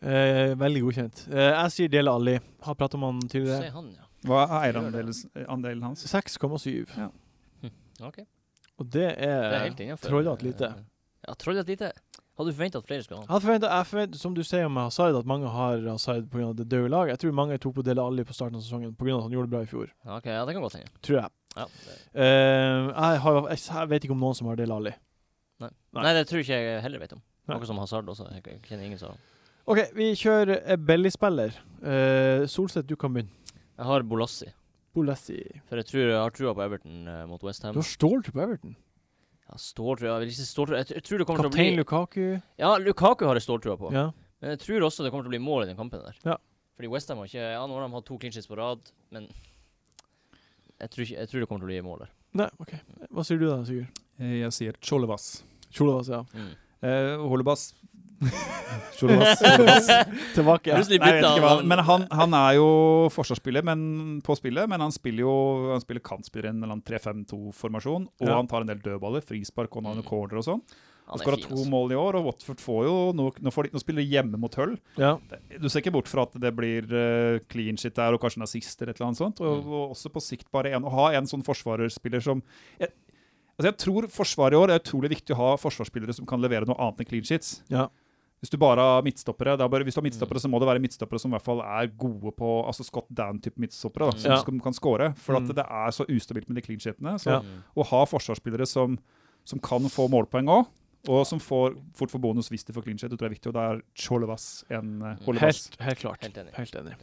Speaker 1: Eh, veldig godkjent. Eh, jeg sier Del Ali. Har pratet om han
Speaker 2: Se
Speaker 1: tidligere.
Speaker 2: han, ja.
Speaker 3: Hva er eierandelen andelen hans?
Speaker 1: 6,7.
Speaker 2: Ok.
Speaker 1: Og det
Speaker 2: Det er
Speaker 1: er
Speaker 2: helt innenfor. eh,
Speaker 1: trollete Eh, lite.
Speaker 2: Ja, trollete lite. Hadde du forventa at flere skulle ha han?
Speaker 1: Jeg forventer, jeg forventer, som du sier om Hazard, at mange har Hazard pga. det døde lag. Jeg tror mange tok på Del Ali på starten av sesongen pga. at han gjorde det bra i fjor.
Speaker 2: Ja, ok, ja, det kan godt hende.
Speaker 1: Tror jeg.
Speaker 2: Ja, det.
Speaker 1: Eh, jeg, har, jeg, jeg vet ikke om noen som har Del Ali. Nei.
Speaker 2: Nei. det tror ikke jeg heller vet om.
Speaker 1: Nei.
Speaker 2: Noe som Hazard også. Jeg k- kjenner ingen som har han.
Speaker 1: OK, vi kjører eh, Belly-spiller. Eh, Solseth, du kan begynne.
Speaker 2: Jeg har Bolassi,
Speaker 1: Bolessi.
Speaker 2: for jeg tror jeg har trua på Everton eh, mot Westham.
Speaker 1: Du har ståltro på Everton.
Speaker 2: Ja, ståltrua Jeg vil ikke si ståltrua. Jeg, tr- jeg tror det kommer til å bli
Speaker 1: Kaptein Lukaku.
Speaker 2: Ja, Lukaku har jeg ståltrua på.
Speaker 1: Ja.
Speaker 2: Men jeg tror også det kommer til å bli mål i den kampen der.
Speaker 1: Ja.
Speaker 2: Fordi Westham har ikke Ja, nå har de hatt to clean sheets på rad, men jeg tror, ikke, jeg tror det kommer til å bli mål der.
Speaker 1: Nei, OK. Hva sier du da, Sigurd?
Speaker 3: Jeg sier Cholevas.
Speaker 1: Kjolovas, ja.
Speaker 2: Mm.
Speaker 3: Eh, Holebas
Speaker 1: Tilbake. Ja.
Speaker 3: Nei, jeg
Speaker 2: Plutselig
Speaker 3: vet
Speaker 2: bytta
Speaker 3: ikke hva han,
Speaker 2: han-
Speaker 3: men han, han er jo forsvarsspiller men, på spillet, men han spiller jo Han spiller kantspiller i en eller annen 3-5-2-formasjon. Og
Speaker 1: Ja.
Speaker 3: han tar en del dødballer, frispark og noen
Speaker 2: Mm.
Speaker 3: corner og sånn. Han
Speaker 2: Han er
Speaker 3: skåra
Speaker 2: fin,
Speaker 3: to
Speaker 2: altså.
Speaker 3: mål i år, og Watford får jo Nå, nå, får de, nå spiller de hjemme mot Hull.
Speaker 1: ja.
Speaker 3: Du ser ikke bort fra at det blir eh, clean shit der, og kanskje en assist eller et eller annet sånt. Og,
Speaker 2: Mm.
Speaker 3: og også på sikt bare en, å ha en sånn forsvarerspiller som jeg, Altså jeg tror Forsvaret i år det er utrolig viktig å ha forsvarsspillere som kan levere noe annet enn clean shits.
Speaker 1: Ja.
Speaker 3: Hvis du bare har midtstoppere, da bør, hvis du
Speaker 2: Mm.
Speaker 3: har midtstoppere så må det være midtstoppere som i hvert fall er gode på altså Scott Dan-type midtstoppere, da, som
Speaker 1: Ja.
Speaker 3: skal- kan skåre. For at
Speaker 1: Mm.
Speaker 3: det er så ustabilt med de clean sheetene. Så
Speaker 1: Ja.
Speaker 2: Mm.
Speaker 3: å ha forsvarsspillere som, som kan få målpoeng òg, og som får, fort får bonus hvis de får clean sheet, det tror jeg er viktig. Og da er Cholevas en uh, Cholevas.
Speaker 1: Helt, helt klart.
Speaker 2: Helt enig.
Speaker 1: Helt enig.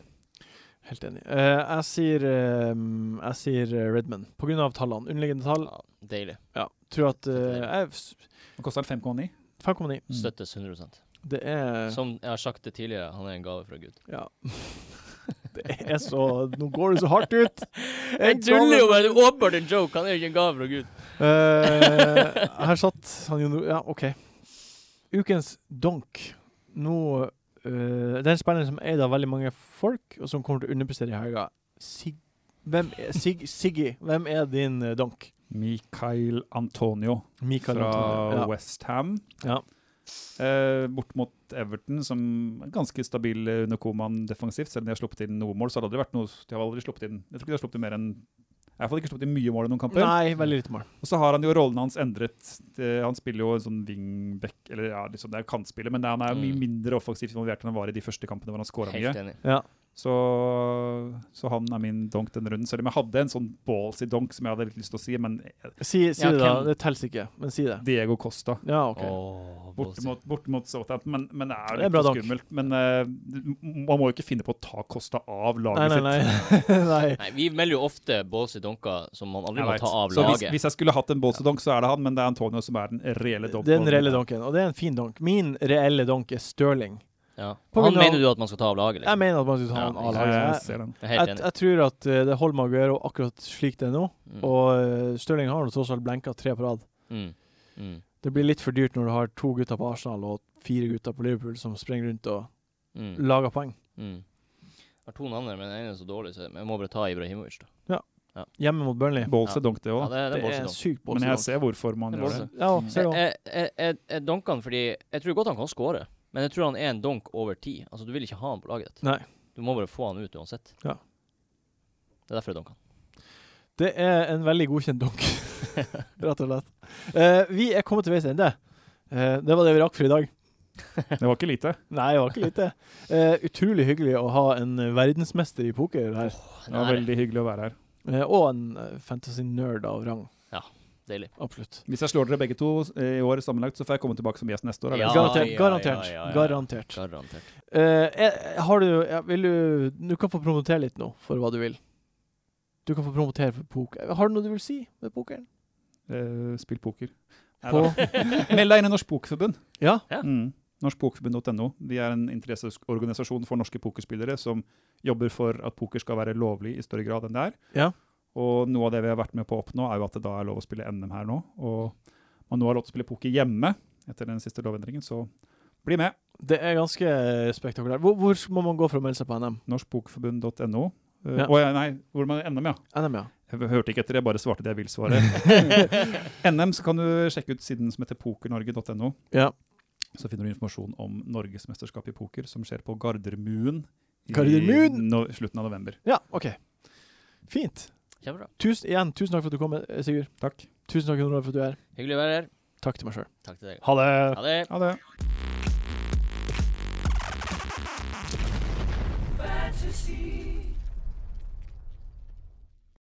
Speaker 1: Helt enig. Eh, jeg sier, um, jeg sier eh, Redman på grunn av tallene. Underliggende tall.
Speaker 2: Ja, deilig.
Speaker 1: Ja, tror at eh, jeg s-
Speaker 3: Hva koster den? 5,9?
Speaker 1: 5,9.
Speaker 3: Mm.
Speaker 2: Støttes 100
Speaker 1: Det er
Speaker 2: Som jeg har sagt det tidligere, han er en gave fra Gud.
Speaker 1: Ja. Det er så Nå går det så hardt ut!
Speaker 2: Jeg tuller jo, men det er åpenbart en joke! Han er jo ikke en gave fra Gud.
Speaker 1: Eh, her satt han jo nå Ja, OK. Ukens donk. Nå eh, Det er en spiller som er da veldig mange folk, og som kommer til å underprestere i helga. Sig hvem er, Sig Siggy, hvem er din eh, donk?
Speaker 3: Mikael Antonio
Speaker 1: Mikael
Speaker 3: fra
Speaker 1: Antonio. Ja.
Speaker 3: Westham.
Speaker 1: Ja.
Speaker 3: Eh, bort mot Everton, som er ganske stabil eh, under Koman defensivt. Selv om de har sluppet inn noe mål, så har det aldri vært noe De har aldri sluppet inn Jeg tror ikke de har sluppet inn mer enn i hvert fall ikke sluppet inn mye mål i noen kamper.
Speaker 1: Nei, veldig lite mål.
Speaker 3: Og så har han jo rollen hans endret. Eh, han spiller jo en sånn wingback Eller ja, liksom det er kantspiller, men han er jo mye
Speaker 2: Mm.
Speaker 3: mindre offensivt involvert enn han var i de første kampene hvor han scora mye.
Speaker 2: Helt enig.
Speaker 1: Ja.
Speaker 3: Så, så han er min donk denne runden. Selv om jeg hadde en sånn ballsy donk som jeg hadde litt lyst til å si, men
Speaker 1: Si, si
Speaker 2: Ja,
Speaker 1: det, da.
Speaker 2: hvem-
Speaker 1: Det teller ikke, men si det.
Speaker 3: Diego Costa.
Speaker 1: Ja, OK.
Speaker 2: Åh,
Speaker 3: Borte
Speaker 2: Bosse.
Speaker 3: mot, borte mot Southampton, men, men det er
Speaker 1: Det er
Speaker 3: litt
Speaker 1: bra
Speaker 3: for
Speaker 1: donk.
Speaker 3: skummelt. Men eh, du- man må jo ikke finne på å ta Costa av
Speaker 1: Nei,
Speaker 3: laget
Speaker 1: nei, nei. nei.
Speaker 2: Nei, vi melder jo ofte Ballsy Donker som man aldri
Speaker 3: Jeg
Speaker 2: må
Speaker 3: vet.
Speaker 2: ta av
Speaker 3: Så hvis,
Speaker 2: laget.
Speaker 3: hvis jeg skulle hatt en ballsy donk, så er det han, men det er Antonio som er den reelle donken.
Speaker 1: Det er den reelle donken, og det er en fin donk. Min reelle donk er Stirling.
Speaker 2: ja.
Speaker 1: På
Speaker 2: Han
Speaker 1: grunn av-
Speaker 2: mener du at man skal ta av laget,
Speaker 1: Jeg
Speaker 2: liksom?
Speaker 1: mener at man skal ta
Speaker 2: Ja,
Speaker 1: han
Speaker 2: ikke
Speaker 1: av
Speaker 2: sant.
Speaker 1: laget.
Speaker 3: Eh, Jeg
Speaker 1: Jeg-
Speaker 3: ser den.
Speaker 2: Jeg er helt
Speaker 1: jeg,
Speaker 2: enig.
Speaker 1: jeg tror at eh, det holder Maguero akkurat slik det er nå.
Speaker 2: Mm.
Speaker 1: Og eh, Stirling har nå tross alt blenka tre på rad.
Speaker 2: Mm. Mm.
Speaker 1: Det blir litt for dyrt når du har to gutter på Arsenal og fire gutter på Liverpool som springer rundt og
Speaker 2: Mm.
Speaker 1: lager poeng.
Speaker 2: Mm. Jeg har to navn her, men den ene er så dårlig, så jeg må bare ta Ibrahimovic, da.
Speaker 1: Hjemme mot Burnley.
Speaker 3: Ballsy
Speaker 2: Ja.
Speaker 3: donk, det
Speaker 2: Ja,
Speaker 3: òg.
Speaker 2: det, det
Speaker 1: Det
Speaker 2: er
Speaker 1: er
Speaker 2: Ballsy Donker.
Speaker 1: sykt
Speaker 3: Men
Speaker 1: bolse
Speaker 3: jeg ser hvorfor man
Speaker 2: Det er
Speaker 3: gjør
Speaker 2: ballsy.
Speaker 3: det.
Speaker 1: Ja,
Speaker 3: Mm.
Speaker 1: ser du.
Speaker 2: Jeg, jeg, jeg, jeg donker han fordi Jeg tror godt han kan score, men jeg tror han er en donk over tid. Altså, du vil ikke ha han på laget ditt.
Speaker 1: Nei.
Speaker 2: Du må bare få han ut uansett.
Speaker 1: Ja.
Speaker 2: Det er derfor jeg donker han.
Speaker 1: Det er en veldig godkjent donk, rett og slett. Eh, vi er kommet til veis ende. Eh, det var det vi rakk for i dag.
Speaker 3: Det var ikke lite.
Speaker 1: Nei, det var ikke lite. Eh, utrolig hyggelig å ha en verdensmester i poker her.
Speaker 3: Det var
Speaker 2: Nei,
Speaker 3: veldig hyggelig å være her.
Speaker 1: Eh, og en eh, fantasy-nerd av rang.
Speaker 2: Deilig.
Speaker 1: Absolutt.
Speaker 3: Hvis jeg slår dere begge to eh, i år sammenlagt, så får jeg komme tilbake som gjest neste år. er det
Speaker 2: Ja,
Speaker 3: det?
Speaker 1: garantert. garantert.
Speaker 2: ja, ja, ja, ja.
Speaker 1: garantert.
Speaker 2: Garantert.
Speaker 1: Eh, eh, har du, ja, vil du Du kan få promotere litt nå, for hva du vil. Du kan få promotere for poker. Har du noe du vil si med pokeren?
Speaker 3: Eh, spill poker. Nei,
Speaker 1: På,
Speaker 3: da. Meld deg inn i Norsk Pokerforbund.
Speaker 1: ja,
Speaker 2: Ja.
Speaker 3: Mm. Norskpokerforbund.no. Vi er en interesseorganisasjon for norske pokerspillere som jobber for at poker skal være lovlig i større grad enn det er.
Speaker 1: Ja.
Speaker 3: Og noe av det vi har vært med på å oppnå, er jo at det da er lov å spille NM her nå. Og man nå har lov til å spille poker hjemme etter den siste lovendringen, så bli med.
Speaker 1: det er ganske eh, spektakulært. Hvor, hvor må man gå for å melde seg på NM?
Speaker 3: Norskpokerforbund.no. Eh,
Speaker 1: Ja.
Speaker 3: Å ja, nei, hvor man NM, ja.
Speaker 1: NM, ja.
Speaker 3: Jeg hørte ikke etter, jeg bare svarte det jeg vil svare. NM så kan du sjekke ut siden som heter pokernorge.no.
Speaker 1: ja.
Speaker 3: Så finner du informasjon om Norgesmesterskapet i poker som skjer på Gardermoen i
Speaker 1: Gardermoen?
Speaker 3: no slutten av november.
Speaker 1: Ja, OK. Fint.
Speaker 2: Kjempebra.
Speaker 1: Tusen, igjen, tusen takk for at du kom, eh, Sigurd.
Speaker 3: Takk.
Speaker 1: Tusen takk Ronald, for at du er her.
Speaker 2: Hyggelig å være her.
Speaker 1: Takk til meg sjøl.
Speaker 2: Takk til deg.
Speaker 1: Ha det!
Speaker 2: Ha det.
Speaker 3: Ha det.
Speaker 4: fantasy.